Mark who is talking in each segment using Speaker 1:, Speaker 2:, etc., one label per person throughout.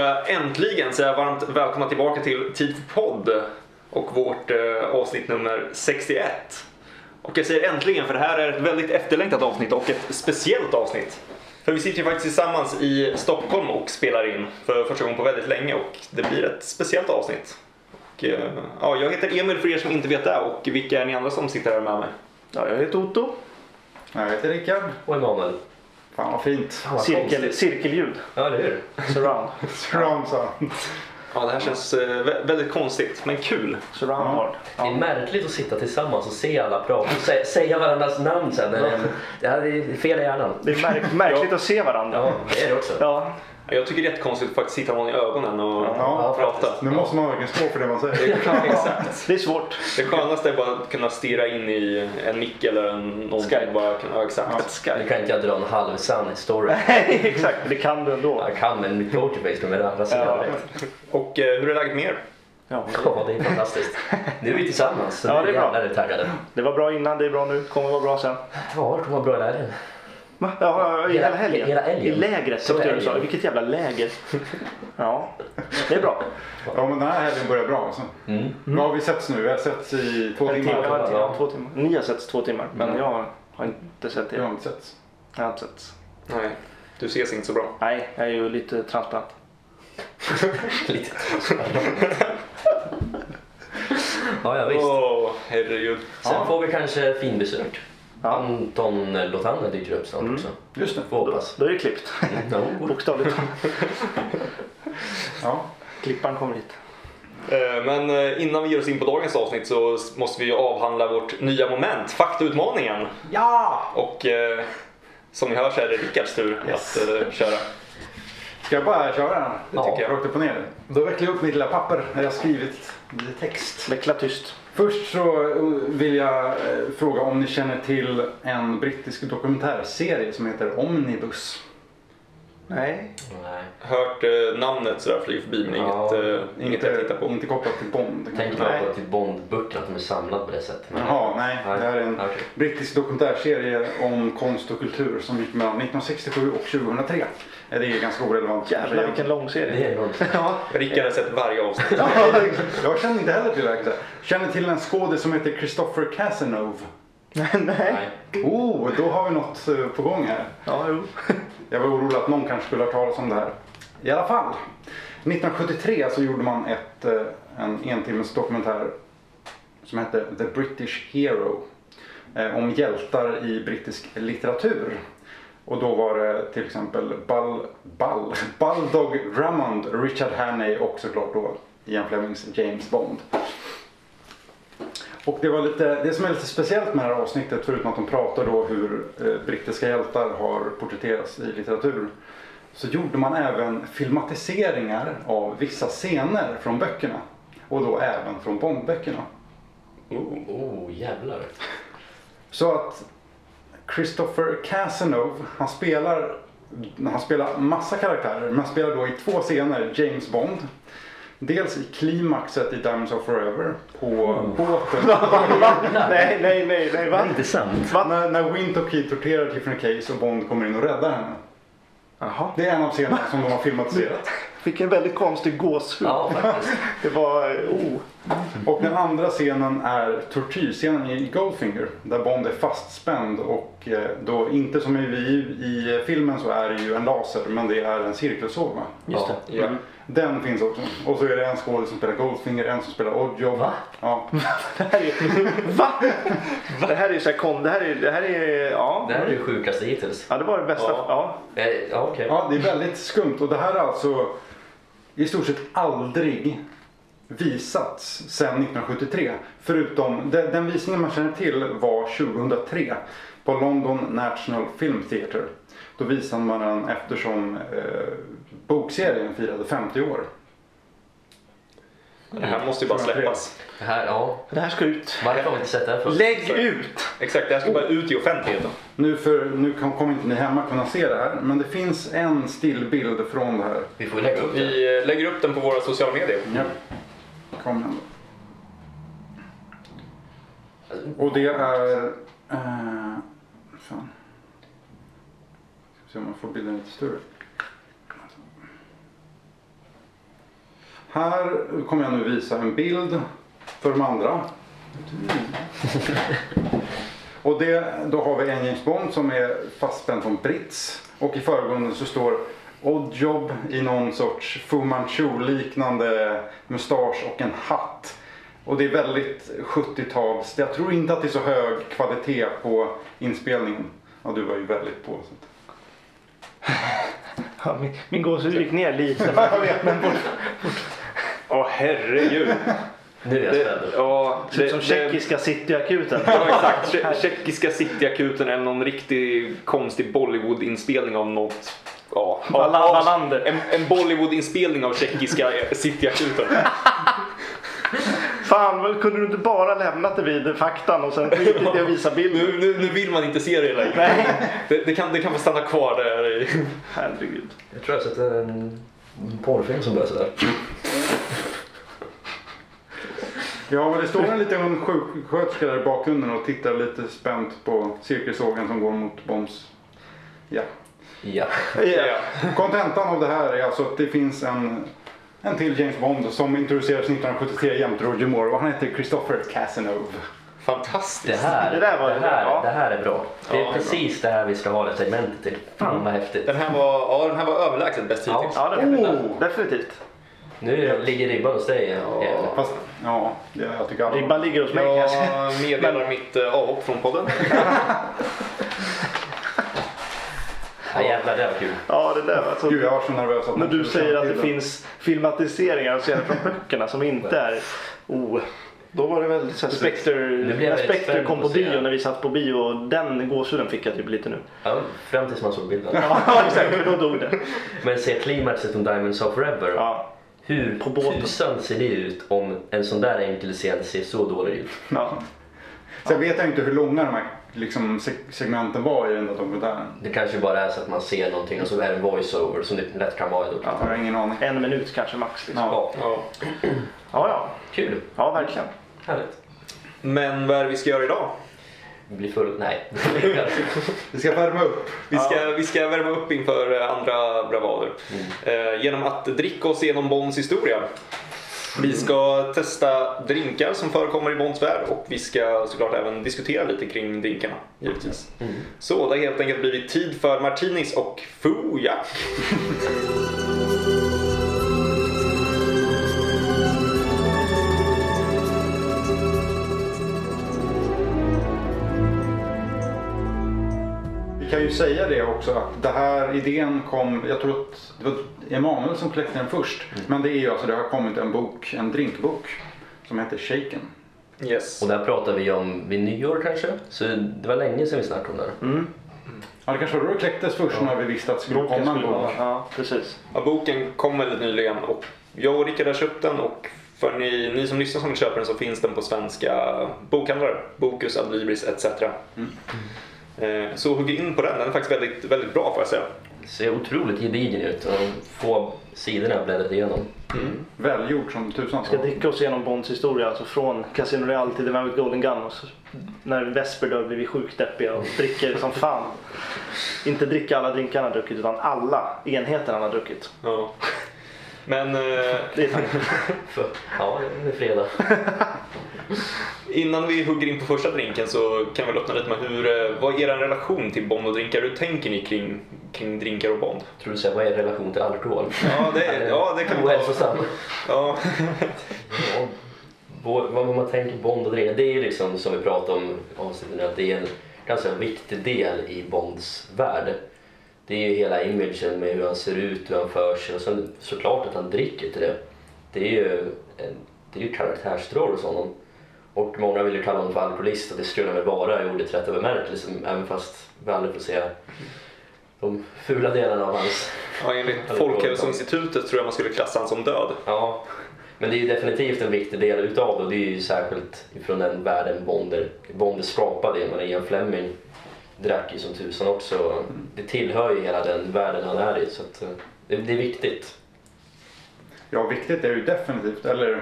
Speaker 1: eh, äntligen säga varmt välkomna tillbaka till Tid för podd och vårt eh, avsnitt nummer 61. Och jag säger äntligen för det här är ett väldigt efterlängtat avsnitt och ett speciellt avsnitt. För vi sitter ju faktiskt tillsammans i Stockholm och spelar in för första gången på väldigt länge och det blir ett speciellt avsnitt. Och, eh, ja, jag heter Emil för er som inte vet det och vilka är ni andra som sitter här med mig?
Speaker 2: Ja, jag heter Otto.
Speaker 3: Jag heter Rickard.
Speaker 4: Och Emanuel.
Speaker 3: Fan vad fint.
Speaker 4: Fan, vad
Speaker 2: Cirkel,
Speaker 4: konstigt.
Speaker 2: cirkelljud.
Speaker 4: Ja, det är det.
Speaker 2: Surround.
Speaker 3: Strong sa han.
Speaker 1: Ja, det här känns eh, vä- väldigt konstigt men kul.
Speaker 2: Surround
Speaker 3: Ja.
Speaker 2: hard.
Speaker 4: Det är märkligt att sitta tillsammans och se alla prata och sä- säga varandras namn sen. Eh, Det här är fel i hjärnan.
Speaker 2: Det är märk- märkligt att se varandra.
Speaker 4: Ja, det är det också.
Speaker 2: Ja.
Speaker 1: Jag tycker det är jättekonstigt att faktiskt sitta någon i ögonen och
Speaker 3: Ja,
Speaker 1: prata.
Speaker 3: Nu måste man verkligen stå för det man säger.
Speaker 1: Mm. Exakt.
Speaker 2: Det är svårt.
Speaker 1: Det skönaste är bara att kunna stirra in i en mick eller en någonting.
Speaker 2: Skype.
Speaker 1: Bara, kunna- ja, exakt.
Speaker 3: Ja.
Speaker 4: Nu kan inte jag dra en halvsann story.
Speaker 2: Exakt, det kan du ändå.
Speaker 4: Jag kan, men mitt coachface kommer rasera
Speaker 2: Ja.
Speaker 4: direkt.
Speaker 1: Och eh, hur är läget med er?
Speaker 2: Ja.
Speaker 4: Ja, det är fantastiskt. Nu är vi tillsammans, så
Speaker 2: Ja,
Speaker 4: nu
Speaker 2: det är bra.
Speaker 4: jävlar är vi taggade.
Speaker 2: Det var bra innan, det är bra nu, kommer vara bra sen.
Speaker 4: Ja, det kommer vara bra i helgen.
Speaker 2: Va? Ja, ja, i
Speaker 4: Hela-
Speaker 2: hela helgen.
Speaker 4: hela helgen.
Speaker 2: I lägret, som
Speaker 4: Hela
Speaker 2: du sa.
Speaker 4: helgen.
Speaker 2: Vilket jävla läger. Ja, det är bra.
Speaker 3: Ja men den här helgen börjar bra alltså. Vad har vi setts nu? Vi har setts i två
Speaker 2: En timme,
Speaker 3: timmar.
Speaker 2: en timme, två timmar. Ni har sett två timmar, men jag har inte sett
Speaker 3: Vi har
Speaker 2: er.
Speaker 3: inte setts.
Speaker 2: Jag har inte sett.
Speaker 1: Nej, du ses inte så bra.
Speaker 2: Nej, jag är ju lite transplant.
Speaker 4: Lite Ja, ja, visst.
Speaker 1: Åh, herregud.
Speaker 4: Sen får vi kanske finbesök.
Speaker 2: Ja. Mm.
Speaker 4: Anton Lotanne dyker upp snart också.
Speaker 3: Just det.
Speaker 4: Får hoppas.
Speaker 2: Då är det klippt.
Speaker 4: No.
Speaker 2: Bokstavligt
Speaker 3: Ja.
Speaker 2: Klippan kommer hit.
Speaker 1: Eh, Men eh, innan vi ger oss in på dagens avsnitt så s- måste vi ju avhandla vårt nya moment, faktautmaningen.
Speaker 2: Ja!
Speaker 1: Och eh, som ni hör så är det Rickards tur att eh, köra.
Speaker 3: Ska jag bara köra den?
Speaker 4: Ja.
Speaker 1: tycker jag.
Speaker 3: Rakt upp och ner. Då vecklar jag upp mitt lilla papper där jag har skrivit lite text.
Speaker 2: Veckla tyst.
Speaker 3: Först så eh, vill jag eh, fråga om ni känner till en brittisk dokumentärserie som heter Omnibus.
Speaker 2: Nej.
Speaker 4: Nej.
Speaker 1: Hört eh, namnet sådär flyga förbi men
Speaker 4: Ja,
Speaker 1: inget, eh, inget jag tittar på.
Speaker 3: inte kopplat till Bond.
Speaker 4: Tänker
Speaker 2: Nej.
Speaker 4: man på typ Bondböcker, att de är samlade på det sättet. Men-
Speaker 3: Jaha, nej.
Speaker 4: Nej.
Speaker 3: Det här är en
Speaker 4: Okej.
Speaker 3: brittisk dokumentärserie om konst och kultur som gick mellan 1967 och 2003. Eh, Det är ganska orelevant.
Speaker 2: Jävlar vilken lång
Speaker 4: Det
Speaker 2: serie.
Speaker 4: är enormt.
Speaker 2: Ja.
Speaker 1: Rickard har sett varje avsnitt.
Speaker 3: Jag känner inte heller till det. här. Känner till en skådis som heter Christopher Casanova.
Speaker 2: Nej.
Speaker 4: Nej.
Speaker 3: Oh, då har vi något eh, på gång här.
Speaker 2: Ja, jo.
Speaker 3: Jag var orolig att någon kanske skulle ha talat om det här. I alla fall. 1973 så gjorde man ett, eh, en entimmes dokumentär som hette The British Hero. eh, Om hjältar i brittisk litteratur. Och då var det till exempel Bal, Bal, Baldog Drummond, Richard Hannay och såklart då Ian Flemings James Bond. Och det, var lite, det som är lite speciellt med det här avsnittet, förutom att de pratar då hur eh, brittiska hjältar har porträtterats i litteratur, så gjorde man även filmatiseringar av vissa scener från böckerna. Och då även från Bondböckerna.
Speaker 4: Oh, jävlar.
Speaker 3: Så att Christopher Casanova, han spelar, han spelar massa karaktärer, men han spelar då i två scener James Bond. Dels i klimaxet i Diamonds of Forever på båten.
Speaker 2: Nej, nej, nej, nej, va?
Speaker 4: sant.
Speaker 3: När, när Wint och Keith torterar Tiffany Case och Bond kommer in och räddar henne.
Speaker 2: Jaha.
Speaker 3: Det är en av scenerna som de har filmatiserat.
Speaker 2: Fick en väldigt konstig gåshud.
Speaker 4: Ja, faktiskt.
Speaker 2: Det var, eh, oh.
Speaker 3: Och den andra scenen är tortyrscenen i Goldfinger. Där Bond är fastspänd och eh, då inte som i, i filmen så är det ju en laser men det är en cirkelsåg va?
Speaker 2: Just
Speaker 4: Ja.
Speaker 1: Ja.
Speaker 3: Mm. Den finns också. Och så är det en skådespelare som spelar Goldfinger, en som spelar Oddjob.
Speaker 4: Va?
Speaker 3: Ja.
Speaker 2: Det här är Va? Det här är så här kon... Det här är... Det här är ja.
Speaker 4: Det här är det sjukaste hittills.
Speaker 2: ja, det var det bästa.
Speaker 1: Ja.
Speaker 2: Ja.
Speaker 4: Eh, Ja, okej.
Speaker 3: ja, det är väldigt skumt. Och det här är alltså i stort sett aldrig visats sedan 1973. Förutom, de- den visningen man känner till var 2003 på London National Film Theatre. Då visade man den eftersom eh, bokserien firade 50 år.
Speaker 1: Det här måste ju bara släppas.
Speaker 4: Det här, ja.
Speaker 2: Det här ska ut.
Speaker 4: Varför har vi inte sett det här förut?
Speaker 2: Lägg ut!
Speaker 1: Exakt, det här ska bara ut i offentligheten.
Speaker 3: Nu, för, nu kan- kommer inte ni hemma kunna se det här, men det finns en stillbild från det här.
Speaker 4: Vi får lägga upp det.
Speaker 1: Vi eh, lägger upp den på våra sociala medier.
Speaker 3: Ja. Kom igen då. Och det är... Eh, fan. Ska se om man får bilden lite större. Här kommer jag nu visa en bild för de andra. Och det, då har vi en James Bond som är fastspänd på en brits. Och i förgrunden så står Oddjob i någon sorts Fu Manchu-liknande mustasch och en hatt. Och det är väldigt 70-tals. Jag tror inte att det är så hög kvalitet på inspelningen. Ja, du var ju väldigt på. Så. att-
Speaker 2: Ja, min min gåshud gick ner lite.
Speaker 3: Ja, jag vet, men
Speaker 1: Åh herregud.
Speaker 4: Nu är jag spänd.
Speaker 1: ja,
Speaker 2: Typ som tjeckiska cityakuten.
Speaker 1: Ja exakt, Tje- tjeckiska cityakuten eller någon riktig konstig Bollywood-inspelning av något. Ja, av-
Speaker 2: Wallan-
Speaker 1: av-
Speaker 2: Wallander.
Speaker 1: En, en Bollywood-inspinspelning av tjeckiska eh, cityakuten.
Speaker 2: Fan, väl kunde du inte bara lämnat det vid faktan och sen skitit i att visa bilden?
Speaker 1: Nu, nu, nu vill man inte se det längre.
Speaker 2: Nej.
Speaker 1: Det, det, kan, det kan få stanna kvar där. i-
Speaker 2: Herregud.
Speaker 4: Jag tror jag har sett en porrfilm som börjar sådär.
Speaker 3: Ja, men det står en liten sjuksköterska där i bakgrunden och tittar lite spänt på cirkelsågen som går mot Bombs. Ja.
Speaker 4: Ja.
Speaker 1: Ja.
Speaker 3: Kontentan av det här är alltså att det finns en, en till James Bond som introduceras 1973 jämte Roger Moore och han heter Christopher Casanova.
Speaker 4: Det
Speaker 1: Fantastiskt.
Speaker 4: här,
Speaker 2: Det där var-
Speaker 4: det här,
Speaker 2: ja.
Speaker 4: det här är bra. Det är
Speaker 1: Ja, det är
Speaker 4: precis det här vi ska ha det här segmentet till. Fan vad häftigt.
Speaker 1: Den här var, ja, den här var överlägset bäst
Speaker 4: Ja.
Speaker 1: hittills.
Speaker 2: Ja, definitivt.
Speaker 3: Oh.
Speaker 2: definitivt.
Speaker 4: Nu ligger ribban hos dig. Emil.
Speaker 3: Fast, ja, det- jag tycker alla...
Speaker 2: Ribban ligger hos mig kanske.
Speaker 1: Jag meddelar mitt eh, avhopp från podden.
Speaker 4: Ja, jävlar, det var kul.
Speaker 2: Ja, det där var så.
Speaker 3: Gud, jag var så nervös att
Speaker 2: När du säger att det
Speaker 3: finns
Speaker 2: finns filmatiseringar och scener från böckerna som inte är... Oh. Då var det väl så här
Speaker 4: Nu
Speaker 2: Spectre,
Speaker 4: blev jag
Speaker 2: när
Speaker 4: väldigt
Speaker 2: Spectre
Speaker 4: spänd
Speaker 2: kom
Speaker 4: på
Speaker 2: på
Speaker 4: att se
Speaker 2: bio
Speaker 4: det.
Speaker 2: när vi satt på bio. Den gåshuden fick jag typ lite nu.
Speaker 4: Ja, fram tills man såg bilden.
Speaker 2: Ja, exakt. För då dog det.
Speaker 4: Men se klimaxet om Diamonds of Forever.
Speaker 2: Ja.
Speaker 4: Hur
Speaker 2: På båten.
Speaker 4: tusan ser det ut om en sån där enkel scen ser så dålig ut?
Speaker 2: ja.
Speaker 3: Sen vet jag inte hur långa de här liksom, se- segmenten var i den där dokumentären.
Speaker 4: Det kanske bara är så att man ser någonting och så är det en voiceover som det lätt kan vara i
Speaker 3: Jag har ingen aning.
Speaker 2: En minut kanske max. Liksom.
Speaker 3: Ja.
Speaker 4: Ja,
Speaker 1: Ja.
Speaker 2: Ja, ja.
Speaker 4: kul.
Speaker 2: Ja, verkligen.
Speaker 4: Härligt.
Speaker 1: Men vad är det vi ska göra idag?
Speaker 4: Bli full? Nej. Lekar.
Speaker 3: Vi ska värma upp.
Speaker 1: Vi ska, vi ska värma upp inför eh, andra bravader. Eh, genom att dricka oss igenom Bonds historia. Vi ska testa drinkar som förekommer i Bonds värld och vi ska såklart även diskutera lite kring drinkarna. Givetvis. Så det har helt enkelt blivit tid för Martinis och Fujak.
Speaker 3: Vi kan ju säga det också att det här idén kom, jag tror att det var Emanuel som kläckte den först.
Speaker 2: Mm.
Speaker 3: Men det är ju alltså, det har kommit en bok, en drinkbok som heter Shaken.
Speaker 1: Yes.
Speaker 4: och där pratar vi om vid nyår kanske. Så det var länge sedan vi snackade om det här.
Speaker 1: Mm.
Speaker 3: Ja, det kanske var då det kläcktes först när vi visste att det skulle komma en bok.
Speaker 2: Ja, precis.
Speaker 1: Ja, boken kom väldigt nyligen och jag och Rickard har köpt den och för ni, ni som lyssnar som vill köpa den så finns den på svenska bokhandlare. Bokus, Adlibris etc. Mm. Eh, Så hugg in på den, den är faktiskt väldigt, väldigt bra får jag säga.
Speaker 4: Det ser otroligt gedigen ut. och De få sidorna har bläddrat igenom.
Speaker 3: Välgjord som tusan.
Speaker 2: Ska dricka oss igenom Bonds historia, alltså från Casino Royale till The Man with Golden Gun. Och så, när Vesper dör blir vi sjukt deppiga och dricker som fan. Inte dricka alla drinkar han har druckit, utan alla enheter han har druckit.
Speaker 1: Ja. Men eh,
Speaker 2: Det är tanken.
Speaker 4: Ja, nu är det fredag.
Speaker 1: innan vi hugger in på första drinken så kan vi väl öppna lite med hur, eh, vad är er relation till Bond och drinkar? Hur tänker ni kring, kring drinkar och Bond?
Speaker 4: Tror du säger vad är relation till alkohol?
Speaker 1: Ja, det, ja, det kan vi ta.
Speaker 4: Ohälsosam.
Speaker 1: Ja.
Speaker 4: Ja, vår- Vad man tänker Bond och Drega, det är ju liksom som vi pratade om i avsnittet nu, att det är en ganska viktig del i Bonds värld. Det är ju hela imagen med hur han ser ut, hur han för sig och sen såklart att han dricker till det. Det är ju, en, det är ju karaktärsdrag hos honom. Och många vill ju kalla honom för alkoholist och det skulle han väl vara i ordets rätta bemärkelse liksom, även fast vi aldrig får se de fula delarna av hans
Speaker 1: ja, enligt Folkhälsoinstitutet tror jag man skulle klassa han som död.
Speaker 4: Ja, men det är ju definitivt en viktig del utav det och det är ju särskilt från den världen Bonder, Bonder skapade. Jag menar Ian Fleming drack ju som tusan också. Det tillhör ju hela den världen han är i så att eh, det, det är viktigt.
Speaker 3: Ja, viktigt är det ju definitivt. Eller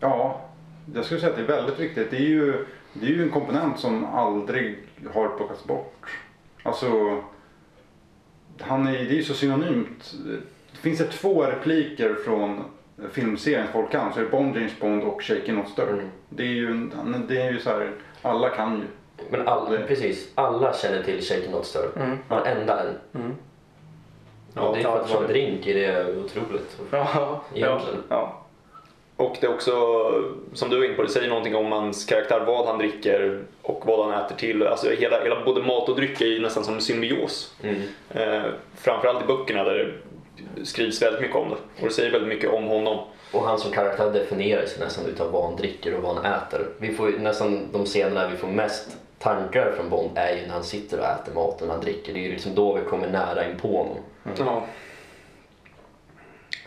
Speaker 3: ja, jag skulle säga att det är väldigt viktigt. Det är ju, det är ju en komponent som aldrig har plockats bort. Alltså, han är, det är ju så synonymt. Det finns det två repliker från filmserien folk kan så är det Bond, James Bond och Shaken Not Stirred.
Speaker 4: Mm.
Speaker 3: Det är ju, en- det är ju så här, alla kan ju.
Speaker 4: Men all,
Speaker 3: Det-
Speaker 4: precis, alla känner till Shaken Not Stirred.
Speaker 2: Mm.
Speaker 4: Varenda en.
Speaker 1: Ja,
Speaker 4: det är för att
Speaker 2: ja,
Speaker 4: man drink i det är otroligt.
Speaker 2: Ja, ja,
Speaker 4: Egentligen.
Speaker 2: ja.
Speaker 1: Och det är också, som du var inne på, det säger någonting om hans karaktär, vad han dricker och vad han äter till. Alltså hela, hela både mat och dryck är ju nästan som symbios.
Speaker 4: Mm.
Speaker 1: Eh, framförallt i böckerna där det skrivs väldigt mycket om det. Och det säger väldigt mycket om honom.
Speaker 4: Och han som karaktär definierar sig nästan utav vad han dricker och vad han äter. Vi får ju nästan de scener där vi får mest tankar från Bond är ju när han sitter och äter maten han dricker. Det är ju liksom då vi kommer nära in på honom.
Speaker 1: Ja.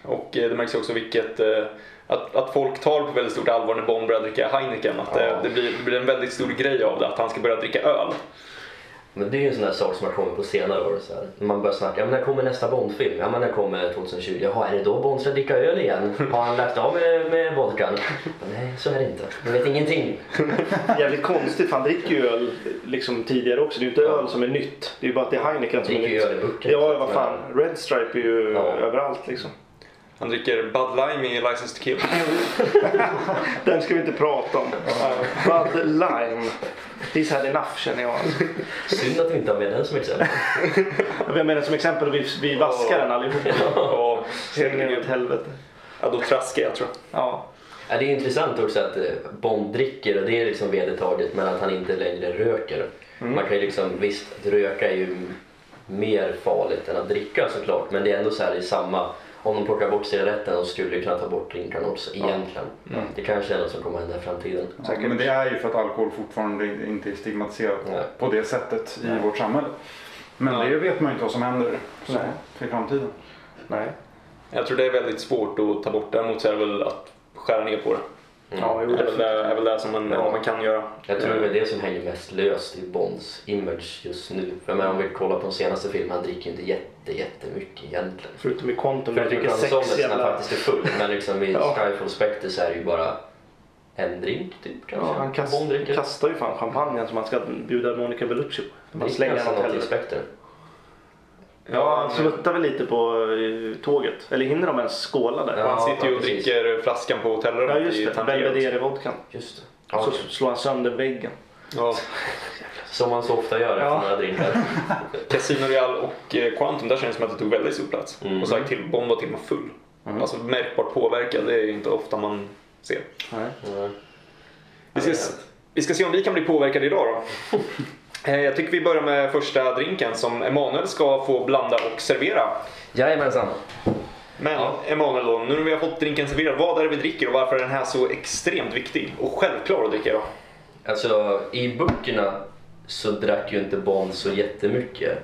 Speaker 1: Och eh, det märks ju också vilket, eh, att, att folk tar på väldigt stort allvar när Bond börjar dricka Heineken. Att eh, det,
Speaker 4: Ja.
Speaker 1: det, blir, det blir en väldigt stor grej av det, att han ska börja dricka öl.
Speaker 4: Men det är ju en sån där sak som har kommit på senare år. Så här. När Man börjar snacka, ja men när kommer nästa Bondfilm? Ja men när kommer 2020? Jaha, är det då Bond ska dricka öl igen? Har han lagt av med, med vodkan? Men Nej, så är det inte. Jag vet ingenting.
Speaker 2: Jävligt konstigt, för han dricker ju öl liksom tidigare också. Det är ju inte öl som är nytt. Det är ju bara att det är Heineken som är
Speaker 4: Dricker ju
Speaker 2: nytt.
Speaker 4: öl i burken.
Speaker 2: Ja, vad fan. Red Stripe är ju
Speaker 4: Ja.
Speaker 2: överallt liksom.
Speaker 1: Han dricker Bud Lime i License to Kill.
Speaker 2: Den ska vi inte prata om. Bud Lime. He's had enough känner jag. Alltså.
Speaker 4: Synd att vi inte har med den som exempel.
Speaker 2: Jag menar som exempel, vi, vi vaskar den allihopa.
Speaker 1: Ja,
Speaker 2: Hänger åt helvete.
Speaker 1: eh, Ja, då traskar jag tror jag.
Speaker 2: Ja.
Speaker 4: Ja, det är intressant också att eh, Bond dricker och det är liksom vedertaget men att han inte längre röker. Man kan ju liksom, visst att röka är ju mer farligt än att dricka såklart men det är ändå så här i samma, om de plockar bort cigaretten så skulle de kunna ta bort drinkarna också egentligen. Det kanske är något som kommer hända i framtiden.
Speaker 3: Ja, men det är ju för att alkohol fortfarande inte är stigmatiserat
Speaker 4: Nej.
Speaker 3: på det sättet i vårt samhälle. Men det vet man ju inte vad som händer så,
Speaker 2: Nej.
Speaker 3: i framtiden.
Speaker 2: Nej.
Speaker 1: Jag tror det är väldigt svårt att ta bort. Däremot så är det väl att skära ner på det.
Speaker 2: Ja, jo,
Speaker 1: Det är väl det,
Speaker 2: definitivt.
Speaker 1: är väl det som man, man kan göra.
Speaker 4: Jag tror det är det som hänger mest löst i Bonds image just nu. För jag menar, om vi kollar på den senaste filmen, han dricker ju inte jätte, jättemycket egentligen.
Speaker 2: Förutom i Quantum. Jag
Speaker 4: Förutom
Speaker 2: dricker
Speaker 4: Grand
Speaker 2: sex
Speaker 4: Somnes när han
Speaker 2: jävla...
Speaker 4: faktiskt är full. Men liksom vid
Speaker 2: Ja.
Speaker 4: Skyfall Spectre så är det ju bara en drink typ kanske.
Speaker 2: Ja, han kast,
Speaker 4: Bond dricker.
Speaker 2: kastar ju fan champagnen som han ska bjuda Monica Bellucci på. Man
Speaker 4: Dricker
Speaker 2: slänger
Speaker 4: nästan
Speaker 2: han åt
Speaker 4: något i
Speaker 2: helvete.
Speaker 4: Spectre.
Speaker 2: Ja, han sluttar väl lite på eh, tåget. Eller hinner de ens skåla där?
Speaker 1: Och han
Speaker 4: Ja,
Speaker 1: sitter ju och
Speaker 4: precis.
Speaker 1: dricker flaskan på hotellrummet
Speaker 2: Ja, just det.
Speaker 1: Tangier.
Speaker 2: Belvedere-vodkan.
Speaker 4: Just det. Ja,
Speaker 2: Så
Speaker 4: okej.
Speaker 2: slår han sönder väggen.
Speaker 1: Ja.
Speaker 4: Som man så ofta gör efter
Speaker 2: Ja.
Speaker 4: några drinkar.
Speaker 1: Casino Real och eh, Quantum, där känns det som att det tog väldigt stor plats.
Speaker 4: Mm.
Speaker 1: Och så till, Bond var till och med full. Alltså märkbart påverkad, det är ju inte ofta man ser.
Speaker 2: Nej.
Speaker 4: Ja.
Speaker 1: Vi ska, s- vi ska se om vi kan bli påverkade idag då. Eh, Jag tycker vi börjar med första drinken som Emanuel ska få blanda och servera.
Speaker 4: Jajamensan.
Speaker 1: Men
Speaker 4: Ja.
Speaker 1: Emanuel, då, nu när vi har fått drinken serverad, vad är det vi dricker och varför är den här så extremt viktig och självklar att dricka då?
Speaker 4: Alltså i böckerna så drack ju inte Bond så jättemycket eh,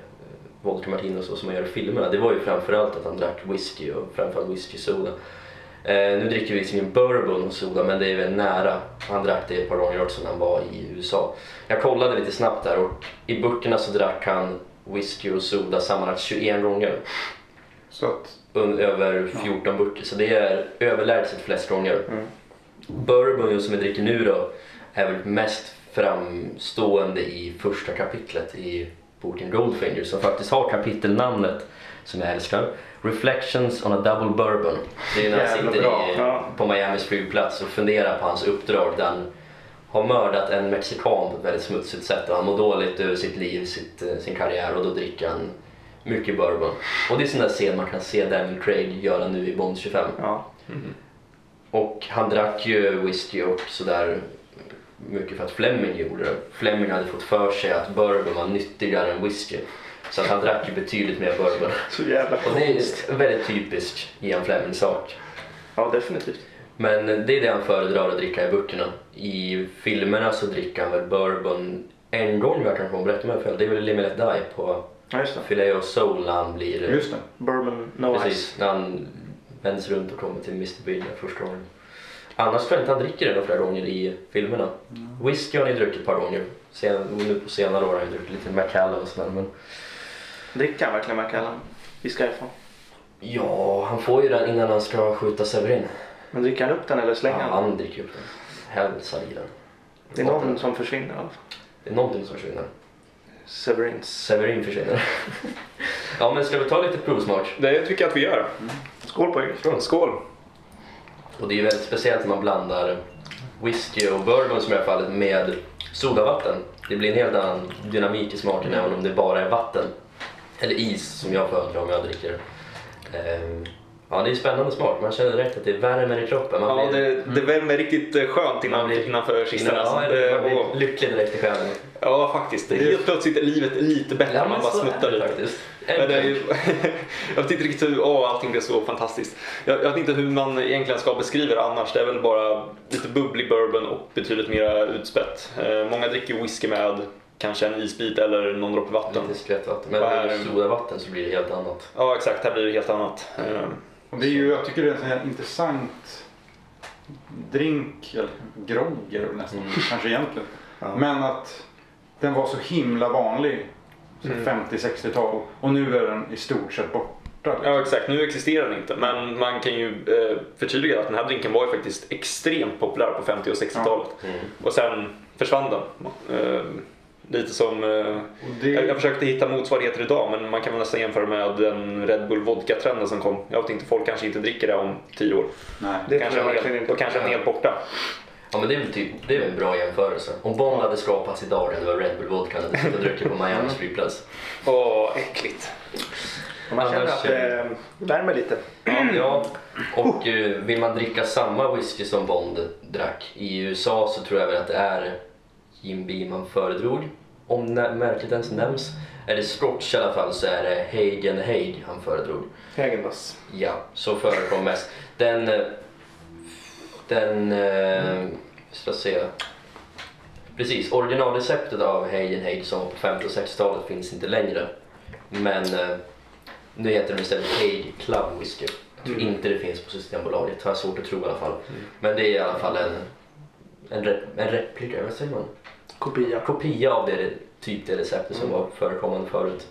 Speaker 4: vodka martini och så som man gör i filmerna. Det var ju framförallt att han drack whisky och framförallt whisky soda. Eh, nu dricker vi visserligen bourbon och soda men det är väl nära. Han drack det ett par gånger också när han var i USA. Jag kollade lite snabbt där och i böckerna så drack han whisky och soda sammanlagt 21 gånger
Speaker 3: Så att
Speaker 4: un- över 14 burkar. Så det är överlägset flest gånger.
Speaker 3: Mm.
Speaker 4: Bourbon just som vi dricker nu då är väl mest framstående i första kapitlet i boken Goldfinger som faktiskt har kapitelnamnet som jag älskar. Reflections on a double bourbon. Det är när han
Speaker 3: Jävla
Speaker 4: sitter
Speaker 3: bra.
Speaker 4: i,
Speaker 2: Ja.
Speaker 4: på Miamis flygplats och funderar på hans uppdrag där han har mördat en mexikan på ett väldigt smutsigt sätt och han mår dåligt över sitt liv, sitt, eh, sin karriär och då dricker han mycket bourbon. Och det är sån där scen man kan se Daniel Craig göra nu i Bond 25.
Speaker 2: Ja.
Speaker 4: Och han drack ju whisky och sådär mycket för att Fleming gjorde det. Fleming hade fått för sig att bourbon var nyttigare än whisky. Så att han drack ju betydligt mer bourbon.
Speaker 2: Så jävla
Speaker 4: Och det
Speaker 2: konstigt.
Speaker 4: är en väldigt typisk Ian Fleming-sak.
Speaker 2: Ja, definitivt.
Speaker 4: Men det är det han föredrar att dricka i böckerna. I filmerna så dricker han väl bourbon en gång vad jag kan komma ihåg, rätta mig om jag har fel. Det är väl i Live and Let Die på
Speaker 2: Ja, just det.
Speaker 4: Filet och Soul när han blir...
Speaker 3: Just det.
Speaker 2: Bourbon No Ice.
Speaker 4: Precis, när han vänds runt och kommer till Mr. Bill där första gången. Annars tror jag inte han dricker det några flera gånger i filmerna.
Speaker 3: Mm.
Speaker 4: Whisky har han ju druckit ett par gånger. Sen, nu på senare år har han ju druckit lite Macallan och sådär. Men
Speaker 2: Dricker han verkligen Macallan? I Skyfall.
Speaker 4: ja, han får ju den innan han ska skjuta Severin.
Speaker 2: Men dricker han upp den eller
Speaker 4: Ja,
Speaker 2: slänger han?
Speaker 4: han dricker ju upp den. Hälsar i den.
Speaker 2: Det är någon som försvinner i alla fall.
Speaker 4: Det är någonting som försvinner.
Speaker 2: Severins.
Speaker 4: Severin försvinner. ja men ska vi ta lite provsmak?
Speaker 1: Det tycker jag att vi gör.
Speaker 2: Skål på er.
Speaker 1: Skål!
Speaker 4: Och det är ju väldigt speciellt när man blandar whisky och bourbon som i det här fallet med sodavatten. Det blir en helt annan dynamik i smaken även om det bara är vatten. Eller is som jag föredrar om jag dricker. Ehm, Ja, det är spännande smak. Man känner direkt att det värmer i kroppen. Man
Speaker 1: Ja,
Speaker 4: blir- Mm.
Speaker 1: det, det värmer riktigt eh, skönt innan, innanför kistan.
Speaker 4: Ja,
Speaker 1: alltså.
Speaker 4: det,
Speaker 1: Det-
Speaker 4: man blir
Speaker 1: åh.
Speaker 4: lycklig direkt i själen.
Speaker 1: Ja, faktiskt. Det är helt plötsligt är livet lite bättre när man bara smuttar lite.
Speaker 4: faktiskt.
Speaker 1: Men det är ju, jag vet inte riktigt hur åh, allting blev så fantastiskt. Jag, jag vet inte hur man egentligen ska beskriva det annars. Det är väl bara lite bubblig bourbon och betydligt mer utspätt. Eh, många dricker whisky med kanske en isbit eller någon droppe vatten.
Speaker 4: Lite skvättvatten. Men
Speaker 1: Vad
Speaker 4: med
Speaker 1: är det?
Speaker 4: sodavatten så blir det helt annat.
Speaker 1: Ja, exakt. Här blir det helt annat.
Speaker 2: Mm.
Speaker 1: Eh,
Speaker 3: Och det är ju, jag tycker det är en sån här intressant drink, eller grogg är det väl nästan, kanske egentligen.
Speaker 2: Ja.
Speaker 3: Men att den var så himla vanlig så 50-60-tal och nu är den i stort sett borta.
Speaker 1: Ja exakt, nu existerar den inte. Men man kan ju eh, förtydliga att den här drinken var ju faktiskt extremt populär på 50 och 60-talet.
Speaker 4: Mm.
Speaker 1: Och sen försvann den. Eh, lite som... Eh,
Speaker 3: Och det-
Speaker 1: jag, jag försökte hitta motsvarigheter idag men man kan väl nästan jämföra med den Red Bull Vodka-trenden som kom. Jag vet inte, folk kanske inte dricker det om 10 år.
Speaker 3: Nej.
Speaker 2: Det
Speaker 1: kanske
Speaker 2: tror jag
Speaker 1: är
Speaker 2: verkligen
Speaker 1: helt,
Speaker 2: inte.
Speaker 1: då kanske den är helt borta.
Speaker 4: Ja men det är väl typ, det är väl en bra jämförelse. Om Bond hade skapats idag hade det varit Red Bull Vodka hade suttit och druckit på
Speaker 2: Mm.
Speaker 4: Miamis flygplats.
Speaker 1: Åh, äckligt.
Speaker 2: Man känner
Speaker 4: Annars, eh,
Speaker 2: att det värmer lite.
Speaker 4: Ja, ja. Och eh, vill man dricka samma whisky som Bond drack i USA så tror jag väl att det är Jim Beam man föredrog. Om nä- märket ens nämns. Är det Scotch i alla fall så är det Hagen Haig han föredrog.
Speaker 2: Hägendas.
Speaker 4: Ja, så förekom mest. Den... eh, Den... eh, Ska jag se. Precis, originalreceptet av Hagen Haig som var på 50 och 60-talet finns inte längre. Men eh, nu heter den istället Haig Club Whisky. Jag tror inte det finns på Systembolaget, har jag svårt att tro i alla fall. Men det är i alla fall en, en, rep, en replika, vad säger man?
Speaker 2: Kopia.
Speaker 4: Kopia av det typ det receptet
Speaker 3: Mm.
Speaker 4: som var förekommande förut.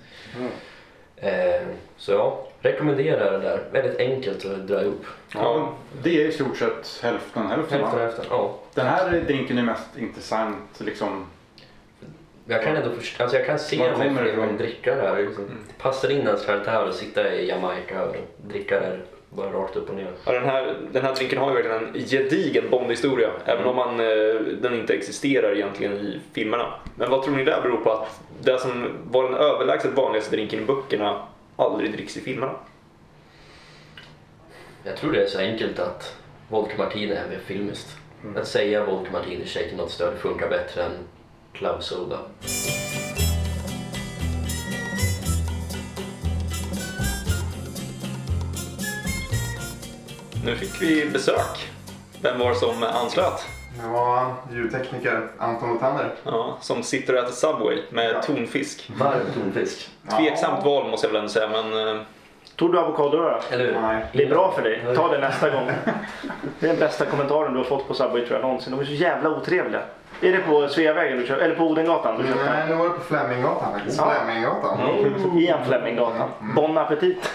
Speaker 4: Eh, så ja, rekommenderar det där. Väldigt enkelt att dra ihop.
Speaker 3: Ja, det är i stort sett hälften hälften.
Speaker 4: Hälften
Speaker 3: va?
Speaker 4: hälften. Ja.
Speaker 3: Den här drinken är mest intressant liksom.
Speaker 4: Jag kan ändå först- alltså jag kan se
Speaker 3: Var kommer
Speaker 4: mig
Speaker 3: det
Speaker 4: fler
Speaker 3: ifrån?
Speaker 4: men dricka det här. Liksom. Passar in ens karaktär att sitta i Jamaica och dricka det här bara rakt upp och ner.
Speaker 1: Ja, den, här, den här drinken har ju verkligen en gedigen Bondhistoria, även om man, eh, den inte existerar egentligen i filmerna. Men vad tror ni det beror på att det som var den överlägset vanligaste drinken i böckerna aldrig dricks i filmerna?
Speaker 4: Jag tror det är så enkelt att Vodka Martini är mer filmiskt.
Speaker 3: Mm.
Speaker 4: Att säga Vodka Martini shaken not stirred funkar bättre än Club Soda.
Speaker 1: Nu fick vi besök. Vem var det som anslöt?
Speaker 5: Ja, ljudtekniker Anton Otander.
Speaker 1: Ja, som sitter och äter Subway med
Speaker 5: Ja.
Speaker 1: tonfisk.
Speaker 4: Varm tonfisk.
Speaker 1: Tveksamt val måste jag väl ändå säga, men eh,
Speaker 2: Tog du avokado då?
Speaker 4: Eller hur?
Speaker 5: Nej.
Speaker 2: Det är bra för dig. Ta det nästa gång. Det är den bästa kommentaren du har fått på Subway tror jag någonsin. De är så jävla otrevliga. Är det på Sveavägen du köper? Eller på Odengatan du köper?
Speaker 5: Nej, nu var det på Fleminggatan faktiskt.
Speaker 2: Ja.
Speaker 5: Fleminggatan.
Speaker 2: Igen Fleminggatan. Bon appetit.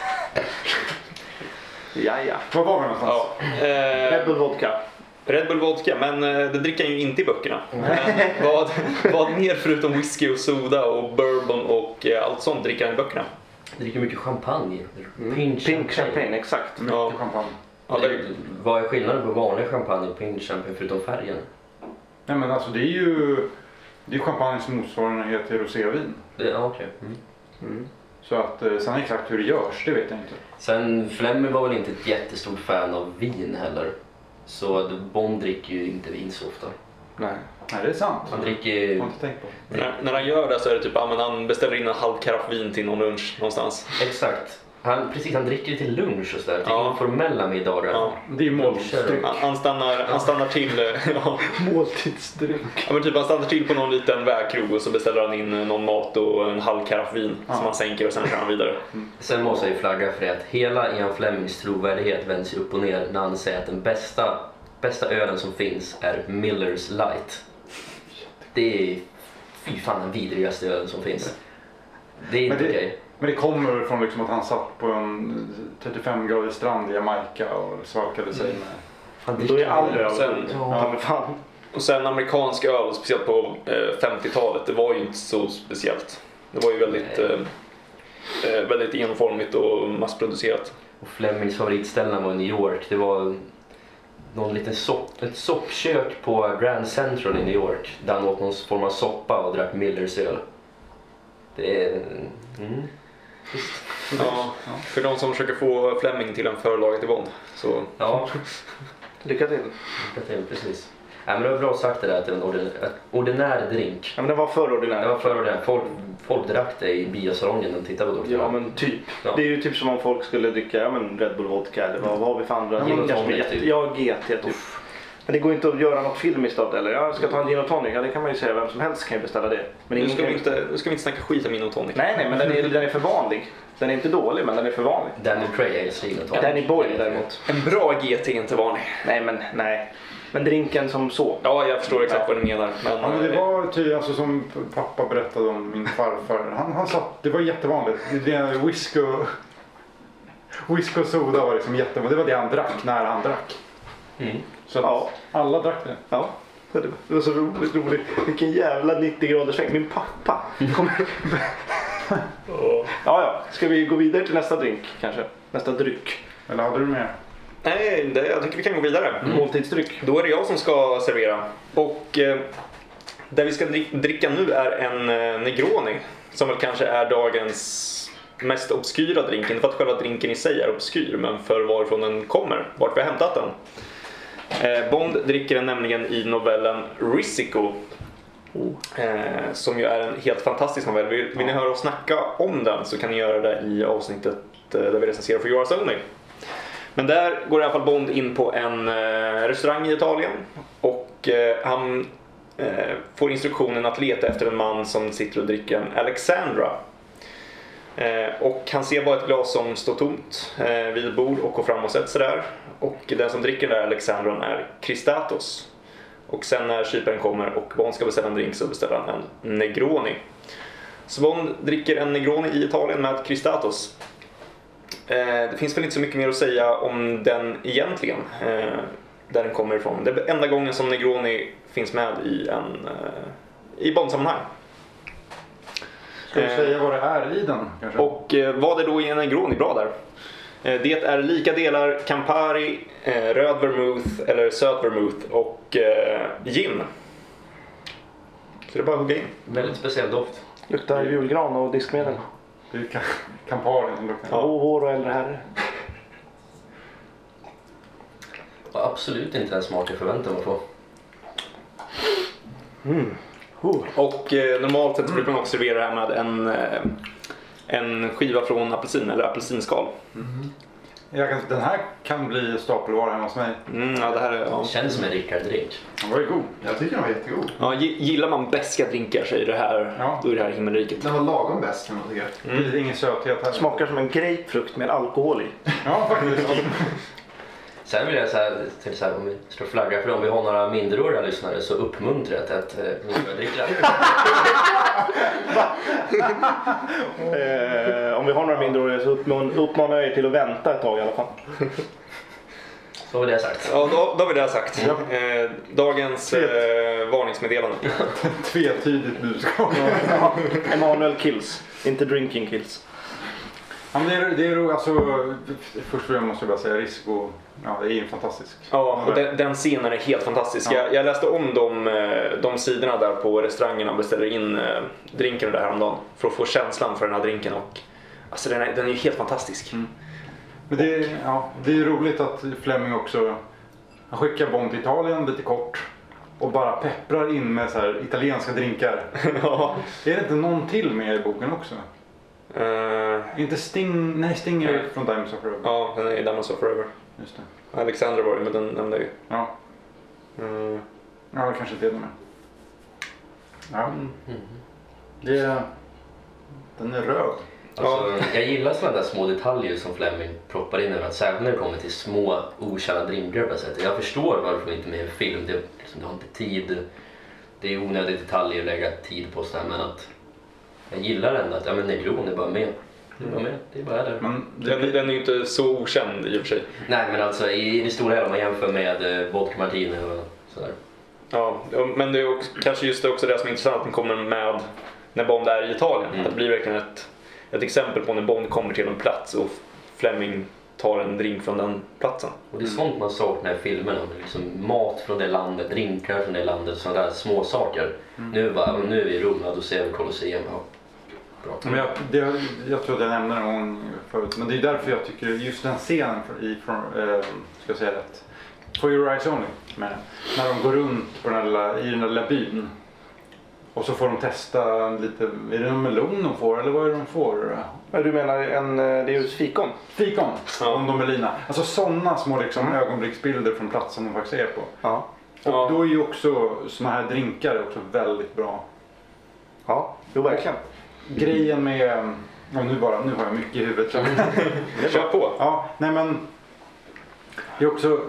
Speaker 2: ja, ja.
Speaker 3: Var var vi någonstans?
Speaker 1: ja. Eh,
Speaker 2: Red Bull Vodka.
Speaker 1: Red Bull Vodka, men eh, det dricker han ju inte i böckerna. Men vad, vad mer förutom whisky och soda och bourbon och eh, allt sånt dricker han i böckerna?
Speaker 4: Dricker mycket champagne. Mm. Pink,
Speaker 2: Pink champagne, exakt.
Speaker 1: Ja,
Speaker 3: Champagne.
Speaker 1: ja, det-
Speaker 4: Vad är skillnaden på vanlig champagne och pink champagne förutom färgen?
Speaker 3: Nej men alltså det är ju det är champagnes motsvarighet till rosévin.
Speaker 4: Det, ja, okej.
Speaker 3: Så att eh, sen exakt hur det görs, det vet jag inte.
Speaker 4: Sen Flemmy var väl inte ett jättestort fan av vin heller. Så att Bond dricker ju inte vin så ofta.
Speaker 3: Nej. Nej, det är sant.
Speaker 4: Han
Speaker 3: Jag
Speaker 4: dricker ju
Speaker 3: har inte tänkt på det.
Speaker 1: när, när han gör det så är det typ att han beställer in en halv karaff vin till någon lunch någonstans.
Speaker 4: Exakt. Han, precis, han dricker ju till lunch och sådär. Till
Speaker 1: Ja.
Speaker 4: informella middagar.
Speaker 1: Ja.
Speaker 3: Det är ju
Speaker 4: Luncher.
Speaker 3: målstyck.
Speaker 1: Han, han, stannar, han stannar till eh, ja,
Speaker 2: Måltidsdryck.
Speaker 1: ja, men typ han stannar till på någon liten vägkrog och så beställer han in eh, någon mat och en halv karaff vin som han sänker och sen kör han vidare.
Speaker 4: Sen måste jag ju flagga för det att hela Ian Flemings trovärdighet vänds ju upp och ner när han säger att den bästa, bästa ölen som finns är Millers Light. Det är fy fan den vidrigaste ölen som finns. Det är
Speaker 3: Men
Speaker 4: inte okej.
Speaker 3: det, men det kommer från liksom att han satt på en 35-gradig strand i Jamaica och svalkade sig med...
Speaker 4: Han
Speaker 2: Då är
Speaker 4: dricker
Speaker 2: all öl
Speaker 1: Sen-
Speaker 2: Ja, men fan.
Speaker 1: Och sen amerikansk öl, speciellt på eh, 50-talet, det var ju inte så speciellt. Det var ju väldigt, eh, eh, väldigt enformigt och massproducerat.
Speaker 4: Och Flemings favoritställen var i New York. Det var någon liten sopp, ett soppkök på Grand Central i New York där han åt någon form av soppa och drack Millers öl. Det är... Mm.
Speaker 1: Ja, för de som försöker få Fleming till en förlaga till Bond. Så
Speaker 4: Ja,
Speaker 2: Lycka till.
Speaker 4: det är precis. Nej, men det var bra sagt det där att det var en ordinär, en ordinär drink.
Speaker 2: Ja, men den var för
Speaker 4: Det
Speaker 2: ordinär.
Speaker 4: var för ordinär. Folk, folk drack det i biosalongen när de tittade på Dr.
Speaker 2: Ja
Speaker 4: Who.
Speaker 2: men typ.
Speaker 4: Ja.
Speaker 2: Det är ju typ som om folk skulle dricka ja, men Red Bull Vodka eller vad, vad har vi för andra
Speaker 4: Ja,
Speaker 2: drinkar
Speaker 4: men
Speaker 2: som är
Speaker 4: tonic,
Speaker 2: jätte...
Speaker 4: typ.
Speaker 2: Ja, GT typ. Men det går inte att göra något filmiskt av det eller? Jag ska ta en gin och tonic. Ja, det kan man ju säga. Vem som helst kan ju beställa det.
Speaker 1: nu
Speaker 2: Men ingen
Speaker 1: ska,
Speaker 2: kan
Speaker 1: vi
Speaker 2: ju...
Speaker 1: inte, nu ska vi inte snacka skit om Mino Tonic.
Speaker 2: Nej, nej, men den är, den är för vanlig. Den är inte dålig, men den är för vanlig.
Speaker 4: Danny Cray är stilen.
Speaker 2: Danny Boyle däremot.
Speaker 1: En bra GT är inte vanlig.
Speaker 2: Nej, men nej. Men drinken som så.
Speaker 1: Ja, jag förstår exakt vad du menar. Men,
Speaker 3: Ja, men det
Speaker 1: eh,
Speaker 3: var tydligen alltså, som pappa berättade om min farfar. Han, han satt, det var jättevanligt. Det är whisky och, whisky och soda var liksom jättevanligt. Det var det han drack när han drack.
Speaker 4: Mm.
Speaker 3: Så att
Speaker 2: Ja.
Speaker 3: alla drack det.
Speaker 2: Ja. Det var- det var så roligt, roligt. Vilken jävla 90 graders sväng. Min pappa kommer... ja, ja. Ska vi gå vidare till nästa drink kanske? Nästa dryck?
Speaker 3: Eller hade du mer?
Speaker 1: Nej, det, jag tycker vi kan gå vidare.
Speaker 2: Måltidsdryck?
Speaker 1: Då är det jag som ska servera. Och eh, det vi ska drick- dricka nu är en eh, Negroni. Som väl kanske är dagens mest obskyra drink. Inte för att själva drinken i sig är obskyr, men för varifrån den kommer. Vart vi har hämtat den. Eh, Bond dricker den nämligen i novellen Risiko. Eh, som ju är en helt fantastisk novell. Vill, vill ni höra oss snacka om den så kan ni göra det i avsnittet eh, där vi recenserar för Yours Only. Men där går i alla fall Bond in på en eh, restaurang i Italien och eh, han eh, får instruktionen att leta efter en man som sitter och dricker en Alexandra. Eh, och han ser bara ett glas som står tomt eh, vid ett bord och går fram och sätter sig där. Och den som dricker den där Alexandran är Christatos. Och sen när kyparen kommer och Bond ska beställa en drink så beställer han en Negroni. Så Bond dricker en Negroni i Italien med Christatos. Eh, det finns väl inte så mycket mer att säga om den egentligen. Eh, där den kommer ifrån. Det är enda gången som Negroni finns med i en eh, i Bond-sammanhang.
Speaker 3: Ska du
Speaker 1: Eh.
Speaker 3: säga vad det är i den kanske?
Speaker 1: Och eh, vad är då i en Negroni bra där? Eh, det är lika delar Campari, eh, röd vermouth eller söt vermouth och eh, gin. Så det är bara att hugga in.
Speaker 4: Väldigt speciell doft.
Speaker 2: Luktar julgran och diskmedel.
Speaker 3: Det är ju Cam- Campari som luktar.
Speaker 2: Ja. Och hår och äldre herre.
Speaker 4: Och Absolut inte den smak jag förväntade mig att få.
Speaker 2: Oh.
Speaker 1: Och eh, normalt sett brukar man också servera det här med en, eh, en skiva från apelsin eller apelsinskal.
Speaker 3: Jag kan, den här kan bli stapelvara hemma hos mig.
Speaker 1: Mm, ja, det här är, ja.
Speaker 4: Känns som en Rickard-drink.
Speaker 3: Den var ju god.
Speaker 5: Jag tycker den var jättegod.
Speaker 1: Ja, gi- gillar man beska drinkar så är det här,
Speaker 3: Ja.
Speaker 1: då är det här himmelriket.
Speaker 5: Den var lagom bäst kan man tycka.
Speaker 3: Det blir ingen söthet här.
Speaker 2: Smakar som en grapefrukt med alkohol i.
Speaker 3: Ja, faktiskt.
Speaker 4: Sen vill jag säga till så här, om vi står flagga för om vi har några minderåriga lyssnare så uppmuntrar jag till att eh, minderåriga dricker.
Speaker 2: Eh, om vi har några mindreåriga så uppman- uppmanar jag er till att vänta ett tag i alla fall.
Speaker 4: Så var det sagt.
Speaker 1: Ja, då, då har vi det här sagt. Eh, dagens eh, varningsmeddelande.
Speaker 3: Tvetydigt budskap.
Speaker 2: Emanuel kills, inte drinking kills.
Speaker 3: Ja, men det är, det är ro- alltså, först och främst måste jag bara säga Risiko. Ja, det är ju en fantastisk.
Speaker 1: Ja, och den, den scenen är helt fantastisk. Jag, jag läste om de, eh, de sidorna där på restaurangen och beställde in eh, drinken där häromdagen för att få känslan för den här drinken. Och, alltså, den, är, den är ju helt fantastisk.
Speaker 3: Men det, är, ja, det är roligt att Fleming också han skickar Bond till Italien lite kort och bara pepprar in med så här italienska drinkar.
Speaker 1: ja.
Speaker 3: Är det inte någon till med i boken också?
Speaker 1: Eh,
Speaker 3: Är Inte Sting, nej Sting är
Speaker 1: Nej.
Speaker 3: ju från Diamonds of Forever.
Speaker 1: ja, den är Diamonds of Forever.
Speaker 3: Just det.
Speaker 1: Alexander var det, men den nämnde jag ju.
Speaker 3: Ja,
Speaker 1: Mm.
Speaker 3: ja det kanske inte är den med. Ja.
Speaker 1: Mm-hmm.
Speaker 3: Det är, den är röd.
Speaker 4: Alltså, jag gillar sådana där små detaljer som Fleming proppar in överallt. Särskilt när det kommer till små okända drinkar på det sättet. Jag förstår varför det inte är med i en film. Det, är liksom, du har inte tid. Det är onödiga detaljer att lägga tid på. Så här, men att jag gillar ändå att ja, men Negron är bara med. Det är bara med. Det är bara där.
Speaker 3: Men det,
Speaker 1: Den, den är ju inte så okänd i och för sig.
Speaker 4: Nej men alltså i, i det stora hela om man jämför med eh, vodka martini och sådär.
Speaker 1: Ja, men det är också, kanske just det också det som är intressant att den kommer med när Bond är i Italien.
Speaker 4: Mm.
Speaker 1: Att det blir verkligen ett, ett exempel på när Bond kommer till en plats och Fleming tar en drink från den platsen.
Speaker 4: Och det är sånt man saknar i filmerna. Det är Liksom mat från det landet, drinkar från det landet, sådana där små saker.
Speaker 2: Mm.
Speaker 4: Nu bara, nu är vi i Rom, ja, då ser vi Colosseum. Ja. Bra.
Speaker 3: Men jag, det, jag tror att jag nämnde det någon gång förut, men det är därför jag tycker just den scenen för- i, från, eh, ska jag säga rätt, For Your Eyes Only, med, när de går runt på den här lilla, i den där lilla byn och så får de testa lite, är det någon melon de får eller vad är det de får?
Speaker 2: Men Du menar en, eh, det är ju fikon?
Speaker 3: Fikon, om de är lina. Alltså sådana små liksom, ögonblicksbilder från platsen de faktiskt är på.
Speaker 2: Ja.
Speaker 3: Och
Speaker 1: Ja.
Speaker 3: då är ju också sådana här drinkar också väldigt bra.
Speaker 2: Ja, jo verkligen.
Speaker 3: Grejen med, ja, nu, bara, nu har jag mycket i huvudet.
Speaker 1: Kör på!
Speaker 3: Ja, nej men. Det är också.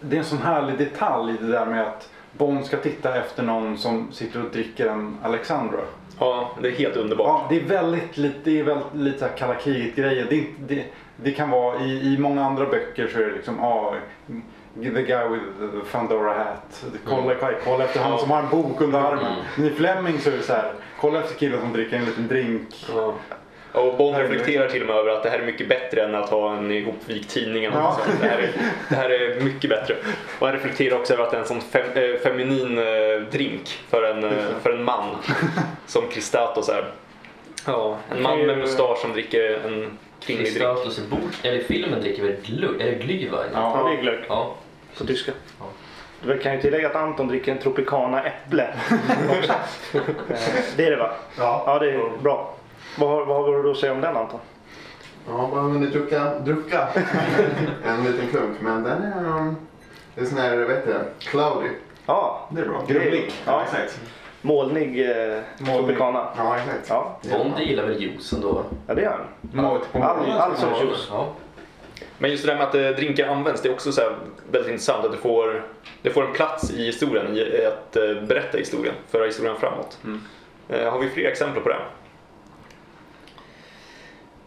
Speaker 3: Det är en sån härlig detalj i det där med att Bond ska titta efter någon som sitter och dricker en Alexandra.
Speaker 1: Ja, det är helt underbart.
Speaker 3: Ja, det är väldigt lite, det är väldigt lite så här kalla kriget grejer. Det, är inte- det, det kan vara i, i många andra böcker så är det liksom ja, The guy with the Fandora hat.
Speaker 5: Mm.
Speaker 3: Kolla, kolla efter han som har en bok under armen. Men i Fleming så är det så här. Kolla efter killen som dricker en liten drink.
Speaker 1: Ja. Och Bond reflekterar till och med över att det här är mycket bättre än att ha en ihopvikt tidning. eller något
Speaker 3: Ja.
Speaker 1: sånt. Det, här är, det här är mycket bättre. Och han reflekterar också över att det är en sån fem, eh, feminin eh, drink för en, eh, för en man. Som Cristato så här. Ja, en man med mustasch som dricker en kvinnlig drink.
Speaker 4: Kristatus i bok, eller i filmen dricker vi glögg, eller glühwein.
Speaker 3: Ja.
Speaker 2: Ja, det är glögg
Speaker 4: Ja.
Speaker 2: på tyska.
Speaker 4: Ja.
Speaker 2: Du kan ju tillägga att Anton dricker en Tropicana äpple. också. Eh, det är det va?
Speaker 5: Ja.
Speaker 2: Ja, det är bra. Vad har, vad har du att säga om den Anton?
Speaker 5: Jag har bara hunnit drucka, drucka en liten klunk. Men den är... um, Det är sån här, vad heter det? Cloudy.
Speaker 2: Ja,
Speaker 5: Det är bra.
Speaker 2: Grumlig.
Speaker 5: Ja, exakt.
Speaker 2: molnig eh,
Speaker 3: Molnig.
Speaker 2: Tropicana.
Speaker 5: Ja, exakt.
Speaker 2: Ja,
Speaker 4: Bond gillar väl juicen då? va?
Speaker 2: ja, det gör han.
Speaker 3: Mat på
Speaker 2: All, all
Speaker 5: alltså-
Speaker 2: sorts juice.
Speaker 4: Ja.
Speaker 1: Men just det där med att eh, drinkar används, det är också så här väldigt intressant att det får, det får en plats i historien, i att eh, berätta historien, föra historien framåt. Eh, Har vi fler exempel på det?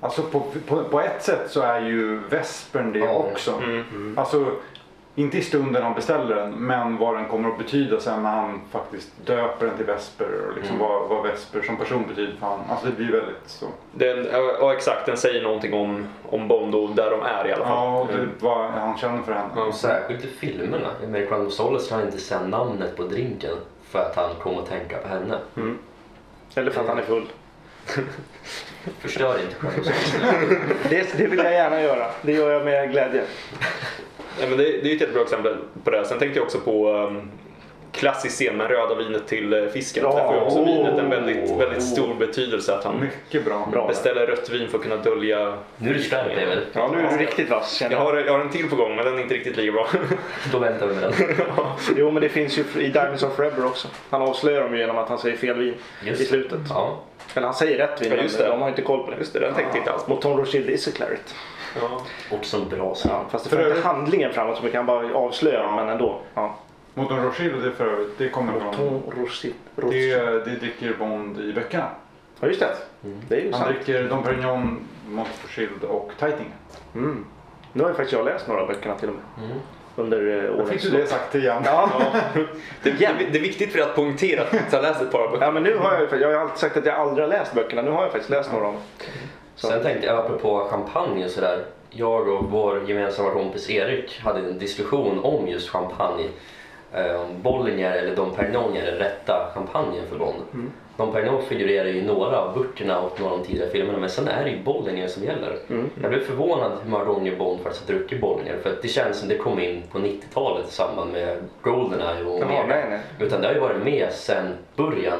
Speaker 3: Alltså på, på, på ett sätt så är ju vespern det
Speaker 4: Ja.
Speaker 3: också.
Speaker 2: Mm.
Speaker 3: Alltså inte i stunden han beställer den men vad den kommer att betyda sen när han faktiskt döper den till vesper och
Speaker 2: Mm.
Speaker 3: liksom vad, vad vesper som person betyder för honom. Alltså det blir väldigt så.
Speaker 1: Den, ja, ja, exakt, den säger någonting om, om Bond och där de är i alla fall.
Speaker 3: Ja, och
Speaker 1: Mm.
Speaker 3: typ vad han känner för henne.
Speaker 1: Ja.
Speaker 4: Och särskilt i filmerna. American Solace har inte sen namnet på drinken för att han kom att tänka på henne.
Speaker 2: Eller för att han är full.
Speaker 4: Förstör inte själv.
Speaker 2: Det, det vill jag gärna göra. Det gör jag med glädje.
Speaker 1: Ja, men det, det är ju ett jättebra exempel på det. Sen tänkte jag också på um, klassisk scen med röda vinet till eh, fisken.
Speaker 2: Ja.
Speaker 1: Där får ju också
Speaker 2: Oh.
Speaker 1: vinet en väldigt, väldigt stor betydelse att han
Speaker 3: Mycket bra.
Speaker 2: Bra.
Speaker 1: beställer rött vin för att kunna dölja...
Speaker 4: Nu är det skarpt David.
Speaker 2: Ja, nu är du riktigt vass känner
Speaker 1: Jag
Speaker 2: jag.
Speaker 1: har, jag har en till på gång men den är inte riktigt lika bra.
Speaker 4: Då väntar vi med den.
Speaker 2: Jo, men det finns ju i Diamonds of Forever också. Han avslöjar dem ju genom att han säger fel vin
Speaker 4: Just
Speaker 2: i
Speaker 4: det.
Speaker 2: slutet.
Speaker 4: Ja.
Speaker 2: Eller han säger rätt vin,
Speaker 1: Ja, just
Speaker 2: men
Speaker 1: det.
Speaker 2: de har inte koll på det.
Speaker 1: Just det, den tänkte jag inte alls på.
Speaker 2: Och Tom Rothschild är så clarit.
Speaker 1: Ja.
Speaker 4: Också en bra scen.
Speaker 2: Ja, fast det för
Speaker 3: För
Speaker 2: inte
Speaker 3: övrigt-
Speaker 2: handlingen framåt så mycket. Han bara avslöjar dem,
Speaker 3: Ja.
Speaker 2: men ändå. Ja.
Speaker 3: Mot en Rothschild det är för övrigt, det kommer från.
Speaker 2: Tom Rothschild.
Speaker 3: Det,
Speaker 2: Rothschild.
Speaker 3: det dricker Bond i böckerna.
Speaker 2: Ja, just det. Det är ju
Speaker 3: Han
Speaker 2: sant.
Speaker 3: dricker Dom Perignon, Mot Rothschild och Teiting.
Speaker 2: Mm. Nu har ju faktiskt jag läst några av böckerna till och med. Under eh,
Speaker 3: Då Mm. fick
Speaker 2: årens
Speaker 3: du det
Speaker 2: lopp.
Speaker 3: sagt igen.
Speaker 2: Ja.
Speaker 1: Det, det, det är viktigt för dig att poängtera att du inte har läst ett par av böckerna.
Speaker 2: ja, men nu har jag ju... Jag har ju alltid sagt att jag aldrig har läst böckerna. Nu har jag faktiskt läst några av dem. Så-
Speaker 4: Sen tänkte jag apropå champagne och sådär. Jag och vår gemensamma kompis Erik hade en diskussion om just champagne. Eh, Om Bollinger eller Dom Perignon är den rätta champagnen för Bond.
Speaker 2: Mm.
Speaker 4: Dom Perignon figurerar ju i några av burterna och några av de tidigare filmerna men sen är det ju Bollinger som gäller.
Speaker 2: Mm.
Speaker 4: Jag blev förvånad hur många gånger Bond faktiskt har druckit Bollinger för att det känns som det kom in på 90-talet i samband med Goldeneye och
Speaker 2: Jaha,
Speaker 4: Omega.
Speaker 2: nej, nej.
Speaker 4: Utan det har ju varit med sedan början.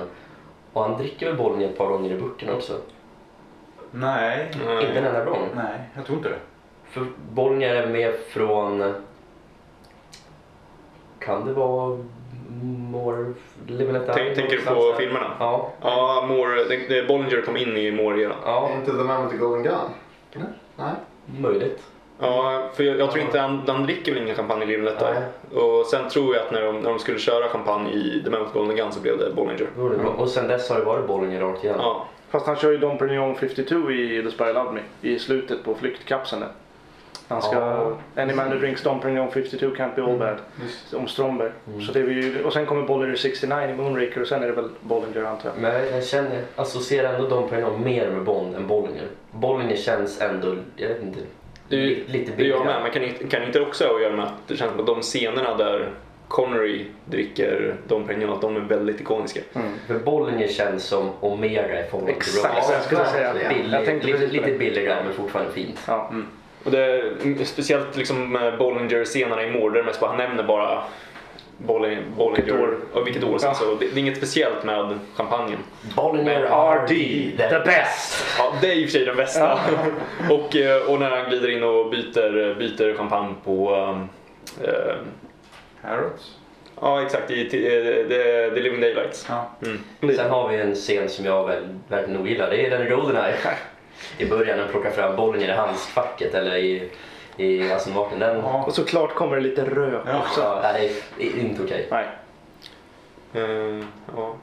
Speaker 4: Och han dricker väl Bollinger ett par gånger i burterna också.
Speaker 3: Nej.
Speaker 4: Inte en enda gång.
Speaker 3: Nej, jag tror inte det.
Speaker 4: För Bollinger är med från... Kan det vara More...
Speaker 1: Tänk- tänker du på filmerna?
Speaker 4: Ja.
Speaker 1: Ja, Moore, den- eh, Bollinger kom in i Moore-eran.
Speaker 4: ja.
Speaker 5: Inte The Man with the Golden Gun? Nej. Nej.
Speaker 4: Möjligt.
Speaker 1: Ja, för jag, jag tror inte han, han dricker väl ingen champagne i Limlet där. Och sen tror jag att när de, när de skulle köra champagne i The Man with Golden Gun så blev det Bollinger.
Speaker 4: Då är det bra. Och sen dess har det varit Bollinger rakt igen.
Speaker 1: Ja,
Speaker 2: Fast han kör ju Dom Perignon 52 i The Spy Love Me i slutet på flyktkapseln där. Han ska... Any man who drinks Dom Perignon 52 can't be all bad. Om Stromberg. Så det är ju, och sen kommer Bollinger 69 i Moonraker och sen är det väl Bollinger antar jag.
Speaker 4: Men jag, jag känner, associerar ändå Dom Perignon mer med Bond än Bollinger. Bollinger känns ändå, jag vet inte,
Speaker 1: Det, är ju-
Speaker 4: Lite
Speaker 1: det gör
Speaker 4: billigare.
Speaker 1: med, men kan, inte- kan inte det också göra med att det känns som att de scenerna där Connery dricker Dom Perignon, att de är väldigt ikoniska.
Speaker 4: För Bollinger känns som Omega i förhållande till
Speaker 1: Exakt,
Speaker 4: Rogue.
Speaker 1: så
Speaker 2: jag skulle säga.
Speaker 5: verkligen.
Speaker 4: Billig,
Speaker 2: Jag tänkte
Speaker 4: lite,
Speaker 2: precis på
Speaker 4: lite
Speaker 2: det.
Speaker 4: billigare men fortfarande fint.
Speaker 2: Ja.
Speaker 1: Och det är, speciellt liksom med Bollinger-scenerna i Mordor, mest bara, han nämner bara Bolling- Bollinger
Speaker 2: Vilket år.
Speaker 1: och vilket år sen, så det, det är inget speciellt med champagnen.
Speaker 4: Bollinger
Speaker 1: RD,
Speaker 4: the
Speaker 2: best!
Speaker 1: Ja, det är i och för sig den bästa. och, eh, och när han glider in och byter, eh, byter champagne på ehm, ehm,
Speaker 3: Harrods?
Speaker 1: Ja, exakt. I t- eh, The, the Living Daylights. Mm.
Speaker 3: Ja.
Speaker 4: Sen har vi en scen som jag väl, verkligen ogillar. Det är den i Goldeneye. I början när de plockar fram Bollinger i handskfacket eller i, i Aston Martin. Den, ja.
Speaker 2: Och såklart kommer det lite rök
Speaker 3: Ja.
Speaker 2: också.
Speaker 4: nej, det är inte okej.
Speaker 2: Nej.
Speaker 1: Eh, ja.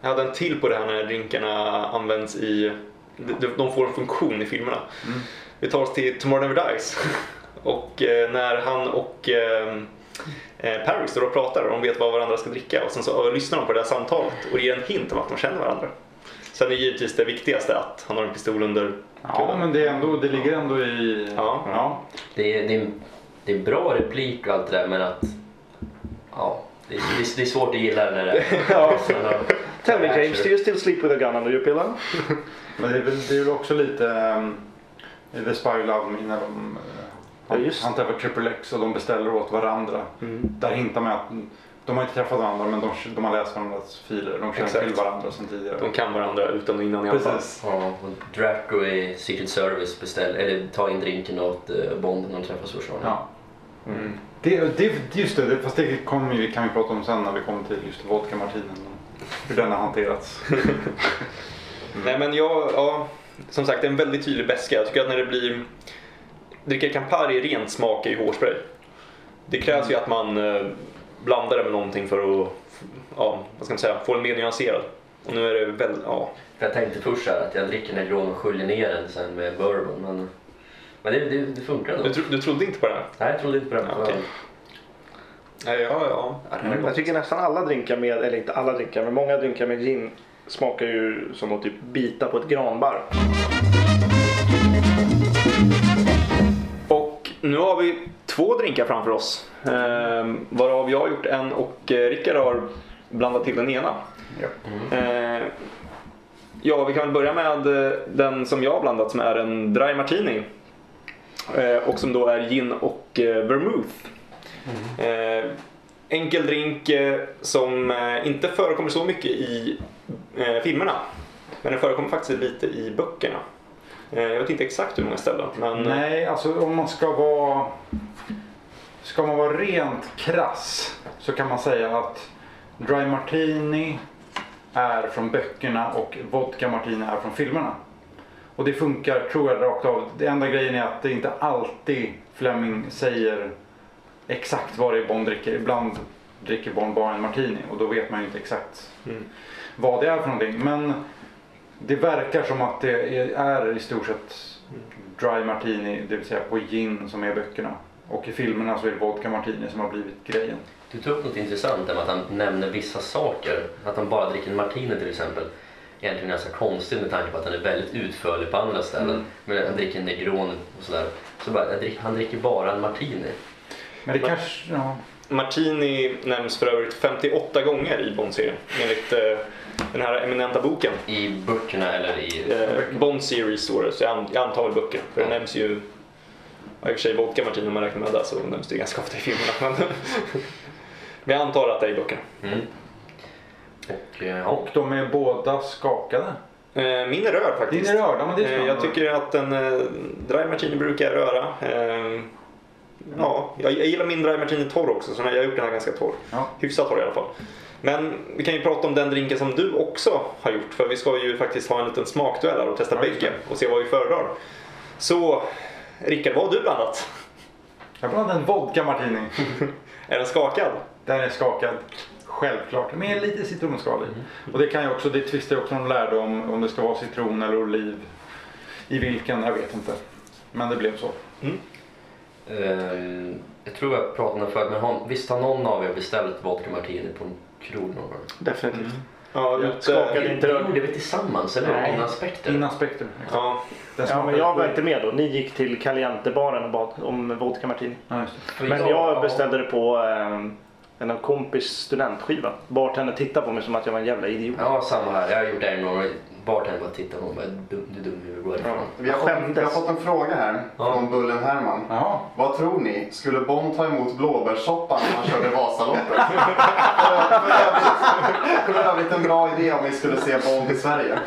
Speaker 1: Jag hade en till på det här när drinkarna används i... de- de- De får en funktion i filmerna. Vi tar oss till Tomorrow Never Dies. Och eh, när han och eh, eh, Paris står och pratar och de vet vad varandra ska dricka och sen så lyssnar de på det här samtalet och ger en hint om att de känner varandra. Sen är givetvis det viktigaste att han har en pistol under
Speaker 3: Ja, men det, är ändå, det ligger ändå i...
Speaker 1: Ja.
Speaker 3: ja.
Speaker 4: Det, är- det, är- det är bra replik och allt det där men att... Ja, det, det, är- det är svårt att gilla när det
Speaker 2: Ja.
Speaker 4: är...
Speaker 2: Tell me James, do you still sleep with a gun under your pillow?
Speaker 3: Men det är väl det är väl också lite ehm, i The Spy Who Loved Me när de
Speaker 2: Ja,
Speaker 3: uh,
Speaker 2: just det.
Speaker 3: han tar över Triple X och de beställer åt varandra.
Speaker 1: Mm.
Speaker 3: Där hintar man att de har inte träffat varandra men de, de har läst varandras filer. De känner
Speaker 1: Exakt.
Speaker 3: till varandra sedan tidigare.
Speaker 1: De kan varandra utan och innan i alla fall.
Speaker 3: Precis.
Speaker 4: Ja, och Draco i Secret Service beställer, eller tar in drinken åt eh, Bond när de träffas första gången.
Speaker 3: Ja.
Speaker 1: Mm.
Speaker 3: Mm. Det, det, just det, det- fast det kommer vi, kan vi prata om sen när vi kommer till just vodka martinen. Hur den har hanterats.
Speaker 1: Nej men jag, ja, som sagt det är en väldigt tydlig beska. Jag tycker att när det blir, dricka Campari rent smakar ju hårspray. Det krävs ju att man eh, blandar det med någonting för att, ja, vad ska man säga, få den mer nyanserad. Och nu är det väl, ja.
Speaker 4: För jag tänkte först så här att jag dricker Negron och sköljer ner den sen med bourbon. Men, men det, det, det funkar ändå.
Speaker 1: Du, tro, du trodde inte på det här?
Speaker 4: Nej, jag trodde inte på den.
Speaker 1: Ja, okej. Nej, ja, ja. ja. det här är
Speaker 2: Jag
Speaker 1: gott.
Speaker 2: tycker nästan alla drinkar med, eller inte alla drinkar, men många drinkar med gin smakar ju som att typ bita på ett granbarr.
Speaker 1: Och nu har vi två drinkar framför oss. Eh, varav jag har gjort en och eh, Rickard har blandat till den ena.
Speaker 3: Ja.
Speaker 1: Eh, ja, vi kan väl börja med eh, den som jag har blandat som är en dry martini. Eh, och som då är gin och eh, vermouth. Eh, enkel drink eh, som eh, inte förekommer så mycket i eh, filmerna. Men den förekommer faktiskt lite i böckerna. Eh, jag vet inte exakt hur många ställen. Men, eh,
Speaker 3: Nej, alltså om man ska vara... Ska man vara rent krass så kan man säga att Dry Martini är från böckerna och Vodka Martini är från filmerna. Och det funkar, tror jag, rakt av. Det enda grejen är att det inte alltid Fleming säger exakt vad det är Bond dricker. Ibland dricker Bond bara en Martini och då vet man ju inte exakt vad det är för någonting. Men det verkar som att det är- är i stort sett dry martini, det vill säga på gin som är böckerna. Och i filmerna så är det vodka martini som har blivit grejen.
Speaker 4: Du tog upp något intressant där med att han nämner vissa saker. Att han bara dricker en martini till exempel. Egentligen ganska konstigt med tanke på att han är väldigt utförlig på andra ställen.
Speaker 1: Mm.
Speaker 4: Men han dricker en Negron och sådär. Så bara, jag drick, han dricker bara en martini.
Speaker 3: Men det kanske... Ja.
Speaker 1: Martini nämns för övrigt 58 gånger i Bond-serien enligt eh, den här eminenta boken.
Speaker 4: I böckerna eller i...
Speaker 1: Eh, Bond Series står det, så jag, an- jag antar väl böcker. För det
Speaker 4: Ja.
Speaker 1: nämns ju, ja, i och för sig vodka Martini om man räknar med det så nämns det ganska ofta i filmerna. Men, men jag antar att det är i böckerna.
Speaker 4: Mm. Och, eh, ja.
Speaker 3: Och de är båda skakade.
Speaker 1: Eh, min är röd faktiskt.
Speaker 3: Din är röd, ja, men det är
Speaker 1: eh, Jag
Speaker 3: spännande.
Speaker 1: tycker att en eh, dry martini brukar jag röra. Eh, ja, jag, jag gillar min dry martini torr också så jag har gjort den här ganska torr.
Speaker 3: Ja.
Speaker 1: Hyfsat torr i alla fall. Men vi kan ju prata om den drinken som du också har gjort för vi ska ju faktiskt ha en liten smakduell här och testa
Speaker 3: Ja, just
Speaker 1: bägge och se vad vi föredrar. Så Rickard, vad har du blandat?
Speaker 3: Jag blandade en vodka martini.
Speaker 1: Är den skakad?
Speaker 3: Den är skakad. Självklart, med lite citronskal i. Och det kan ju också, det tvistar ju också om lärde om, om det ska vara citron eller oliv. I vilken, jag vet inte. Men det blev så.
Speaker 4: Ehm, jag tror jag pratade om det förut, men har, visst har någon av er beställt vodka martini på en krog någon gång?
Speaker 2: Definitivt.
Speaker 1: Ja,
Speaker 2: Jag
Speaker 1: ute-
Speaker 2: skakade
Speaker 4: Det
Speaker 2: inte röd.
Speaker 4: gjorde vi tillsammans, eller hur?
Speaker 2: Nej.
Speaker 4: Innan Spectre.
Speaker 3: Innan Spectre. exakt.
Speaker 1: Ja.
Speaker 3: Den
Speaker 2: Ja, men
Speaker 3: smakade-
Speaker 2: jag var inte med då. Ni gick till Caliente-baren och bad om vodka martini.
Speaker 3: Ja, just det.
Speaker 2: Men jag beställde det på eh, en av kompis studentskiva. Bartendern tittade på mig som att jag var en jävla idiot.
Speaker 4: Ja, samma här. Jag har gjort det här några gånger. Bartendern bara tittar på mig och bara, du du är dum i huvudet, gå härifrån.
Speaker 5: Vi har,
Speaker 2: Jag
Speaker 5: fått, vi har
Speaker 2: skämdes.
Speaker 5: fått en fråga här från Bullen Herman.
Speaker 3: Jaha.
Speaker 5: Vad tror ni? Skulle Bond ta emot blåbärssoppan när han körde Vasaloppet? För- för övrigt- För övrigt en bra idé om vi skulle se Bond i Sverige.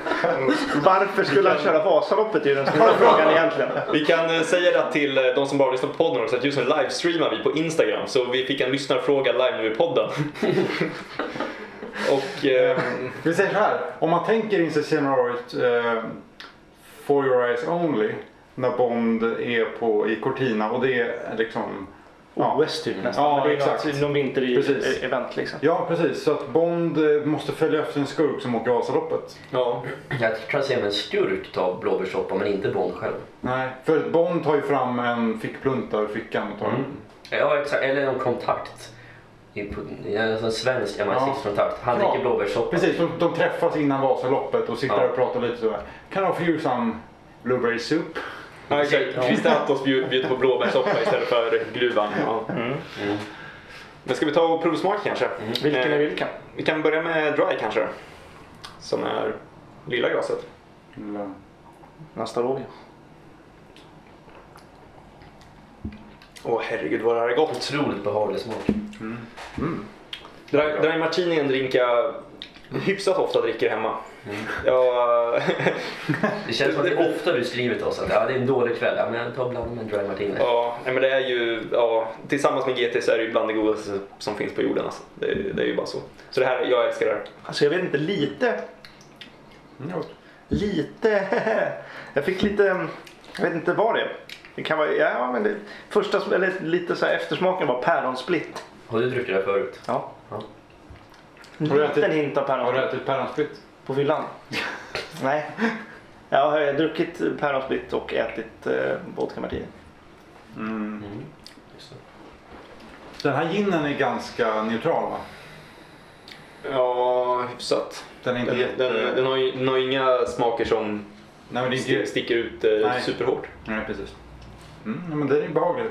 Speaker 2: Varför skulle han köra Vasaloppet? Det är ju den stora frågan egentligen.
Speaker 1: Vi kan eh, säga det till eh, de som bara lyssnar på podden också att just nu livestreamar vi på Instagram så vi fick en lyssnarfråga live nu i podden. och eh,
Speaker 3: Vi säger så här. Om man tänker in sig scenariot eh, For your eyes only. När Bond är på, i Cortina och det är liksom Ja.
Speaker 2: OS typ nästan.
Speaker 3: Ja,
Speaker 2: Men det är
Speaker 3: exakt.
Speaker 2: något- Någon
Speaker 3: Precis.
Speaker 2: vinter-event liksom.
Speaker 3: Ja, precis. Så att Bond eh, måste följa efter en skurk som åker Vasaloppet.
Speaker 1: ja,
Speaker 4: Jag tror jag ser mig en skurk ta blåbärssoppa, men inte Bond själv.
Speaker 3: Nej. För att Bond tar ju fram en fickplunta ur fickan och tar den.
Speaker 4: Ja, exakt. Eller en kontakt. I- på- i En sån svensk MI6-kontakt. Han
Speaker 3: Ja.
Speaker 4: dricker blåbärssoppa.
Speaker 3: Precis, de, de träffas innan Vasaloppet och sitter
Speaker 4: Ja.
Speaker 3: där och pratar lite sådär. Kan jag få you some blueberry soup?
Speaker 1: ja, exakt. Christatos bjud- bjuder på blåbärssoppa istället för gruvan. Ja. Mm. Men ska vi ta och provsmaka kanske?
Speaker 2: Vilken är
Speaker 1: Eh,
Speaker 2: vilken?
Speaker 1: Vi kan börja med Dry kanske. Som är lilla glaset.
Speaker 3: Eller-
Speaker 2: Nastarovia.
Speaker 1: Åh herregud vad det här är gott.
Speaker 4: Otroligt behaglig smak.
Speaker 1: Dry, dry martini är en drink jag hyfsat ofta dricker hemma. Jag,
Speaker 4: Det känns som att det är ofta du skriver till oss att ja, det är en dålig kväll. Ja, men jag tar bland med en dry martini.
Speaker 1: ja, nej, men det är ju, ja, tillsammans med GT så är det ju bland det godaste som finns på jorden. Alltså. Det, det är ju bara så. Så det här, jag älskar det här.
Speaker 2: Alltså jag vet inte, lite...
Speaker 3: Ja.
Speaker 2: Lite... Jag fick lite... Jag vet inte vad det är. Det kan vara... Ja, men det... Första... Eller lite så här eftersmaken var päronsplitt.
Speaker 4: Har du druckit det här förut?
Speaker 2: Ja. Mm.
Speaker 4: Ja.
Speaker 2: En
Speaker 3: Har du
Speaker 2: liten
Speaker 3: ätit-
Speaker 2: hint av
Speaker 3: Har du
Speaker 2: päronsplitt
Speaker 3: ätit päronsplitt?
Speaker 2: på fyllan. Nej. Jag har druckit päronsplitt och ätit eh, vodka martini.
Speaker 4: Just det.
Speaker 3: Den här ginen är ganska neutral va?
Speaker 1: Ja, hyfsat.
Speaker 3: Den är inte
Speaker 1: Den,
Speaker 3: jätte...
Speaker 1: den, den, har ju, den har ju inga smaker som
Speaker 3: Nej men det är
Speaker 1: sti-
Speaker 3: inte...
Speaker 1: sticker ut eh,
Speaker 3: Nej.
Speaker 1: superhårt.
Speaker 3: Nej precis. Mm, ja, men den är behaglig.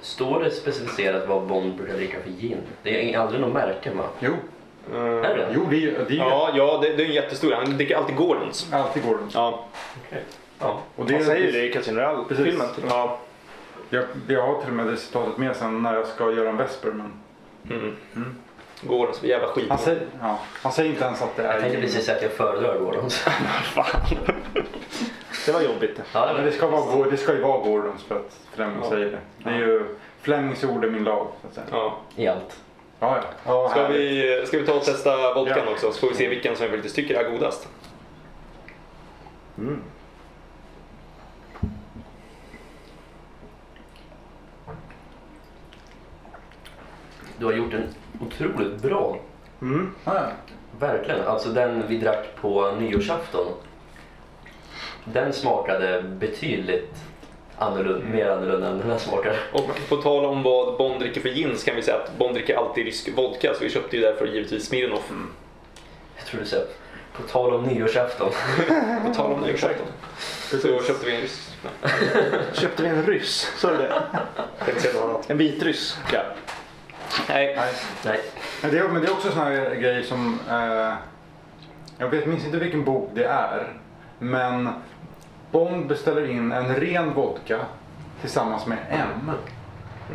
Speaker 4: Står det specificerat vad Bond brukar dricka för gin? Det är aldrig något märke va?
Speaker 3: Jo,
Speaker 1: Eh,
Speaker 4: Är det?
Speaker 3: jo det är ju... Det är ju
Speaker 1: ja, ja det, det är en jättestor. Han dricker alltid Gordons.
Speaker 3: Alltid går den.
Speaker 1: Ja.
Speaker 4: Ja.
Speaker 3: Och
Speaker 2: Han säger ju det i Casino Royale-filmen. till och med.
Speaker 1: ja.
Speaker 3: Jag, jag har till och med det citatet med sen när jag ska göra en vesper. Men
Speaker 1: Mm. Gordons, jävla skit.
Speaker 3: han, säger, ja, han säger inte ens att det
Speaker 4: Jag
Speaker 3: är
Speaker 4: tänkte precis säga att jag föredrar Gordons.
Speaker 2: Det var jobbigt. det.
Speaker 4: Ja, det
Speaker 3: Men
Speaker 4: var-
Speaker 3: det ska, vara, Gor- det ska ju vara Gordons för att Fleming
Speaker 1: Ja.
Speaker 3: säger det. Det är ju Flemings ord är min lag. Så att säga.
Speaker 1: ja.
Speaker 4: I allt.
Speaker 3: Ja, ja. ja
Speaker 1: Ska
Speaker 3: härligt.
Speaker 1: vi, ska vi ta och testa vodkan
Speaker 2: Ja.
Speaker 1: också så får vi se vilken som vi faktiskt tycker är godast.
Speaker 4: Du har gjort en otroligt bra,
Speaker 2: Mm.
Speaker 3: Ja, ja.
Speaker 4: verkligen. Alltså den vi drack på nyårsafton. Den smakade betydligt annorlunda, mer annorlunda än den här smakar.
Speaker 1: Och på tal om vad Bond dricker för gin så kan vi säga att Bond dricker alltid rysk vodka så vi köpte ju därför givetvis Smirnoff.
Speaker 4: Jag tror du sa, på tal om nyårsafton.
Speaker 1: På tal om det, ursäkta. Så köpte vi en rysk. Nej,
Speaker 2: Köpte vi en ryss? Så är det.
Speaker 1: jag tänkte säga något annat.
Speaker 2: En vitryss.
Speaker 1: Ja. Nej.
Speaker 3: Nej.
Speaker 4: Nej,
Speaker 3: Men det, är- men det är också såna här grejer som... Eh, jag vet, minns inte vilken bok det är. Men Bond beställer in en ren vodka tillsammans med M.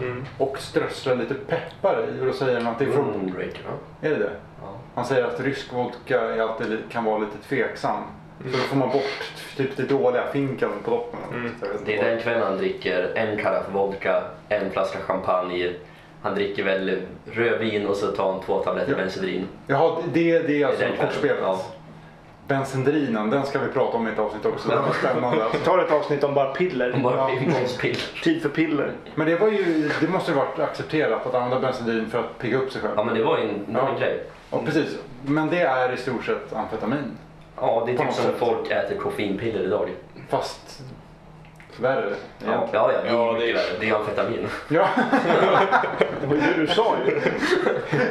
Speaker 4: Mm.
Speaker 3: Och strösslar lite peppar i. Och då säger han att det är från...
Speaker 4: Moonbreaker va?
Speaker 3: Är det det?
Speaker 4: Mm. Ja.
Speaker 3: Han säger att rysk vodka är alltid, li- kan vara lite tveksam.
Speaker 4: Mm.
Speaker 3: Så då får man bort typ det dåliga finkan på toppen. Jag vet inte
Speaker 4: Det är
Speaker 3: vad.
Speaker 4: den kvällen han dricker en karaff vodka, en flaska champagne. Han dricker väl rödvin och så tar han två tabletter
Speaker 3: Ja.
Speaker 4: Benzedrin.
Speaker 3: Jaha, det, det är
Speaker 4: Det
Speaker 3: alltså
Speaker 4: är den
Speaker 3: kortspelet.
Speaker 4: kvällen, ja.
Speaker 3: Bensendrinen, den ska vi prata om i ett avsnitt också. Den var spännande. Alltså.
Speaker 2: Vi tar ett avsnitt om bara
Speaker 4: Och
Speaker 2: piller.
Speaker 4: bara
Speaker 3: Ja.
Speaker 4: pingpongspill.
Speaker 2: Tid för piller.
Speaker 3: Men det, var ju, det måste ju varit accepterat att använda bensin för att pigga upp sig själv.
Speaker 4: Ja men det var ju en, det var en
Speaker 3: Ja.
Speaker 4: grej.
Speaker 3: Ja, precis. Men det är i stort sett amfetamin.
Speaker 4: Ja, det är
Speaker 3: På
Speaker 4: typ
Speaker 3: något
Speaker 4: som
Speaker 3: sätt.
Speaker 4: folk äter koffeinpiller idag.
Speaker 3: Fast Värre.
Speaker 4: Ja,
Speaker 3: Ja.
Speaker 4: ja, ja, det
Speaker 1: Ja, det är-
Speaker 4: är mycket värre. Det är amfetamin.
Speaker 3: Ja.
Speaker 2: Det var ju det du sa ju.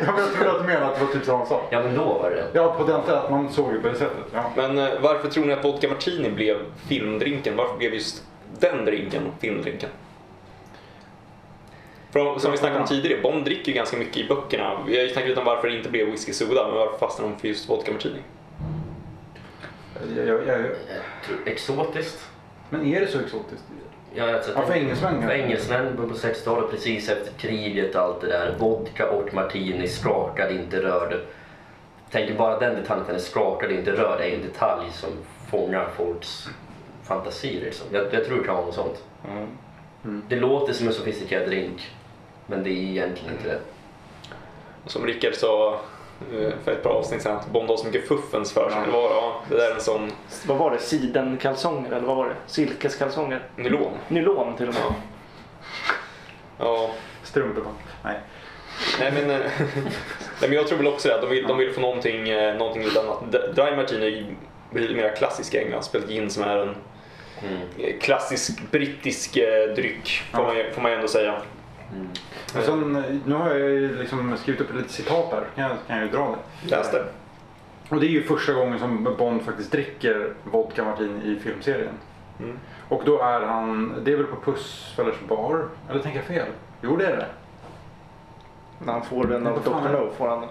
Speaker 3: men jag trodde att du menade att det var typ samma sak.
Speaker 4: Ja, men då var det det.
Speaker 3: Ja, på den tiden att man såg det på det sättet. Ja.
Speaker 1: Men eh, varför tror ni att vodka martini blev filmdrinken? Varför blev just den drinken filmdrinken? För, som vi snackade om tidigare, Bond dricker ju ganska mycket i böckerna. Vi har ju snackat lite om varför det inte blev whisky soda, men varför fastnade de för just vodka martini?
Speaker 3: Jag, jag, jag,
Speaker 4: Eh, Exotiskt.
Speaker 3: men är det så exotiskt?
Speaker 4: Ja, jag
Speaker 3: Ja, för engelsmän
Speaker 4: För
Speaker 3: kanske.
Speaker 4: engelsmän på 60-talet, precis efter kriget och allt det där. Vodka och martini, skakad, inte rörd. Tänker bara den detaljen, den är skakad, inte rörd, är en detalj som fångar folks fantasi. Liksom. Jag, jag tror det kan vara något sånt.
Speaker 1: Mm.
Speaker 4: Det låter som en sofistikerad drink, men det är egentligen inte det.
Speaker 1: Och som Rickard sa eh, för ett par avsnitt sedan, att Bond har så mycket fuffens för sig. Det, var, ja, det där är en sån
Speaker 2: Vad var det? Sidenkalsonger eller vad var det? Silkeskalsonger?
Speaker 1: nylon.
Speaker 2: Nylon till och med.
Speaker 1: Ja.
Speaker 3: Strumpor va? Nej.
Speaker 1: Nej men, eh, nej men jag tror väl också det, att de vill, de vill få någonting, eh, någonting lite annat. D- Dry Martini blir mer klassisk i England, spelat gin som är en eh, klassisk brittisk eh, dryck får, man, ju- får man ju ändå säga.
Speaker 3: Och sen, nu har jag ju liksom skrivit upp lite citat här. Kan jag, kan jag ju dra det?
Speaker 1: Läste.
Speaker 3: Och det är ju första gången som Bond faktiskt dricker vodka martini i filmserien.
Speaker 1: Mm.
Speaker 3: Och då är han, det är väl på Pussfällers bar? Eller tänker jag fel? Jo det är det.
Speaker 2: När han får den av
Speaker 3: Vad fan
Speaker 2: Dr.
Speaker 3: är det?
Speaker 2: No får han den.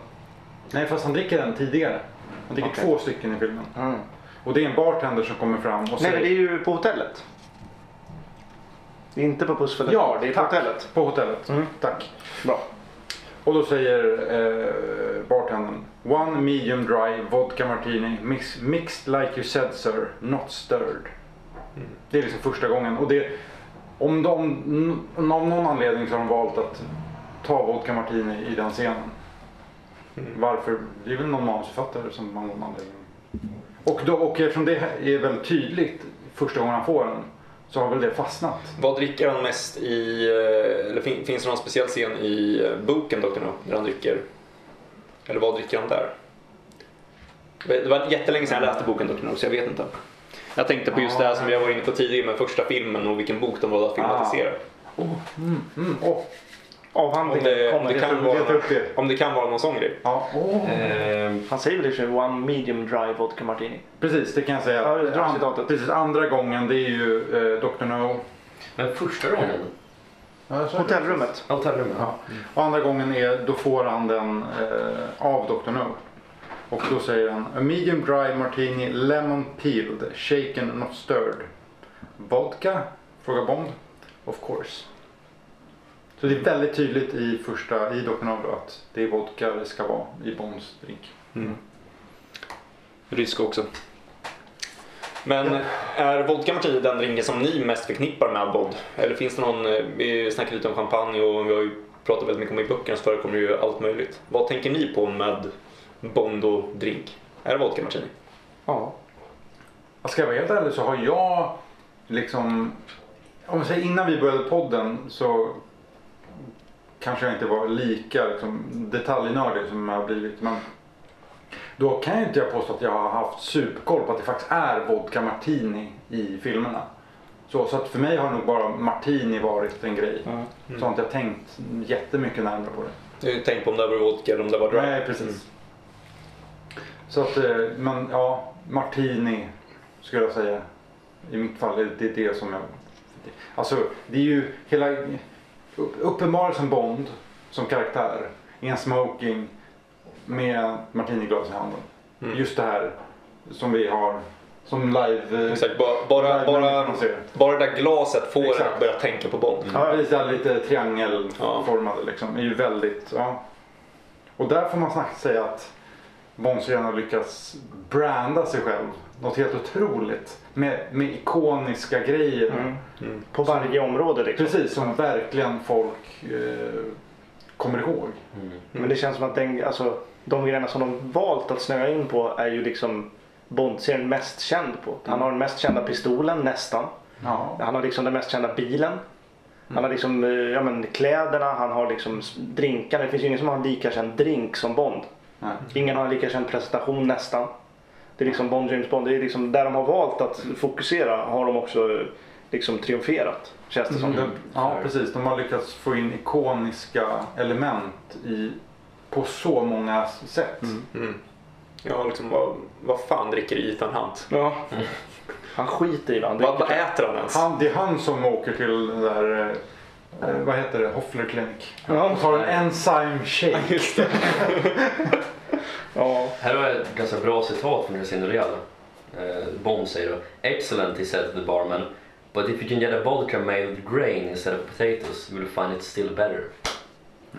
Speaker 3: Nej fast han dricker den tidigare. Han dricker
Speaker 2: Okej.
Speaker 3: två stycken i filmen.
Speaker 2: Mm.
Speaker 3: Och det är en bartender som kommer fram och
Speaker 2: Nej
Speaker 3: säger...
Speaker 2: men det är ju på hotellet. Det är inte på Pussfället
Speaker 3: Ja,
Speaker 2: det är på
Speaker 3: tack.
Speaker 2: hotellet.
Speaker 3: På hotellet.
Speaker 2: Mm.
Speaker 3: Tack.
Speaker 2: Bra.
Speaker 3: Och då säger eh, bartendern One medium dry vodka martini mix, mixed like you said sir, not stirred. Det är liksom första gången. Och det, om de, n- av någon anledning så har de valt att ta vodka martini i den scenen. Varför? Det är väl någon manusförfattare som av någon anledning. Och, då, och eftersom det är väldigt tydligt första gången han får den så har väl det fastnat.
Speaker 1: Vad dricker han mest i, eh, eller fin, finns det någon speciell scen i eh, boken Dr. No, där han dricker? Eller vad dricker han där? Det var jättelänge sedan jag läste boken Dr. No, så jag vet inte. Jag tänkte på just det här som jag var inne på tidigare med första filmen och vilken bok de valde att filmatisera.
Speaker 3: Mm. åh,
Speaker 1: Om
Speaker 2: Avhandlingen
Speaker 1: det, om
Speaker 2: kommer.
Speaker 1: det, kan
Speaker 3: tror vi letar
Speaker 1: vara,
Speaker 3: upp det.
Speaker 1: om det kan vara någon sån grej.
Speaker 3: ja, åh.
Speaker 2: Han säger väl i och för sig One medium dry vodka martini.
Speaker 3: Precis, det kan jag säga.
Speaker 2: Ja, dra
Speaker 3: An-
Speaker 2: citatet.
Speaker 3: Precis, andra gången det är ju eh, Dr. No.
Speaker 4: Men första gången,
Speaker 2: Hotellrummet.
Speaker 4: hotellrummet.
Speaker 3: Ja. Och andra gången är, då får han den eh, av Dr. No. Och då säger han A medium dry martini lemon peeled shaken not stirred. Vodka? Frågar Bond. Of course. Så det är väldigt tydligt i första, i Dr. No då, att det är vodka det ska vara i Bonds drink.
Speaker 1: Rysk också. Men är vodka martini den drinken som ni mest förknippar med Bond? Eller finns det någon, eh, vi snackade lite om champagne och vi har ju pratat väldigt mycket om i böckerna så förekommer ju allt möjligt. Vad tänker ni på med Bond och drink? Är det vodka martini?
Speaker 2: Ja.
Speaker 3: Ja, Alltså, Ska jag vara helt ärlig så har jag liksom, om jag säger innan vi började podden så kanske jag inte var lika liksom, detaljnördig som jag har blivit. Men då kan ju inte jag påstå att jag har haft superkoll på att det faktiskt är vodka martini i filmerna. Så, så att för mig har nog bara martini varit en grej. Så har inte jag tänkt jättemycket närmare på det.
Speaker 1: Jag har ju tänkt på om det var vodka eller om det var dry.
Speaker 3: Nej, precis. Så att, eh, men ja, Martini skulle jag säga. I mitt fall, är det är det som jag... Alltså, det är ju hela upp- uppenbarelsen Bond som karaktär i en smoking med martiniglas i handen. Just det här som vi har som live... eh,
Speaker 1: Exakt, bara, bara,
Speaker 3: live
Speaker 1: bara,
Speaker 3: människan ser.
Speaker 1: bara det där glaset får en
Speaker 3: Exakt. Mm.
Speaker 1: att börja tänka på Bond.
Speaker 3: Ja, precis. Det här lite triangelformade liksom. är ju väldigt, ja. Och där får man snabbt säga att Bonzo gärna lyckats branda sig själv. Något helt otroligt. Med, med ikoniska grejer.
Speaker 2: Mm.
Speaker 1: Mm.
Speaker 2: På varje område liksom.
Speaker 3: Precis, som verkligen folk eh, kommer ihåg.
Speaker 2: Men det känns som att den, alltså, de grejerna som de valt att snöa in på är ju liksom Bond-serien mest känd på. Han har den mest kända pistolen nästan.
Speaker 3: Ja.
Speaker 2: Han har liksom den mest kända bilen. Han
Speaker 1: Mm.
Speaker 2: har liksom eh, ja, men, kläderna, han har liksom s- drinkarna. Det finns ju ingen som har en lika känd drink som Bond.
Speaker 3: Nej.
Speaker 2: Ingen har en lika känd presentation nästan. Det är liksom Bond, James Bond. Det är liksom där de har valt att fokusera har de också eh, liksom triumferat. Känns det som.
Speaker 3: De, ja, precis. De har lyckats få in ikoniska element i, på så många sätt.
Speaker 1: Ja, liksom vad, vad fan dricker Ethan Hunt?
Speaker 2: Ja. Han skiter i vad han
Speaker 1: Vad, vad
Speaker 2: dricker.
Speaker 1: äter han ens?
Speaker 3: Han, det är han som åker till den där, eh, vad heter det, Hoffler Clinic.
Speaker 2: Ja.
Speaker 3: Och tar en enzyme shake.
Speaker 1: Just det.
Speaker 2: Ja.
Speaker 4: Här har jag ett ganska bra citat från Casino Royale. Eh, Bond säger då “Excellent” he said to the barman. “But if you can get a vodka made with grain instead of potatoes you will find it still better”.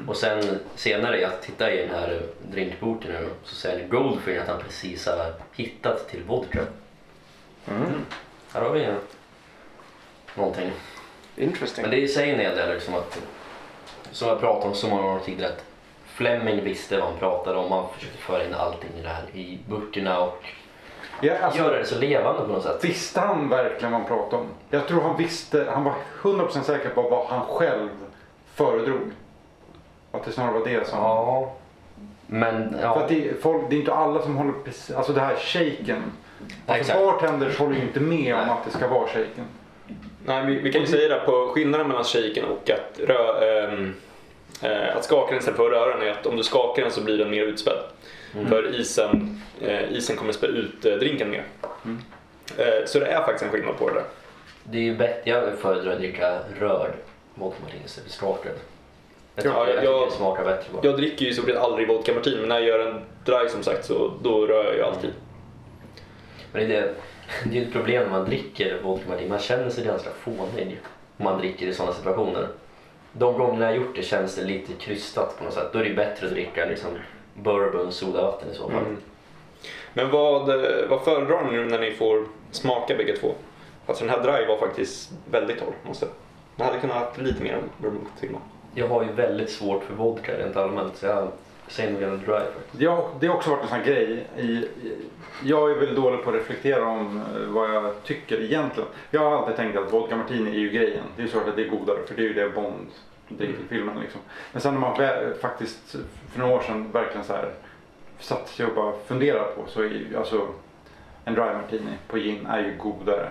Speaker 4: Och sen senare, jag tittar i den här drinkboken nu, så säger Goldfinger att han precis har hittat till vodka. Här har vi en- någonting.
Speaker 2: Interesting.
Speaker 4: Men det säger en hel del liksom att, som jag pratat om så många gånger tidigare, att Fleming visste vad han pratade om. Han försökte föra in allting i det här i böckerna och
Speaker 3: Ja, alltså,
Speaker 4: göra det så levande på något sätt.
Speaker 3: Visste han verkligen vad han pratade om? Jag tror han visste, han var 100% säker på vad han själv föredrog. Att det snarare var det som...
Speaker 4: Ja. Men
Speaker 3: För att
Speaker 4: ja,
Speaker 3: det, är folk, det är inte alla som håller precis, alltså det här shaken.
Speaker 4: Nej,
Speaker 3: Alltså
Speaker 4: exakt.
Speaker 3: bartenders håller ju inte med om
Speaker 4: Nej.
Speaker 3: att det ska vara shaken.
Speaker 1: Nej, vi, vi kan ju säga det här på skillnaden mellan shaken och att, rö, ehm, eh, att skaka den istället för att röra den är att om du skakar den så blir den mer utspädd. För isen, eh, isen kommer spä ut eh, drinken mer. Eh, så det är faktiskt en skillnad på det där.
Speaker 4: det är ju bättre. Jag föredrar att dricka rörd vodka martini istället för starköl. Jag tycker,
Speaker 1: Ja,
Speaker 4: jag, tycker
Speaker 1: jag-
Speaker 4: det smakar bättre bara.
Speaker 1: Jag dricker ju i stort sett aldrig vodka martini men när jag gör en dry som sagt så då rör jag ju alltid.
Speaker 4: Men det, är- det är ju ett problem när man dricker vodka martini. Man känner sig ganska fånig om man dricker i sådana situationer. De gångerna jag har gjort det känns det lite krystat på något sätt. Då är det ju bättre att dricka liksom bourbon och sodavatten i så fall.
Speaker 2: Mm.
Speaker 1: Men vad, eh, vad föredrar ni nu när ni får smaka bägge två? Alltså den här dry var faktiskt väldigt torr måste jag. Den hade kunnat ha haft lite mer bourbon till och med.
Speaker 4: Jag har ju väldigt svårt för vodka rent allmänt så jag säger nog gärna dry faktiskt.
Speaker 3: Ja, det har också varit en sån här grej. I, i- jag är väl dålig på att reflektera om eh, vad jag tycker egentligen. Jag har alltid tänkt att vodka martini är ju grejen. Det är ju såklart att det är godare för det är ju det Bond dricker
Speaker 4: Mm.
Speaker 3: i filmen liksom. Men sen när man väl, faktiskt för några år sedan verkligen så här satt sig och bara funderade på så är ju alltså en dry martini på gin är ju godare.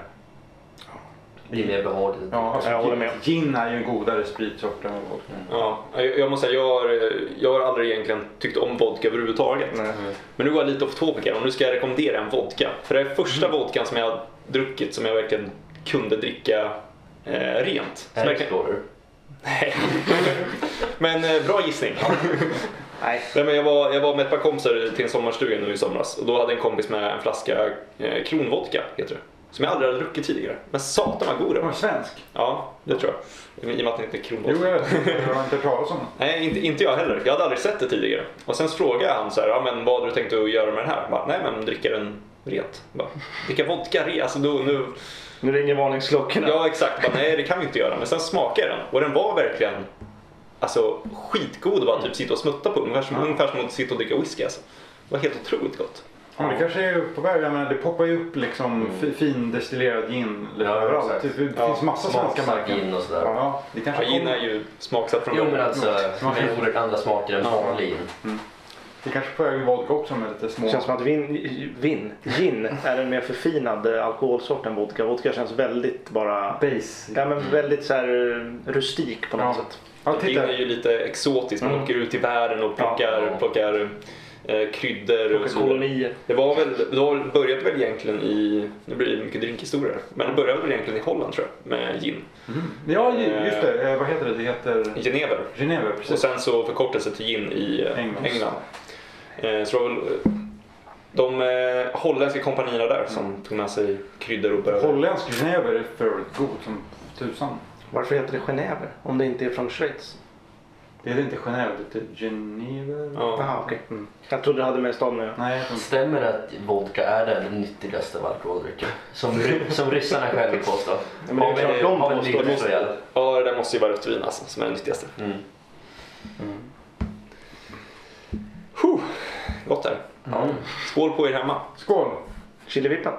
Speaker 4: Det är mer behagligt.
Speaker 3: Ja, alltså,
Speaker 2: Jag håller med.
Speaker 3: Gin är ju en godare spritsort än vodka.
Speaker 4: Mm.
Speaker 1: Ja, jag, jag måste säga, jag har, eh, jag har aldrig egentligen tyckt om vodka överhuvudtaget.
Speaker 2: Nej.
Speaker 1: Men nu går jag lite off topic här och nu ska jag rekommendera en vodka. För det är första vodkan som jag har druckit som jag verkligen kunde dricka eh, rent. Som jag
Speaker 4: Här
Speaker 1: kan-
Speaker 4: Explorer.
Speaker 1: Nej. men eh, bra gissning.
Speaker 2: Nej.
Speaker 1: Nej, men jag, var, jag var med ett par kompisar till en sommarstuga nu i somras och då hade en kompis med en flaska eh, kronvodka, heter det. Som jag aldrig hade druckit tidigare. Men satan vad god den
Speaker 3: Den var
Speaker 1: var.
Speaker 3: svensk.
Speaker 1: Ja, det tror jag. I och med att den heter kronvodka.
Speaker 3: Mm. Jo, jag vet. Jag har inte hört talas om den.
Speaker 1: Nej, inte, inte jag heller. Jag hade aldrig sett det tidigare. Och sen så frågade han så här, ja, men vad har du tänkt att göra med den här? Jag Bara, Nej, men dricka den rent. Jag Bara, dricka vodka rent? Alltså, då, nu...
Speaker 2: Nu ringer varningsklockorna.
Speaker 1: Ja, exakt. Jag Bara, Nej, det kan vi inte göra. Men sen smakade jag den och den var verkligen alltså, skitgod att bara typ sitta och smutta på. Ungefär som, ungefär som att sitta och dricka whisky. Alltså. Det var helt otroligt gott.
Speaker 3: Ja, det kanske är på väg. Jag menar, det poppar ju upp
Speaker 1: Mm.
Speaker 3: liksom fi- fin destillerad gin lite
Speaker 4: Ja,
Speaker 3: överallt. Typ,
Speaker 4: exakt.
Speaker 3: Det finns
Speaker 1: Ja,
Speaker 3: massa svenska
Speaker 4: Smaksatt
Speaker 3: märken.
Speaker 4: gin och sådär.
Speaker 3: Ja, det
Speaker 1: Ja,
Speaker 3: kanske
Speaker 1: gin är
Speaker 3: kommer,
Speaker 1: ju smaksatt från
Speaker 4: Jo men alltså,
Speaker 3: Mm.
Speaker 4: med oerhört andra smaker än
Speaker 1: Ja.
Speaker 4: vanlig gin.
Speaker 2: Mm.
Speaker 3: det kanske är på väg med vodka också med lite små...
Speaker 2: Det känns som att vin, vin, gin är en mer förfinad eh, alkoholsort än vodka. Vodka känns väldigt bara...
Speaker 3: base.
Speaker 2: Ja men väldigt så här eh, rustik på något
Speaker 3: Ja.
Speaker 2: sätt.
Speaker 3: Ja,
Speaker 1: Gin
Speaker 3: titta.
Speaker 1: är ju lite exotiskt. Man åker ut i världen och plockar,
Speaker 4: Ja.
Speaker 1: plockar eh, kryddor och
Speaker 2: Och
Speaker 1: så vidare.
Speaker 2: kolonier.
Speaker 1: Det var väl, det var- började väl egentligen i, nu blir det mycket drinkhistorier, men det började väl egentligen i Holland tror jag med gin.
Speaker 3: Ja, ju- just det. Eh, Vad heter det? Det heter
Speaker 1: Genever.
Speaker 3: Geneve,
Speaker 1: Och
Speaker 3: precis.
Speaker 1: sen så förkortades det till gin i eh,
Speaker 3: England.
Speaker 1: England. Eh, Så det var väl eh, de eh, holländska kompanierna där
Speaker 3: Mm.
Speaker 1: som tog med sig kryddor och började.
Speaker 3: Holländsk Geneve är för övrigt god som tusan.
Speaker 2: Varför heter det Genève om det inte är från Schweiz?
Speaker 3: Det heter inte Geneve, det heter Geneve.
Speaker 1: Ja.
Speaker 2: Jaha okej. Mm. Jag trodde det hade med staden att göra.
Speaker 3: Nej, jag tror inte.
Speaker 4: Stämmer det att vodka är den nyttigaste av alkoholdrycker? Som, ry- som ryssarna själva påstår.
Speaker 2: men det är
Speaker 4: Har vi-
Speaker 2: klart de
Speaker 4: har vi
Speaker 2: påstår
Speaker 4: lyckats
Speaker 2: det.
Speaker 4: så jävla?
Speaker 1: ja, det där måste ju vara rött vin alltså, som är det nyttigaste.
Speaker 4: Mm.
Speaker 3: Mm.
Speaker 1: Huh, gott där.
Speaker 4: Ja.
Speaker 3: Mm.
Speaker 1: Skål på er hemma.
Speaker 3: Skål!
Speaker 2: Chilivippen.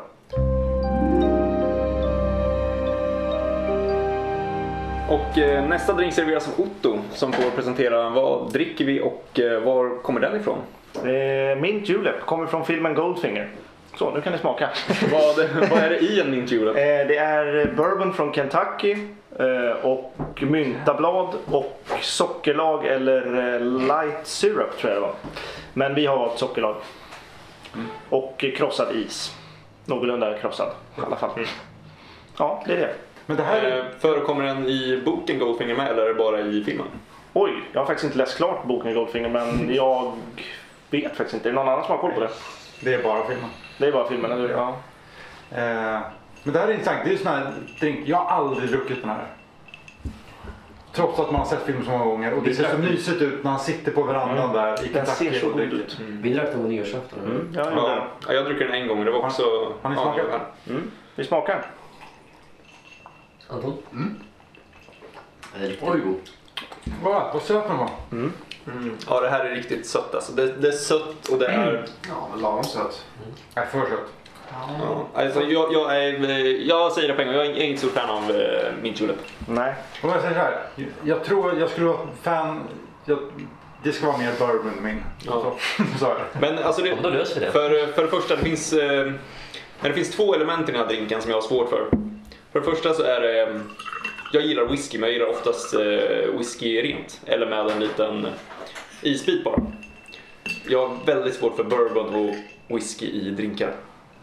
Speaker 1: Och eh, nästa drink serveras av Otto som får presentera vad dricker vi och eh, var kommer den ifrån?
Speaker 2: Eh, mint julep kommer från filmen Goldfinger. Så, nu kan ni smaka.
Speaker 1: vad, vad är det i en mint julep?
Speaker 2: Eh, Det är bourbon från Kentucky eh, och myntablad och sockerlag eller eh, light syrup tror jag det var. Men vi har valt sockerlag. Och eh, krossad is. Någorlunda krossad i alla fall. Ja, det är det.
Speaker 3: Men det här är...
Speaker 1: Eh, Förekommer den i boken Goldfinger med eller är det bara i filmen?
Speaker 2: Oj, jag har faktiskt inte läst klart boken Goldfinger men jag vet faktiskt inte. Är det någon annan som har koll på det?
Speaker 3: Det är bara filmen.
Speaker 2: Det är bara filmen, eller hur? Ja.
Speaker 3: Eh, men det här är intressant. Det är ju sån här drink. Jag har aldrig druckit den här. Trots att man har sett filmen så många gånger. Och det ser så mysigt ut när han sitter på verandan där i
Speaker 2: Mm. Den ser
Speaker 3: Kentucky
Speaker 2: så
Speaker 3: och
Speaker 2: god
Speaker 3: dricker.
Speaker 2: ut.
Speaker 4: Vi drack den på nyårsafton. Mm.
Speaker 2: Ja, jag gjorde det.
Speaker 1: Ja, jag dricker den en gång och det var också...
Speaker 3: Har ni
Speaker 1: ja,
Speaker 3: smakat?
Speaker 1: det var-
Speaker 2: Vi smakar.
Speaker 4: Anton? Mm. Den är riktigt
Speaker 3: Oj.
Speaker 4: god.
Speaker 3: Mm. Vad, vad söt den var.
Speaker 1: Ja, det här är riktigt sött alltså. Det, det är sött och det är...
Speaker 5: Ja, men lagom söt.
Speaker 3: Nej, för söt. Mm.
Speaker 1: Ja. Alltså, jag, jag, är, jag säger det på en gång, jag är inget stort fan av eh, mint julep.
Speaker 2: Nej.
Speaker 3: Om jag säger så här. Jag tror jag skulle vara fan. Jag, det ska vara mer bourbon än min.
Speaker 1: Ja.
Speaker 3: Så, så är det.
Speaker 1: Men alltså, det,
Speaker 4: Ja, men då löser vi det.
Speaker 1: För, för det första, det finns, eh, men det finns två element i den här drinken som jag har svårt för. För det första så är det, eh, jag gillar whisky men jag gillar oftast eh, whisky rent. Eller med en liten isbit bara. Jag har väldigt svårt för bourbon och whisky i drinkar.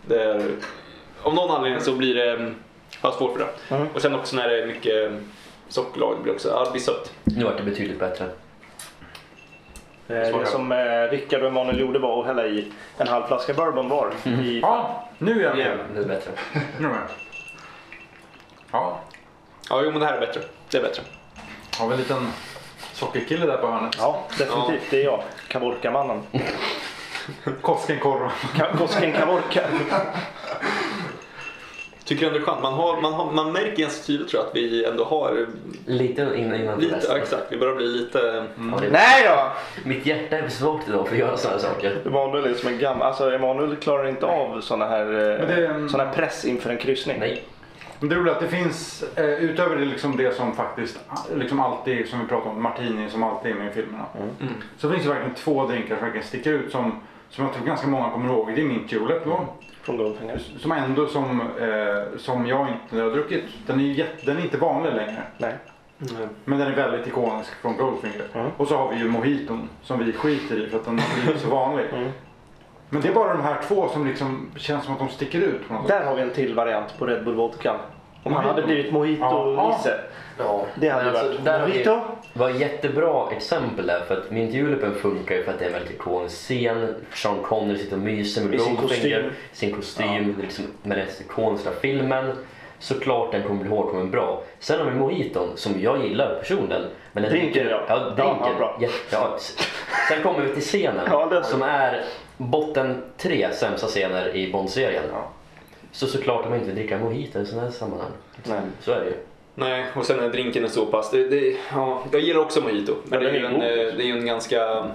Speaker 1: Det är, av någon anledning så blir det, eh, har jag svårt för det.
Speaker 2: Mm.
Speaker 1: Och sen också när det är mycket sockerlag, det blir också, ja det blir sött.
Speaker 4: Nu vart det betydligt bättre.
Speaker 2: Eh, Det som eh, Rickard och Emanuel gjorde var att hälla i en halv flaska bourbon var. I,
Speaker 3: Ja, nu är jag med.
Speaker 4: Nu är det bättre.
Speaker 3: Nu är jag med. Ja,
Speaker 1: Ja jo men det här är bättre. Det är bättre.
Speaker 3: har vi en liten sockerkille där på hörnet.
Speaker 2: ja, definitivt. Det är jag. Kavorkamannen.
Speaker 3: Koskenkorva.
Speaker 2: Ka- Kosken Kavorka.
Speaker 1: Tycker du ändå det är skönt? Man, har, man, har, man märker ganska tydligt tror jag att vi ändå har
Speaker 4: Lite innan, innan till
Speaker 1: lite,
Speaker 4: nästa.
Speaker 1: ja, exakt, vi börjar bli lite...
Speaker 4: Ja, det-
Speaker 2: Nej då!
Speaker 4: Mitt hjärta är för svagt idag för att göra sådana saker.
Speaker 2: Emanuel är som en gammal... Alltså Emanuel klarar inte av såna här, eh,
Speaker 3: Men det är en-
Speaker 2: sån här press inför en kryssning.
Speaker 4: Nej.
Speaker 3: Men Det roliga är att det finns, eh, utöver det, liksom det som faktiskt liksom alltid, som vi pratar om, Martini som alltid är med i filmerna. Så finns det verkligen två drinkar som verkligen sticker ut som, som jag tror ganska många kommer ihåg. Det är mint julep då.
Speaker 2: Från Goldfinger.
Speaker 3: Som ändå som, eh, som jag inte har druckit. Den är, ju jätte, den är inte vanlig längre.
Speaker 2: Nej.
Speaker 3: Men den är väldigt ikonisk från Goldfinger.
Speaker 2: Mm.
Speaker 3: Och så har vi ju mojiton som vi skiter i för att den är ju så vanlig. Men det är bara de här två som liksom känns som att de sticker ut på något sätt.
Speaker 2: Där har vi en till variant på Red Bull Vodka. Om han
Speaker 3: Mojito.
Speaker 2: hade blivit
Speaker 3: Ja.
Speaker 2: Mojito-Nisse.
Speaker 4: Ja.
Speaker 2: Det hade
Speaker 4: Men
Speaker 2: varit-
Speaker 4: alltså, där har vi-
Speaker 2: Mojito?
Speaker 4: var ett jättebra exempel där för att Mint Julepen funkar ju för att det är en väldigt ikonisk scen. Sean Connery sitter och myser med
Speaker 2: I sin kostym.
Speaker 4: Goldfinger, sin kostym, liksom, med den mest ikoniska filmen. Såklart den kommer bli ihågkommen bra. Sen har vi Mojiton som jag gillar personligen. Men den
Speaker 2: Drinken, ja.
Speaker 4: Ja,
Speaker 2: Ja,
Speaker 4: drinken.
Speaker 2: ja, bra.
Speaker 4: Ja, ja. Sen kommer vi till scenen
Speaker 2: Ja, den-
Speaker 4: som är botten tre sämsta scener i Bond-serien. Så såklart de inte dricker Mojito i sådana här sammanhang.
Speaker 2: Nej.
Speaker 4: Så är det ju.
Speaker 1: Nej, och sen är drinken är så pass... Det, det, ja, jag gillar också mojito. Men
Speaker 2: Ja,
Speaker 1: det är
Speaker 2: den
Speaker 1: ju
Speaker 2: är
Speaker 1: en,
Speaker 2: god.
Speaker 1: eh, det är ju en ganska,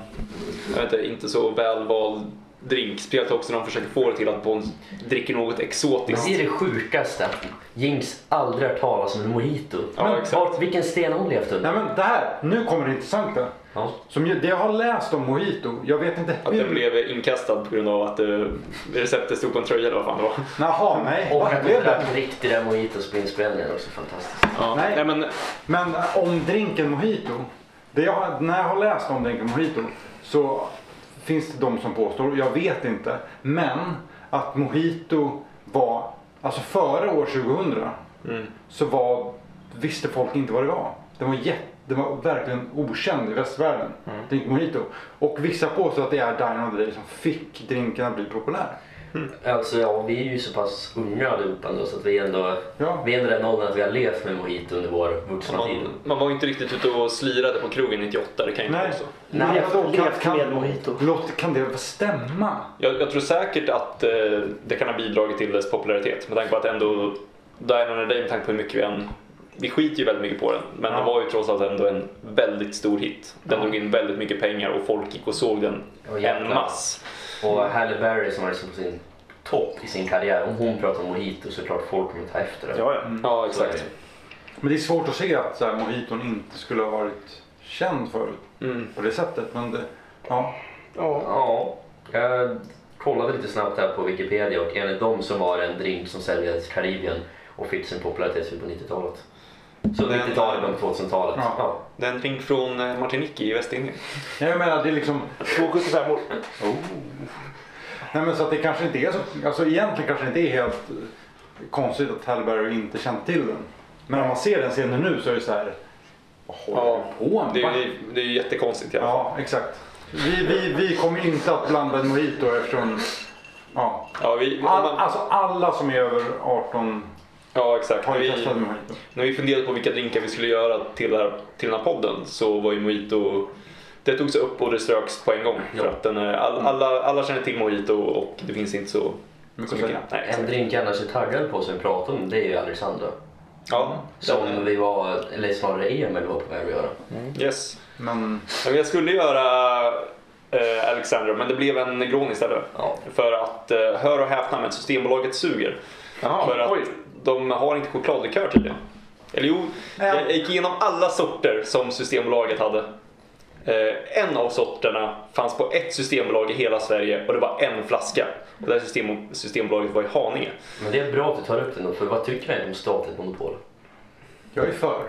Speaker 1: jag vet inte, inte så välvald drink. Spelat också när de försöker få det till att Bond dricker något
Speaker 4: Men
Speaker 1: exotiskt.
Speaker 4: det är det sjukaste. Jinx aldrig hört talas om en mojito.
Speaker 1: Ja,
Speaker 4: Men
Speaker 1: exakt.
Speaker 4: vart- vilken sten har hon levt under?
Speaker 3: Nej men det här, nu kommer det intressanta.
Speaker 4: Ja.
Speaker 3: Som ju, det jag har läst om mojito, jag vet inte
Speaker 1: Att
Speaker 3: hur...
Speaker 1: den blev inkastad på grund av att eh, receptet stod på en tröja eller vad fan det var.
Speaker 3: Jaha, nej.
Speaker 4: Och
Speaker 3: Vad
Speaker 4: att hon
Speaker 3: blev det?
Speaker 4: drack riktiga mojitos på inspelningen också. Fantastiskt.
Speaker 3: Nej.
Speaker 1: Nej, men
Speaker 3: Men eh, om drinken mojito. Det jag, när jag har läst om drinken mojito så finns det de som påstår, jag vet inte, men att mojito var, alltså före år 2000 så var, visste folk inte vad det var. Den var, jätte, den var verkligen okänd i västvärlden, drinken mojito. Och vissa påstår att det är Dino Day som fick drinken att bli populär.
Speaker 4: Alltså ja, vi är ju så pass unga allihopa ändå så att vi är ändå,
Speaker 3: Ja.
Speaker 4: vi är ändå den åldern att vi har levt med mojito under vår vuxna tid.
Speaker 1: man, man var ju inte riktigt ute och slirade på krogen 98, det kan ju inte
Speaker 3: Nej.
Speaker 1: vara så.
Speaker 4: Nej,
Speaker 3: Men då,
Speaker 2: levt med mojito.
Speaker 3: Låt, kan det stämma?
Speaker 1: Jag, jag tror säkert att eh, det kan ha bidragit till dess popularitet med tanke på att ändå Diana and the Day med tanke på hur mycket vi än vi skiter ju väldigt mycket på den, men
Speaker 3: Ja.
Speaker 1: den var ju trots allt ändå en väldigt stor hit. Den drog in väldigt mycket pengar och folk gick och såg den
Speaker 4: Ja, jävlar.
Speaker 1: en mass.
Speaker 4: Och Halle Berry som var liksom på sin topp i sin karriär, om hon pratar om mojito så är det klart folk kommer ta efter det.
Speaker 2: Ja, ja.
Speaker 1: Ja,
Speaker 4: Så är det
Speaker 1: exakt.
Speaker 3: Men det är svårt att se att så här, mojiton inte skulle ha varit känd förut
Speaker 1: Mm.
Speaker 3: på det sättet. Men det, ja.
Speaker 4: Ja, jag kollade lite snabbt här på Wikipedia och enligt dem så var det en drink som säljdes i Karibien och fick sin popularitet på 90-talet. Så
Speaker 1: Men-
Speaker 4: 90-talet blev 2000-talet.
Speaker 3: Ja.
Speaker 4: Ja.
Speaker 1: Det är en drink från eh, Martinique i Västindien.
Speaker 3: Nej, jag menar det är liksom...
Speaker 2: 2,75 år.
Speaker 3: Nej men så att det kanske inte är så... Alltså egentligen kanske det inte är helt eh, konstigt att Hallberg inte känt till den. Men om man ser den scenen nu så är det så här... Vad håller
Speaker 1: Ja,
Speaker 3: du på med?
Speaker 1: Det är, ju- det är ju jättekonstigt i alla fall.
Speaker 3: Ja, exakt. Vi, vi, vi kommer inte att blanda en mojito eftersom... Ja.
Speaker 1: Ja, vi, om
Speaker 3: All,
Speaker 1: man,
Speaker 3: alltså alla som är över 18
Speaker 1: ja exakt.
Speaker 3: har
Speaker 1: När
Speaker 3: ju
Speaker 1: vi,
Speaker 3: testat en mojito.
Speaker 1: när vi funderade på vilka drinkar vi skulle göra till, det här, till den här podden så var ju mojito det togs upp och det ströks på en gång. För
Speaker 4: Ja.
Speaker 1: att den är, all,
Speaker 3: Mm.
Speaker 1: alla, alla känner till mojito och det finns inte så,
Speaker 3: Mycket
Speaker 1: så
Speaker 3: att
Speaker 1: mycket.
Speaker 3: säga.
Speaker 1: Nej,
Speaker 4: En
Speaker 1: exakt.
Speaker 4: drink jag annars är taggad på som vi pratade om det är ju Alexandra.
Speaker 1: Ja,
Speaker 4: Som
Speaker 1: den-
Speaker 4: vi var, eller snarare Emil var på väg att göra.
Speaker 1: yes.
Speaker 3: Men
Speaker 1: Ja, men Jag skulle göra eh, Alexander men det blev en Negron istället.
Speaker 4: Ja.
Speaker 1: För att, eh, hör och häpna, men Systembolaget suger. för att de har inte chokladlikör tydligen. Eller jo,
Speaker 2: Ehm.
Speaker 1: jag gick igenom alla sorter som Systembolaget hade. Eh, En av sorterna fanns på ett systembolag i hela Sverige och det var en flaska. Och det här system, systembolaget var i Haninge.
Speaker 4: Men det är bra att du tar upp det nu, för vad tycker jag om statligt monopol?
Speaker 3: jag är för.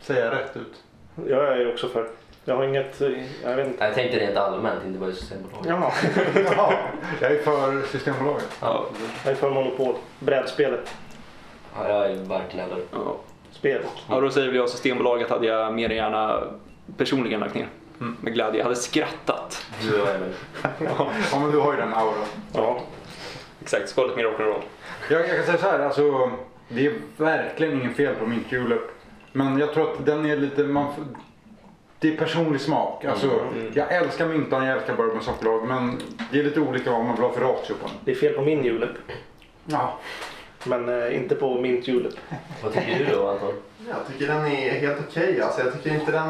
Speaker 3: Säger jag rätt ut.
Speaker 2: Jag är också för. Jag har inget... Jag vet inte.
Speaker 4: Jag tänkte rent allmänt, inte bara i Systembolaget.
Speaker 2: Ja,
Speaker 3: Ja, jag är för Systembolaget.
Speaker 4: Ja.
Speaker 2: jag är för monopol. Brädspelet.
Speaker 4: Ja, jag är varken eller.
Speaker 2: Spelet.
Speaker 1: Ja, då säger vi att Systembolaget hade jag mer än gärna personligen lagt ner. Med glädje. Jag hade skrattat.
Speaker 4: Du och Emil.
Speaker 3: Ja men du har ju den auran.
Speaker 2: Ja.
Speaker 1: Exakt, skål med rock'n'roll.
Speaker 3: Jag, jag kan säga så här, alltså, det är verkligen ingen fel på min julep. Men jag tror att den är lite, man, får- det är personlig smak. Alltså, Jag älskar myntan, jag älskar bourbon sockerlag. Men det är lite olika vad man vill ha för ratio på den.
Speaker 2: Det är fel på min julep.
Speaker 3: Ja.
Speaker 2: Men eh, inte på mint julep.
Speaker 4: Vad tycker du då Anton?
Speaker 5: Jag tycker den är helt okej. Alltså, jag tycker inte den...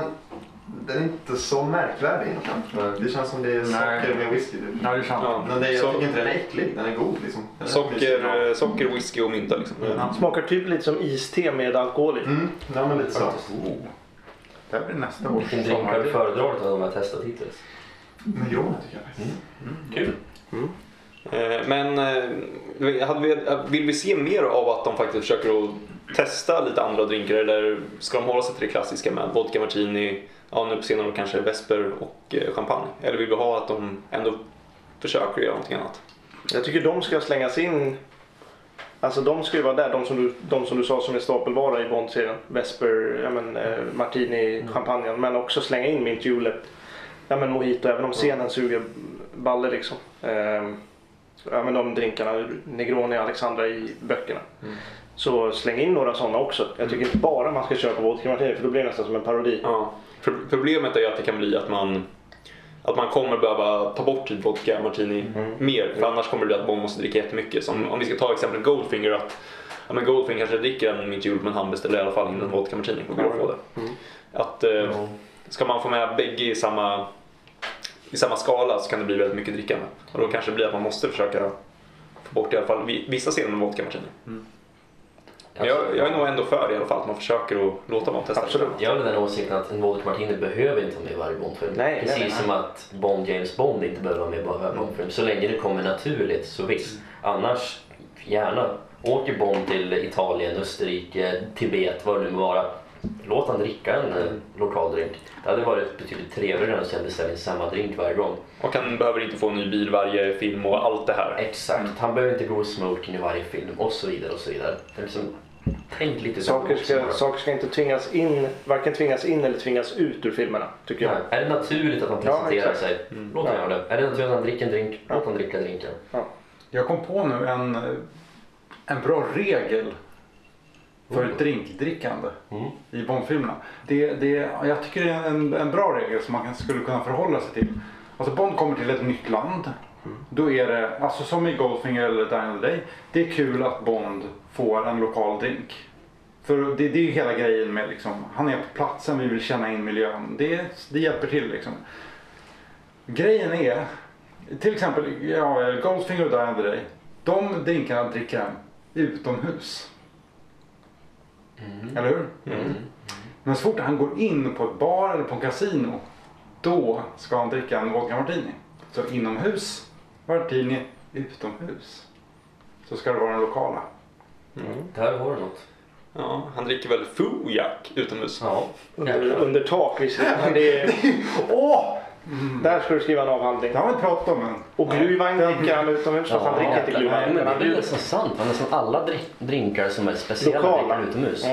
Speaker 5: Den är inte så märkvärdig egentligen.
Speaker 4: Nej.
Speaker 5: Det känns som det är
Speaker 3: Nej.
Speaker 5: socker med whisky. typ.
Speaker 3: Ja, Eh, det är sant.
Speaker 1: Ja.
Speaker 5: Men det, jag
Speaker 1: Så-
Speaker 5: tycker inte den är äcklig. Den är god liksom. Den är mysig.
Speaker 1: Socker, eh, socker, whisky och mynta liksom.
Speaker 2: Smakar typ lite som iste med alkohol i.
Speaker 5: Mm, ja men lite så.
Speaker 3: Oh. Det här blir nästa år.
Speaker 4: Vilken drink har du föredragit av de jag testat hittills?
Speaker 5: Negroni tycker jag faktiskt.
Speaker 4: Kul.
Speaker 1: Eh, Men eh, hade vi, eh, vill vi se mer av att de faktiskt försöker att testa lite andra drinkar eller ska de hålla sig till det klassiska med vodka martini, ja nu på senare år kanske vesper och eh, champagne? Eller vill vi ha att de ändå försöker göra någonting annat?
Speaker 2: Jag tycker de ska slängas in. Alltså de ska ju vara där, de som du, de som du sa som är stapelvara i Bond-serien. Vesper, ja, men, eh, Martini, champagnen. Men också slänga in mint julep. Ja men mojito, även om scenen suger balle liksom. Eh, ja men de drinkarna, Negroni och Alexandra i böckerna. Så släng in några sådana också. Jag tycker inte bara man ska köra på vodka martini för då blir det nästan som en parodi.
Speaker 1: Ja. Pro- Problemet är ju att det kan bli att man att man kommer behöva ta bort typ vodka martini mer för annars kommer det bli att man måste dricka jättemycket. Som om vi ska ta exempel Goldfinger att ja, men Goldfinger kanske dricker en mint jul men han beställer i alla fall in en vodka martini på grund av det. Att, eh, Ska man få med bägge i samma, i samma skala så kan det bli väldigt mycket drickande och då kanske det blir att man måste försöka få bort i alla fall vi- vissa scener med vodka martini. Men jag, jag är nog ändå för det i alla fall att man försöker att låta någon testa.
Speaker 2: Absolut.
Speaker 4: Jag har den åsikten att en vodka martini behöver inte vara med i varje Bondfilm.
Speaker 2: Nej,
Speaker 4: Precis
Speaker 2: nej, Mm. nej.
Speaker 4: som att Bond James Bond inte behöver vara med i varje Bondfilm. Så länge det kommer naturligt så
Speaker 2: Mm.
Speaker 4: visst. Annars, gärna. Åker Bond till Italien, Österrike, Tibet, vad det nu må vara. Låt han dricka en eh, lokal drink. Det hade varit betydligt trevligare än att sen beställa in samma drink varje gång.
Speaker 1: Och han behöver inte få en ny bil varje film och allt det här.
Speaker 4: Exakt, han behöver inte gå smoking i varje film och så vidare och så vidare. Det är liksom, tänk lite
Speaker 2: Saker ska,
Speaker 4: bara.
Speaker 2: saker ska inte tvingas in, varken tvingas in eller tvingas ut ur filmerna tycker jag.
Speaker 4: Nej. Är det naturligt att han
Speaker 2: Ja,
Speaker 4: presenterar
Speaker 2: exakt. Mm.
Speaker 4: sig? Låt han göra det. Är det naturligt att han dricker en drink? Låt han dricka drinken.
Speaker 3: Jag kom på nu en, en bra regel för drinkdrickande i Bondfilmerna. Det, det, jag tycker det är en, en bra regel som man kan- skulle kunna förhålla sig till. Alltså Bond kommer till ett nytt land. Då är det, alltså som i Goldfinger eller Daniel Day, det är kul att Bond får en lokal drink. För det, det är ju hela grejen med liksom, han är på platsen, vi vill känna in miljön. Det, det hjälper till liksom. Grejen är, till exempel ja, Goldfinger och Diana Day. De drinkarna dricker han utomhus. Eller hur? Men så fort han går in på ett bar eller på en kasino. Då ska han dricka en vodka martini. Så inomhus, martini, utomhus så ska det vara den lokala.
Speaker 4: Där har du något.
Speaker 1: Ja, han dricker väl Fujak utomhus?
Speaker 4: Ja,
Speaker 2: Under,
Speaker 4: jävlar.
Speaker 2: under tak visserligen. Men det är,
Speaker 3: Åh!
Speaker 2: där ska du skriva en avhandling.
Speaker 3: Det har vi inte pratat om än.
Speaker 2: Och glühwein dricker han utomhus fast han dricker inte
Speaker 4: jävlar. Nej,
Speaker 2: glühwein. utan
Speaker 4: men Det
Speaker 2: han
Speaker 4: är väl
Speaker 2: bjuder-
Speaker 4: nästan sant. va? Nästan alla dri- drinkar som är speciella
Speaker 2: Lokala.
Speaker 4: dricker man utomhus.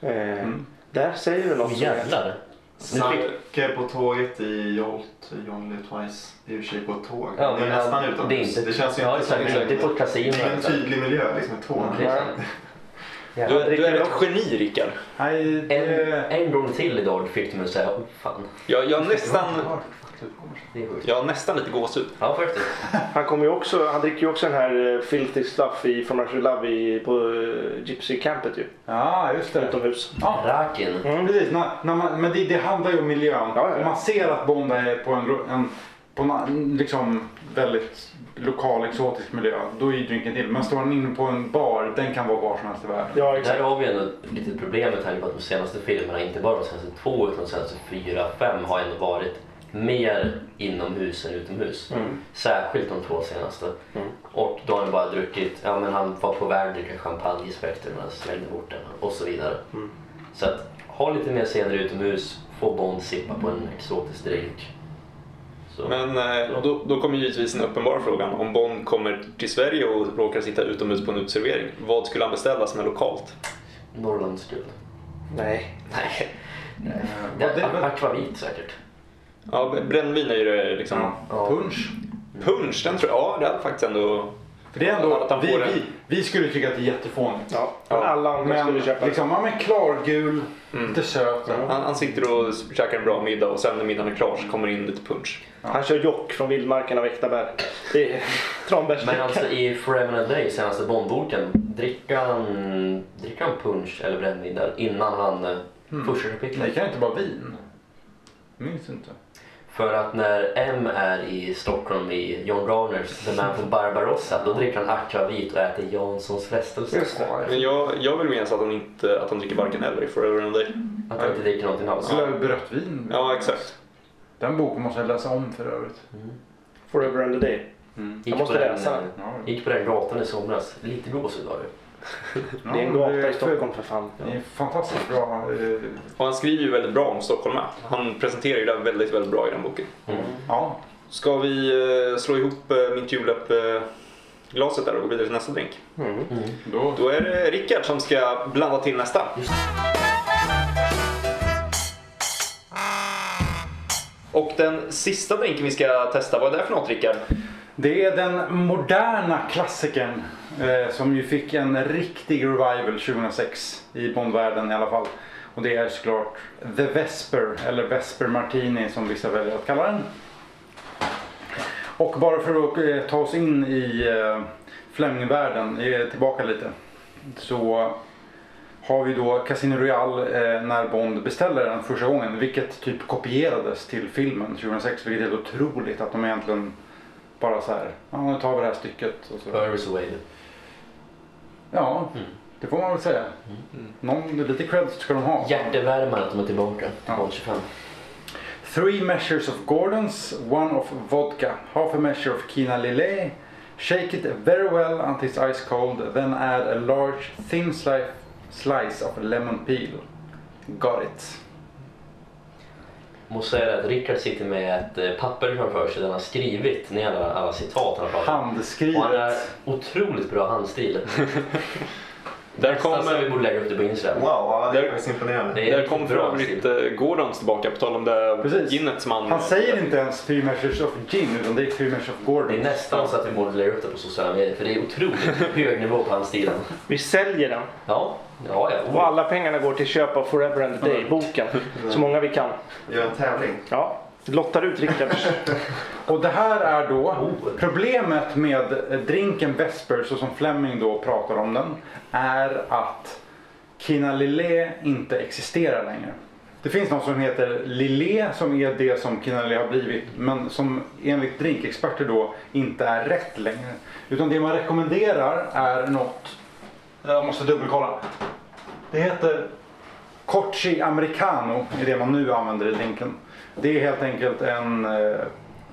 Speaker 2: Ja. Eh, Där säger du
Speaker 4: Åh,
Speaker 2: något. som är-
Speaker 4: jävlar.
Speaker 5: Snacke eh, på tåget i Jolt, Johnny Twice. Det är i och för sig på ett tåg.
Speaker 4: Ja,
Speaker 5: det är
Speaker 4: men
Speaker 5: nästan
Speaker 4: det är
Speaker 5: utomhus.
Speaker 4: inte-
Speaker 5: Det känns ju
Speaker 4: Ja,
Speaker 5: inte som
Speaker 4: exakt. Det är på Mm. ett kasino,
Speaker 5: Det är en
Speaker 4: exakt.
Speaker 5: tydlig miljö, liksom ett tåg.
Speaker 4: Ja, det är sant.
Speaker 1: Du,
Speaker 4: Jävlar.
Speaker 1: är- du är ett geni Rickard.
Speaker 3: Nej,
Speaker 4: En,
Speaker 3: det...
Speaker 4: en gång till idag fick du mig att säga oh, fan.
Speaker 1: Jag, jag, har nästan,
Speaker 4: Det är sjukt.
Speaker 1: jag har nästan lite gåshud.
Speaker 4: Ja, faktiskt.
Speaker 2: Han, kommer ju också, han dricker ju också den här eh, Filthy Stuff i From Russia with Love i, på eh, Gypsy-campet ju.
Speaker 3: Ja, just det.
Speaker 2: Utomhus.
Speaker 3: Ja,
Speaker 4: Rakin.
Speaker 3: precis. När, när man, men det, det handlar ju om miljön.
Speaker 2: Ja, ja, ja.
Speaker 3: Man ser att Bond är på en, ro- en, på en liksom väldigt lokal exotisk miljö. Då är ju drinken till. Men står han inne på en bar, den kan vara var som helst i världen.
Speaker 2: Ja,
Speaker 4: Där
Speaker 2: exakt.
Speaker 4: har vi ändå ett litet problem med tanke på att de senaste filmerna, inte bara de senaste två utan de senaste fyra, fem har ändå varit mer inomhus än utomhus. Särskilt de två senaste. Och då har han bara druckit, ja men han var på väg att dricka champagne i Spectre men han slängde bort den och så vidare. Så att ha lite mer scener utomhus, få Bond sippa på en exotisk drink. Så.
Speaker 1: Men eh, då, då kommer givetvis den uppenbara frågan. Om Bond kommer till Sverige och råkar sitta utomhus på en uteservering, vad skulle han beställa som är lokalt?
Speaker 4: Norrlands guld.
Speaker 2: Nej.
Speaker 4: Nej.
Speaker 3: Eh,
Speaker 4: Det
Speaker 3: vad-
Speaker 4: är
Speaker 3: vad-
Speaker 4: akvavit säkert.
Speaker 1: Ja, brännvin är ju det liksom...
Speaker 3: Ja, punsch.
Speaker 1: Punsch, den tror jag... Ja, det hade faktiskt ändå...
Speaker 3: För det är
Speaker 1: Att
Speaker 3: ändå,
Speaker 1: han
Speaker 3: vi,
Speaker 1: får det.
Speaker 3: vi, vi skulle tycka att det är jättefånigt.
Speaker 2: Ja. men Alla andra
Speaker 3: Men
Speaker 2: skulle köpa
Speaker 3: liksom, ja men klargul, lite söt.
Speaker 1: mm. Han, han sitter och käkar en bra middag och sen när middagen är klar så kommer det in lite punsch.
Speaker 2: Han kör jock från vildmarken av äkta bär. Det är
Speaker 4: Men
Speaker 2: tranbärsdricka.
Speaker 4: alltså i Forever and a Day, senaste Bondboken, dricker han, dricker han punch eller brännvin där innan han eh,
Speaker 2: Mm.
Speaker 4: första
Speaker 3: Mm. Det
Speaker 4: kapitlet?
Speaker 3: kan ju inte vara vin. Minns inte.
Speaker 4: För att när M är i Stockholm i John Garners The Man from Barbarossa, då dricker han akvavit och äter Janssons frestelse.
Speaker 2: Just det.
Speaker 1: Men jag, jag vill minnas att han, inte, att han dricker varken eller i Forever and a Day.
Speaker 4: Att han inte dricker någonting alls.
Speaker 3: Slöv rött vin.
Speaker 1: Ja, exakt.
Speaker 3: Den boken måste jag läsa om för övrigt.
Speaker 2: Forever and a day.
Speaker 4: Gick
Speaker 2: måste
Speaker 4: på den,
Speaker 2: läsa den.
Speaker 4: eh,
Speaker 3: Ja,
Speaker 4: Gick på den gatan i somras. Lite gåshud har du.
Speaker 2: Det är en gata i Stockholm för fan.
Speaker 3: Det är fantastiskt bra. eh,
Speaker 1: Och han skriver ju väldigt bra om Stockholm med. Han presenterar ju det väldigt, väldigt bra i den boken.
Speaker 3: Ja,
Speaker 1: Ska vi eh, slå ihop eh, mitt julklapp eh, glaset där och gå vidare till nästa drink?
Speaker 3: då.
Speaker 1: Då är det Rickard som ska blanda till nästa. Och den sista drinken vi ska testa, vad är det för något Rickard?
Speaker 3: Det är den moderna klassikern eh, som ju fick en riktig revival 2006 i Bondvärlden i alla fall. Och det är såklart The Vesper, eller Vesper Martini som vissa väljer att kalla den. Och bara för att eh, ta oss in i eh, Flemingvärlden, eh, tillbaka lite, så har vi då Casino Royale eh, när Bond beställer den första gången, vilket typ kopierades till filmen 2006, vilket är helt otroligt att de egentligen bara så här, ja nu tar vi det här stycket. Och så.
Speaker 4: Purvis Away.
Speaker 3: Ja, det får man väl säga. Någon, lite cred ska de ha.
Speaker 4: Hjärtevärmare att de är tillbaka.
Speaker 3: Ja.
Speaker 4: Bond 25.
Speaker 3: Three measures of Gordons, one of vodka, half a measure of Kina Lillet. Shake it very well until it's ice cold, then add a large thin slice, slice of lemon peel. Got it.
Speaker 4: Måste säga det att Rickard sitter med ett eh, papper framför sig där han har skrivit ner alla, alla citat han har pratat om. Och han har
Speaker 3: Handskrivet.
Speaker 4: otroligt bra handstil.
Speaker 1: Där
Speaker 4: Nästan så vi
Speaker 1: kom,
Speaker 4: borde lägga upp det på Instagram.
Speaker 5: Wow, ja, det är
Speaker 1: Där-
Speaker 5: faktiskt imponerande.
Speaker 4: Det är
Speaker 1: där kom för
Speaker 4: bra handstil.
Speaker 1: övrigt eh, Gordons tillbaka på tal om det
Speaker 3: Precis.
Speaker 1: ginet som han...
Speaker 3: typ. Han säger inte ens three measures of gin utan det är three measures of
Speaker 4: Det är
Speaker 3: Gordons.
Speaker 4: nästan så att vi borde lägga upp det på sociala medier för det är otroligt hög nivå på handstilen.
Speaker 2: Vi säljer den.
Speaker 4: Ja, ja, ja.
Speaker 2: Och alla pengarna går till köp av Forever and a day-boken. Så många vi kan.
Speaker 5: Gör en tävling.
Speaker 2: Ja. Lottar ut Rickards.
Speaker 3: Och det här är då problemet med drinken Vesper så som Fleming då pratar om den är att Kina Lillet inte existerar längre. Det finns något som heter Lillet som är det som Kina Lillet har blivit men som enligt drinkexperter då inte är rätt längre. Utan det man rekommenderar är något, jag måste dubbelkolla. Det heter Corchi Americano är det man nu använder i drinken. Det är helt enkelt en eh,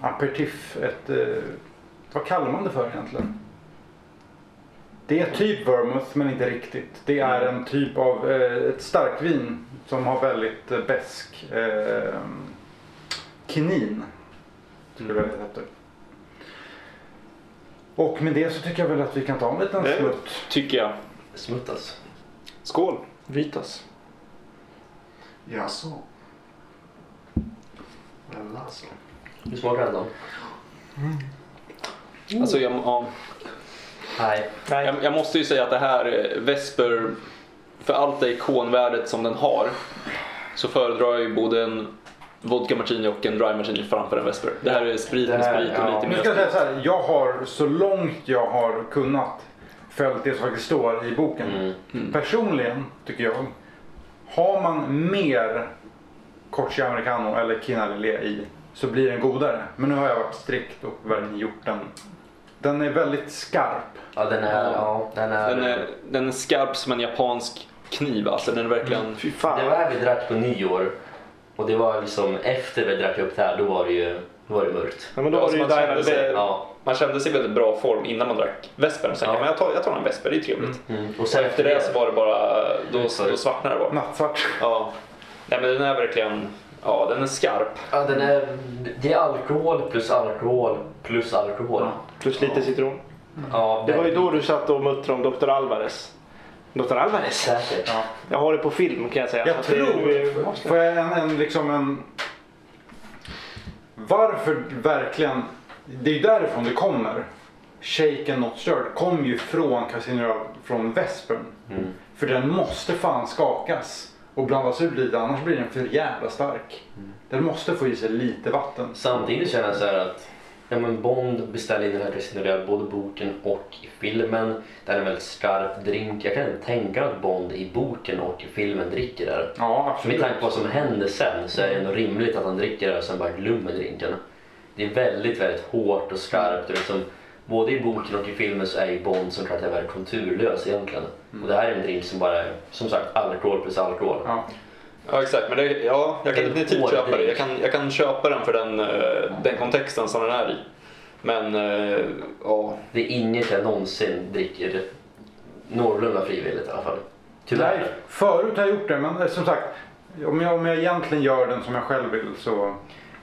Speaker 3: aperitif, ett eh, Vad kallar man det för egentligen? Det är typ vermouth men inte riktigt. Det är en typ av eh, ett starkvin som har väldigt eh, besk eh, kinin. Skulle jag vilja efter. Och med det så tycker jag väl att vi kan ta en liten
Speaker 1: Det-
Speaker 3: smutt.
Speaker 1: Tycker jag.
Speaker 4: Smuttas.
Speaker 1: Skål!
Speaker 2: Vitas.
Speaker 5: Jaså? Eller alltså.
Speaker 4: Hur smakar den då?
Speaker 1: Alltså jag, ja,
Speaker 4: Nej.
Speaker 2: Nej,
Speaker 1: jag, jag måste ju säga att det här eh, Vesper, för allt det ikonvärdet som den har, så föredrar jag ju både en vodka martini och en dry martini framför en Vesper. Det här är sprit
Speaker 3: Det
Speaker 1: med
Speaker 3: här,
Speaker 1: sprit och
Speaker 3: ja.
Speaker 1: lite
Speaker 3: Nu
Speaker 1: mer
Speaker 3: ska jag
Speaker 1: sprit.
Speaker 3: säga så här, jag har så långt jag har kunnat följt det som faktiskt står i boken.
Speaker 4: Mm.
Speaker 3: Personligen tycker jag, har man mer Corsi Americano eller Kinalilé i så blir den godare. Men nu har jag varit strikt och verkligen gjort den. Den är väldigt skarp.
Speaker 4: Ja, den är... Ja, den är...
Speaker 1: Den är, den är skarp som en japansk kniv alltså. Den är verkligen...
Speaker 3: Mm.
Speaker 2: fy
Speaker 4: Det
Speaker 2: fan.
Speaker 4: var här vi drack på nyår. Och det var liksom efter vi drack upp det här, då var det ju då var det mörkt.
Speaker 2: Ja, men då
Speaker 1: Ja,
Speaker 2: var det
Speaker 1: så
Speaker 2: ju
Speaker 1: man
Speaker 2: där
Speaker 1: känner sig-
Speaker 2: det
Speaker 4: Ja.
Speaker 1: Man kände sig i väldigt bra form innan man drack Vespern. Sen
Speaker 4: Ja.
Speaker 1: ja. men jag tar, jag tar en Vesper, det är trevligt.
Speaker 4: Mm. Och
Speaker 1: Så
Speaker 4: sen
Speaker 1: efter det så var det bara, då, då svartnade det bara.
Speaker 3: Nattsvart.
Speaker 1: Ja. Nej men den är verkligen, ja den är skarp.
Speaker 4: Ja, den är... Det är alkohol plus alkohol plus alkohol.
Speaker 2: plus lite citron.
Speaker 4: Ja,
Speaker 2: Det
Speaker 4: den-
Speaker 2: var ju då du satt och muttrade om Dr. Alvarez. Dr. Alvarez?
Speaker 4: Säkert.
Speaker 2: Jag har det på film kan jag säga.
Speaker 3: Jag
Speaker 2: Så att det-
Speaker 3: tror... Får jag en, en liksom en... Varför verkligen... Det är ju därifrån det kommer. Shaken Not Stirred kom ju från Casino Royale, från Vespern.
Speaker 4: Mm.
Speaker 3: För den måste fan skakas och blandas ut lite annars blir den för jävla stark.
Speaker 4: Mm.
Speaker 3: Den måste få i sig lite vatten.
Speaker 4: Samtidigt känner jag så här att ja, men Bond beställde in den här Casino Royale, både boken och i filmen. Det är en väldigt skarp drink. Jag kan inte tänka mig att Bond i boken och i filmen dricker där.
Speaker 3: Ja,
Speaker 4: Med
Speaker 3: absolut.
Speaker 4: tanke på vad som händer sen så är det ändå rimligt att han dricker det och sen bara glömmer drinken. Det är väldigt, väldigt hårt och skarpt. Och liksom, både i boken och i filmen så är ju Bond som karaktär väldigt konturlös egentligen. Och det här är en drink som bara är, som sagt, alkohol plus alkohol.
Speaker 3: Ja.
Speaker 1: Ja exakt, men det, ja, jag kan
Speaker 4: Det är en
Speaker 1: definitivt
Speaker 4: hård
Speaker 1: köpa det.
Speaker 4: drink.
Speaker 1: Jag kan, jag kan köpa den för den, eh, den kontexten som den är i. Men eh, ja,
Speaker 4: Det är inget jag någonsin dricker någorlunda frivilligt i alla fall. Tyvärr.
Speaker 3: Nej, förut har jag gjort det men eh, som sagt. Om jag, om jag egentligen gör den som jag själv vill så,
Speaker 4: Och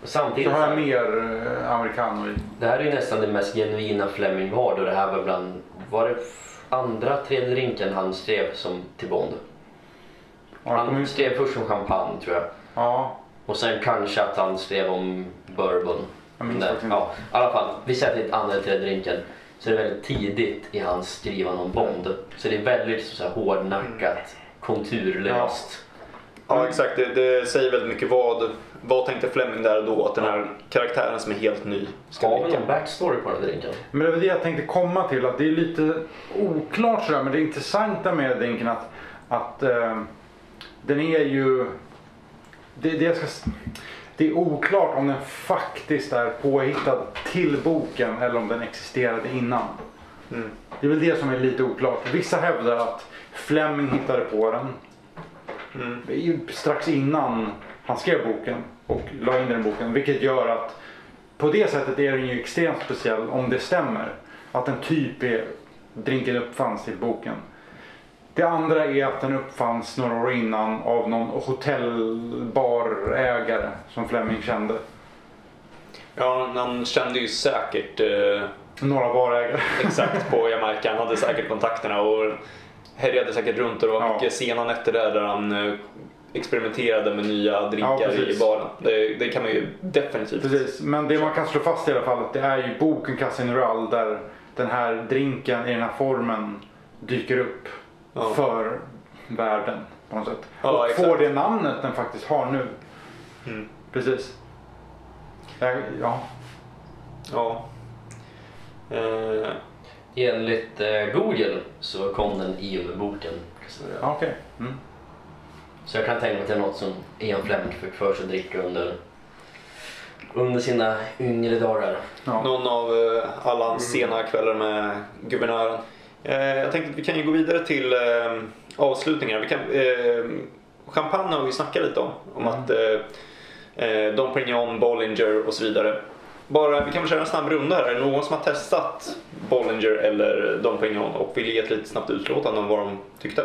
Speaker 3: så
Speaker 4: samtidigt,
Speaker 3: har
Speaker 4: så
Speaker 3: jag mer eh, americano i.
Speaker 4: det här är ju nästan det mest genuina Fleming var då det här var bland, var det f- andra, tredje drinken han skrev som till Bond?
Speaker 3: Ja, jag kommer
Speaker 4: Han
Speaker 3: ju-
Speaker 4: skrev först om champagne tror jag.
Speaker 3: Ja,
Speaker 4: Och sen kanske att han skrev om bourbon.
Speaker 3: Jag minns
Speaker 4: Där.
Speaker 3: faktiskt inte.
Speaker 4: Ja, i alla fall, vi säger att det är andra eller tredje drinken. Så det är väldigt tidigt i hans skrivande om Bond. Så det är väldigt så här, hårdnackat, konturlöst.
Speaker 1: Ja exakt, det, det säger väldigt mycket vad, vad tänkte Fleming där och då att den här karaktären som är helt ny ska
Speaker 4: Har vi
Speaker 1: dricka.
Speaker 4: någon backstory på den här drinken?
Speaker 3: Men det var det jag tänkte komma till, att det är lite oklart sådär, men det intressanta med drinken att, att eh, den är ju... Det, det, jag ska, s- det är oklart om den faktiskt är påhittad till boken eller om den existerade innan. Det är väl det som är lite oklart. Vissa hävdar att Fleming hittade på den det är ju strax innan han skrev boken och la in den i boken. Vilket gör att på det sättet är den ju extremt speciell om det stämmer. Att den typ är drinken uppfanns till boken. Det andra är att den uppfanns några år innan av någon hotellbarägare som Fleming kände.
Speaker 1: Ja, men han kände ju säkert eh,
Speaker 3: Några barägare.
Speaker 1: exakt på Jamaica, han hade säkert kontakterna och härjade säkert runt och det var
Speaker 3: Ja.
Speaker 1: mycket sena nätter där, där han eh, experimenterade med nya drinkar
Speaker 3: Ja,
Speaker 1: i
Speaker 3: precis.
Speaker 1: baren. Det, det kan man ju definitivt.
Speaker 3: Precis, men det man kan slå fast i alla fall att det är ju boken Casino Royale där den här drinken i den här formen dyker upp
Speaker 1: Ja.
Speaker 3: för världen på något sätt.
Speaker 1: Ja,
Speaker 3: och
Speaker 1: exakt.
Speaker 3: får det namnet den faktiskt har nu.
Speaker 1: Mm.
Speaker 3: Precis. Ja, ja.
Speaker 1: Ja. Eh,
Speaker 4: Enligt eh, Google så kom den i och med boken.
Speaker 3: ja okej. Mm.
Speaker 4: Så jag kan tänka mig att det är något som Ian Fleming fick för sig att dricka under, under sina yngre dagar.
Speaker 3: Ja.
Speaker 1: någon av eh, alla hans sena kvällar med guvernören. Eh, jag tänkte att vi kan ju gå vidare till eh, avslutningar. Vi kan, eh, champagne Mm. har vi snackat lite om. Om att eh, eh, Dom Pignon, Bollinger och så vidare. Bara, vi kan väl köra en snabb runda här. Är det någon som har testat Bollinger eller Dom Pignon och vill ge ett lite snabbt utlåtande om vad de tyckte?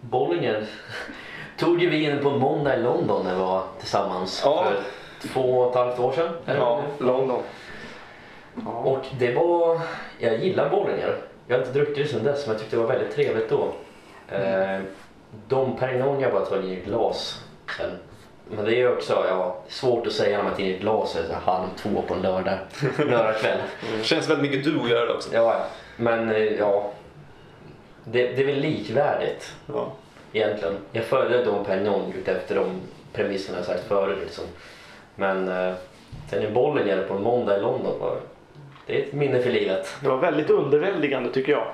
Speaker 4: Bollinger tog ju vi in på en måndag i London när vi var tillsammans
Speaker 1: Ja.
Speaker 4: för två och ett halvt år sedan. eller vad det nu
Speaker 2: London.
Speaker 4: Och det var... Jag gillar Bollinger. Jag har inte druckit det sedan dess men jag tyckte det var väldigt trevligt då. Eh, de Perignon jag bara tar in i ett glas sen. Men det är ju också ja, svårt att säga när man tar in i ett glas är så här halv två på en lördag, lördagkväll.
Speaker 1: Mm. Känns väldigt mycket du att göra det också.
Speaker 4: Ja, ja. Men eh, ja, det, det är väl likvärdigt
Speaker 1: Ja.
Speaker 4: egentligen. Jag föredrar Dom Perignon utefter de premisserna jag sagt förut. Liksom. Men eh, sen i Bollinger på en måndag i London var det är ett minne för livet.
Speaker 2: Det var väldigt underväldigande tycker jag.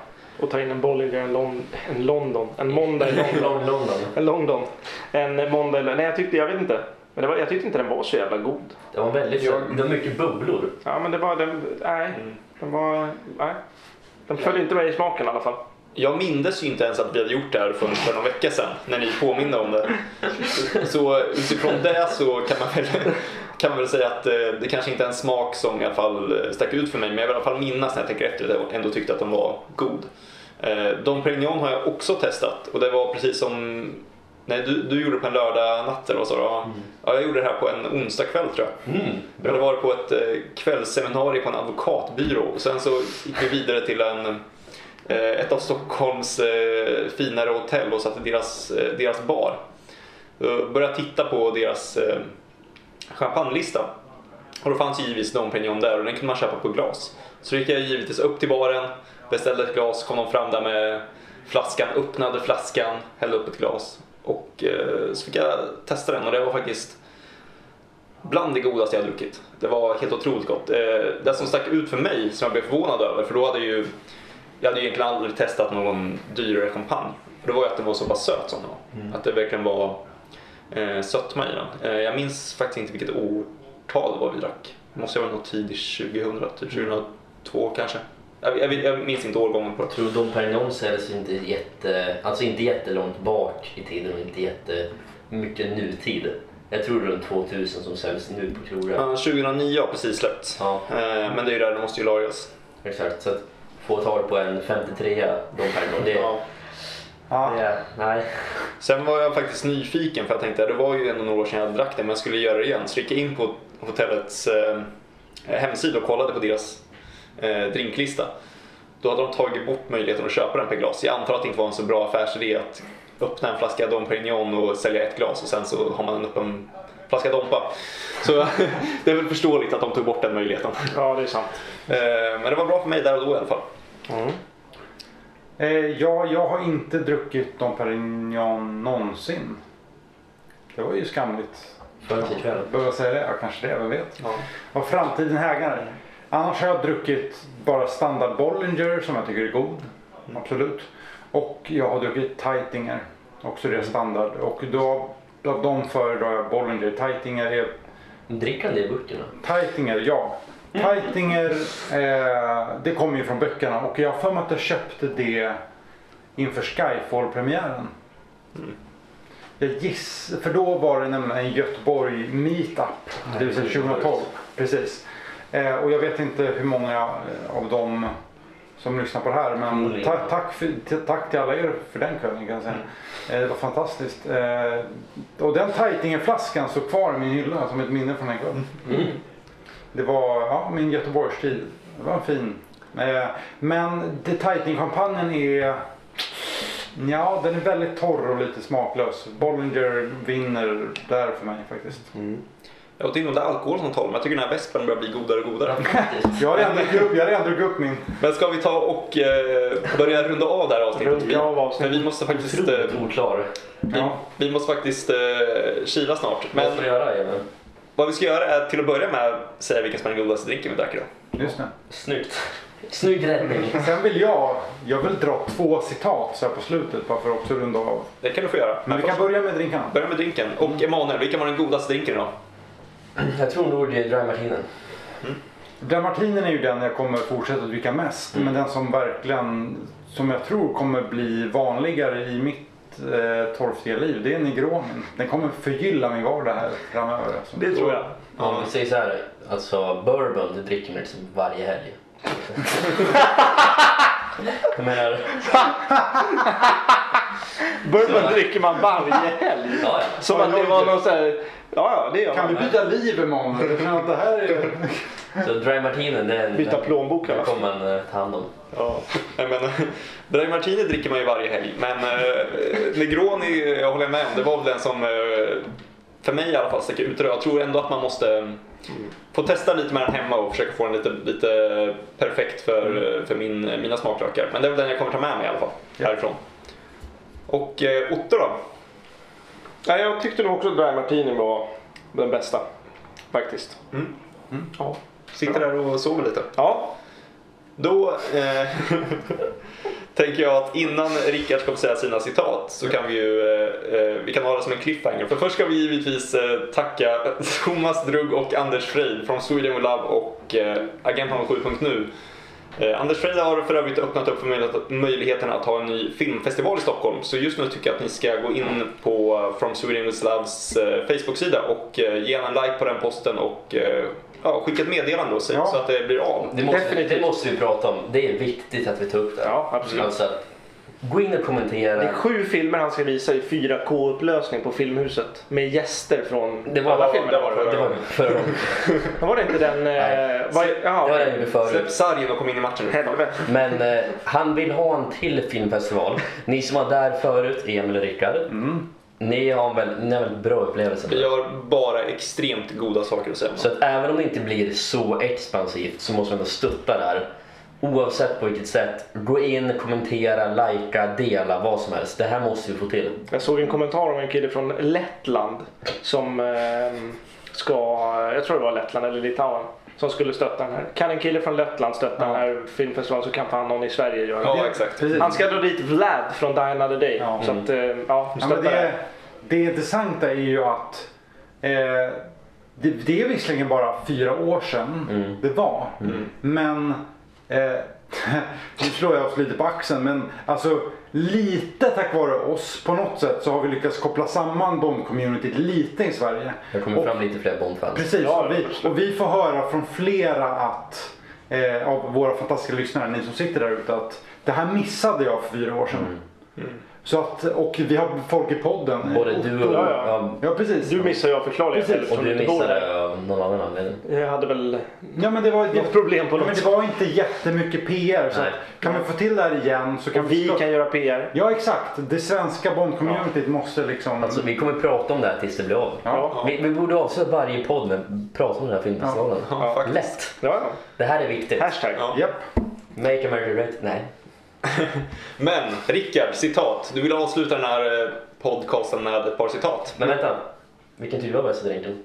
Speaker 2: Att ta in en Bollinger, en, Lon- en London, en måndag i London.
Speaker 4: London. London.
Speaker 2: En London. En måndag i London. Nej, jag tyckte, jag vet inte. Men det var, jag tyckte inte den var så jävla god.
Speaker 4: Det var väldigt
Speaker 1: Jag-
Speaker 4: det var mycket bubblor.
Speaker 2: Ja, men det var, den, nej. Den var, nej. Den följde inte med i smaken i alla fall.
Speaker 1: Jag mindes ju inte ens att vi hade gjort det här för, för någon vecka sedan när ni påminde om det. Så utifrån det så kan man väl, kan man väl säga att eh, det kanske inte är en smak som i alla fall eh, stack ut för mig men jag vill i alla fall minnas när jag tänker efter att jag ändå tyckte att den var god. Eh, Dom Perignon har jag också testat och det var precis som Nej, du, du gjorde det på en lördag natt eller vad sa du? Ja. Ja, jag gjorde det här på en onsdag kväll tror jag.
Speaker 4: Mm,
Speaker 1: Jag hade varit på ett eh, kvällsseminarium på en advokatbyrå och sen så gick vi vidare till en, eh, ett av Stockholms eh, finare hotell och satt i deras, eh, deras bar. Eh, Började titta på deras eh, champagnelista och då fanns ju givetvis Dom Pignon där och den kunde man köpa på glas. Så gick jag givetvis upp till baren, beställde ett glas, kom de fram där med flaskan, öppnade flaskan, hällde upp ett glas och eh, så fick jag testa den och det var faktiskt Bland det godaste jag har druckit. Det var helt otroligt gott. Eh, Det som stack ut för mig, som jag blev förvånad över, för då hade jag ju jag hade ju egentligen aldrig testat någon dyrare champagne. För det var ju att den var så pass söt som den var. Att det verkligen var eh, sötma i den. Eh, jag minns faktiskt inte vilket årtal det var vi drack. Det måste ju ha varit något tidigt 2000, typ 2002 kanske. Jag, jag, jag minns inte årgången på det.
Speaker 4: Jag tror Dom Perignon säljs inte jätte, alltså inte jättelångt bak i tiden och inte jätte mycket nutid. Jag tror det är runt 2000 som säljs nu på krogar.
Speaker 1: Ja, 2009 har precis släppts.
Speaker 4: Ja.
Speaker 1: Eh, men det är ju där, det måste ju lagras.
Speaker 4: Exakt, så att få tag på en 53 Dom Perignon, det,
Speaker 1: Ja.
Speaker 4: det är, nej.
Speaker 1: Sen var jag faktiskt nyfiken för jag tänkte det var ju ändå några år sedan jag drack det men jag skulle göra det igen. Så gick jag in på hotellets eh, hemsida och kollade på deras eh, drinklista. Då hade de tagit bort möjligheten att köpa den per glas. Jag antar att det inte var en så bra affärsidé att öppna en flaska Dom Perignon och sälja ett glas och sen så har man en öppen flaska Dompa. Så det är väl förståeligt att de tog bort den möjligheten.
Speaker 2: Ja, det är sant.
Speaker 1: Eh, men det var bra för mig där och då i alla fall.
Speaker 2: Mm.
Speaker 3: Eh, ja, jag har inte druckit Dom Perignon någonsin. Det var ju skamligt.
Speaker 4: Förrän till kvällen.
Speaker 3: Behöver jag säga det? Ja, kanske det. Vem vet? Vad framtiden hägrar. Annars har jag druckit bara standard Bollinger som jag tycker är god. Absolut. Och jag har druckit Taitinger. Också det är standard. Och då, av dem föredrar jag Bollinger. Taitinger är
Speaker 4: Dricker han det i burken då?
Speaker 3: Taitinger, ja. Taitinger, eh, det kommer ju från böckerna och jag har för mig att jag köpte det inför Skyfall-premiären. Jag giss, för då var det nämligen en Göteborg meetup, det vill säga 2012. Precis. Eh, och jag vet inte hur många eh, av dem som lyssnar på det här men
Speaker 4: Förmodligen.
Speaker 3: ta, tack, för, t- tack till alla er för den kvällen kan jag säga. Eh, det var fantastiskt. Eh, och den Taitinger-flaskan står kvar i min hylla som ett minne från den kvällen. Det var ja, min Göteborgstid. Det var fin. Eh, men The Tightening-champagnen är... Ja, den är väldigt torr och lite smaklös. Bollinger vinner där för mig faktiskt.
Speaker 1: Jag åt in om det är alkohol som talar men jag tycker den här vespen börjar bli godare och godare.
Speaker 3: Jag har redan druckit upp, jag har redan druckit upp min.
Speaker 1: Men ska vi ta och eh, börja runda av det här avsnittet? Vi,
Speaker 2: Runda av
Speaker 1: för
Speaker 2: avsnittet.
Speaker 1: vi måste faktiskt, eh,
Speaker 4: Otroligt oklar.
Speaker 1: vi,
Speaker 3: Ja.
Speaker 1: vi måste faktiskt eh, kila snart.
Speaker 4: Vad ska
Speaker 1: Men
Speaker 4: jag göra Emil?
Speaker 1: vad vi ska göra är till att börja med säga vilken som är den godaste drinken vi drack idag.
Speaker 3: Just det.
Speaker 4: Snyggt. Snygg räddning.
Speaker 3: Sen vill jag, jag vill dra två citat så här på slutet bara för att också runda av.
Speaker 1: Det kan du få göra.
Speaker 3: Men vi kan
Speaker 1: först-
Speaker 3: börja med drinkarna.
Speaker 1: börja med drinken. Och Emanuel, vilken var den godaste drinken idag?
Speaker 4: Jag tror nog det är dry martinen.
Speaker 3: Dramartinen är ju den jag kommer fortsätta dricka mest. Men den som verkligen, som jag tror kommer bli vanligare i mitt eh, torftiga liv, det är Negronin. Den kommer förgylla min vardag här framöver. Alltså.
Speaker 2: Det tror jag.
Speaker 4: Om vi säger så här, Alltså bourbon, det dricker man liksom varje helg. Jag menar,
Speaker 2: Bourbon dricker man varje helg.
Speaker 4: ja,
Speaker 2: Som att det var någon sån här... Ja, ja, det gör
Speaker 3: Kan vi
Speaker 2: man.
Speaker 3: byta liv imorgon? Jag känner att det här är...
Speaker 4: ja. Så dry martinen, den,
Speaker 2: Byta
Speaker 4: den,
Speaker 2: plånbok i alla
Speaker 4: den
Speaker 2: fall.
Speaker 4: kommer man eh, ta hand om.
Speaker 2: Ja.
Speaker 1: Nej, men, Dry Martini dricker man ju varje helg, men eh, Negroni jag håller med om. Det var väl den som eh, för mig i alla fall stack ut. Och Jag tror ändå att man måste eh, få testa lite med den hemma och försöka få den lite, lite perfekt för, eh, för min, mina smaklökar. Men det är väl den jag kommer ta med mig i alla fall härifrån. Och eh, Otto då?
Speaker 6: Ja, jag tyckte nog också att Dry Martini var den bästa. Faktiskt.
Speaker 2: Mm.
Speaker 1: Ja. Sitter där och sover lite.
Speaker 6: Ja,
Speaker 1: Då eh, tänker jag att innan Rickard ska få säga sina citat så kan vi ju eh, eh, vi kan ha det som en cliffhanger. För först ska vi givetvis eh, tacka Thomas Drugg och Anders Freid från Sweden We Love och eh, Agent 07.nu. Eh, Anders Freid har för övrigt öppnat upp för möjlighet- möjligheten att ha en ny filmfestival i Stockholm. Så just nu tycker jag att ni ska gå in på eh, From Sweden We Loves eh, Facebook-sida och eh, ge en like på den posten och eh, ja, skicka ett meddelande och säg
Speaker 3: Ja.
Speaker 1: så att det blir av.
Speaker 4: Det måste,
Speaker 2: Definitivt.
Speaker 4: det måste vi prata om. Det är viktigt att vi tar upp det.
Speaker 2: Ja, absolut.
Speaker 4: Alltså, att gå in och kommentera.
Speaker 2: Det är sju filmer han ska visa i 4K-upplösning på Filmhuset. Med gäster från
Speaker 4: Det var,
Speaker 2: alla
Speaker 4: det
Speaker 2: filmerna.
Speaker 4: var, det var förra gången.
Speaker 2: Var det inte den...
Speaker 4: Nej.
Speaker 2: Eh, var,
Speaker 4: Det var det
Speaker 2: ja,
Speaker 4: jag gjorde förut.
Speaker 1: Släpp sargen och kom in i matchen.
Speaker 2: helvete.
Speaker 4: Men eh, han vill ha en till filmfestival. Ni som var där förut, Emil och Rickard.
Speaker 2: Mm.
Speaker 4: Ni har en väldigt, ni har väldigt bra upplevelse.
Speaker 1: Vi har bara extremt goda saker att säga.
Speaker 4: Så att även om det inte blir så expansivt så måste man ändå stötta där. Oavsett på vilket sätt. Gå in, kommentera, likea, dela, vad som helst. Det här måste vi få till.
Speaker 2: Jag såg en kommentar om en kille från Lettland som eh, ska, jag tror det var Lettland eller Litauen, som skulle stötta den här. Kan en kille från Lettland stötta den här filmfestivalen så kan fan någon i Sverige göra det.
Speaker 1: Ja, exakt.
Speaker 3: Precis.
Speaker 2: Han ska dra dit Vlad från Die Another Day.
Speaker 3: Ja.
Speaker 2: Så att, eh, ja,
Speaker 3: Ja, men
Speaker 2: stötta
Speaker 3: det,
Speaker 2: det.
Speaker 3: det intressanta är ju att eh, det, det är visserligen bara fyra år sedan det var. Men eh, nu slår jag oss lite på axeln men alltså lite tack vare oss på något sätt så har vi lyckats koppla samman bombcommunityt lite i Sverige.
Speaker 4: Det kommer
Speaker 3: Och-
Speaker 4: fram lite fler Bondfans.
Speaker 3: Precis,
Speaker 2: Ja,
Speaker 3: och, vi, och vi får höra från flera att, eh, av våra fantastiska lyssnare, ni som sitter där ute, att det här missade jag för fyra år sedan.
Speaker 2: Mm.
Speaker 3: Så att, och vi har folk i podden.
Speaker 4: Både du och...
Speaker 2: Ja, ja.
Speaker 4: ja,
Speaker 3: Ja precis.
Speaker 2: Du missar jag förklarligen
Speaker 3: Precis.
Speaker 4: och du missade av någon annan anledning.
Speaker 2: Jag hade väl
Speaker 3: Ja men det var,
Speaker 2: något problem på
Speaker 3: ja, men
Speaker 2: något
Speaker 3: det
Speaker 2: sätt.
Speaker 3: var inte jättemycket PR. Så
Speaker 4: Nej.
Speaker 3: att, kan vi få till det här igen så kan
Speaker 2: Och vi
Speaker 3: slå-
Speaker 2: kan göra PR.
Speaker 3: Ja exakt. Det svenska bombcommunityt måste liksom...
Speaker 4: Alltså, vi kommer prata om det här tills det blir av.
Speaker 2: Ja,
Speaker 4: Vi, vi borde avsluta varje podd med att prata om den här filmfestivalen.
Speaker 1: Ja, faktiskt.
Speaker 4: Lätt!
Speaker 2: ja,
Speaker 4: Det här är
Speaker 2: ja.
Speaker 4: viktigt.
Speaker 2: Hashtag.
Speaker 1: Ja.
Speaker 3: Japp.
Speaker 4: Make America Great. Nej.
Speaker 1: Men Rickard, citat. Du vill avsluta den här eh, podcasten med ett par citat.
Speaker 4: Men vänta. Vilken tur var bästa drinken?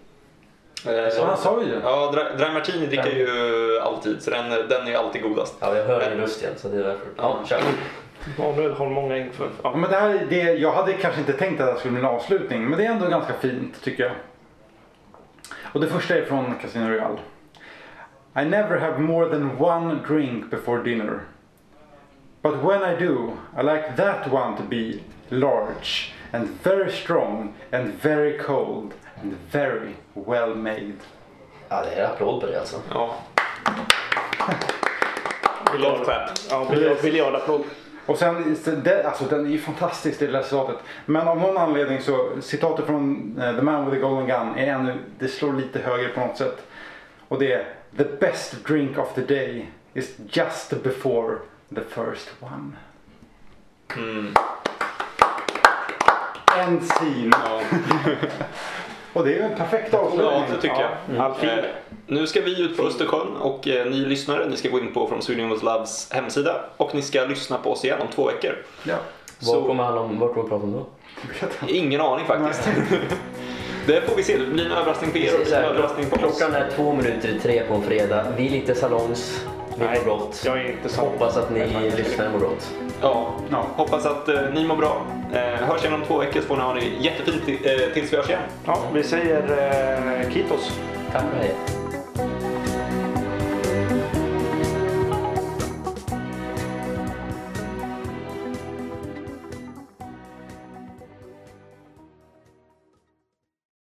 Speaker 1: Eh,
Speaker 3: Så han sa ju.
Speaker 1: Ja, Dry- Dry Martini dricker
Speaker 4: Ja.
Speaker 1: ju alltid, så den, den är ju alltid godast.
Speaker 4: Ja, jag hör din röst igen så det är därför. Ja, kör.
Speaker 2: Manuel har många inför. Ja.
Speaker 3: Ja, men det här, det, jag hade kanske inte tänkt att det här skulle bli en avslutning, men det är ändå ganska fint tycker jag. Och det första är från Casino Royale. I never have more than one drink before dinner. But when I do, I like that one to be large and very strong and very cold and very well made.
Speaker 4: Ja, det är applåd på det alltså.
Speaker 1: Ja.
Speaker 2: Biljard-
Speaker 1: Golf clap.
Speaker 2: Ja, biljard- Biljardapplåd.
Speaker 3: Och sen, så det, alltså den är ju fantastisk det lilla citatet. Men av någon anledning så, citatet från eh, The Man with the Golden Gun är ännu, det slår lite högre på något sätt. Och det är The best drink of the day is just before the first one.
Speaker 1: Mm.
Speaker 3: En scene.
Speaker 1: Ja.
Speaker 3: Och det är ju en perfekt avslutning.
Speaker 1: ja, det tycker jag.
Speaker 2: Alfin.
Speaker 1: Eh, nu ska vi ut på Östersjön och eh, ni lyssnare, ni ska gå in på From Sweden with Loves hemsida och ni ska lyssna på oss igen om två veckor.
Speaker 3: Ja.
Speaker 4: Vad
Speaker 1: Så-
Speaker 4: kommer han om, vad kommer vi prata om då?
Speaker 1: Ingen aning faktiskt. det får vi se. Det blir en överraskning för er och det
Speaker 4: Precis,
Speaker 1: blir en
Speaker 4: här,
Speaker 1: överraskning på oss.
Speaker 4: klockan är två minuter i tre på en fredag. Vi är lite salongs, vi är
Speaker 2: Nej,
Speaker 4: på gott.
Speaker 2: jag är inte så.
Speaker 4: Hoppas att ni lyssnar och mår gott.
Speaker 1: Ja,
Speaker 3: Ja.
Speaker 1: hoppas att eh, ni mår bra. Eh, hörs igen om två veckor så får ni ha det jättefint eh, tills vi hörs igen.
Speaker 2: Ja, vi säger eh, Kitos.
Speaker 4: Tack och hej.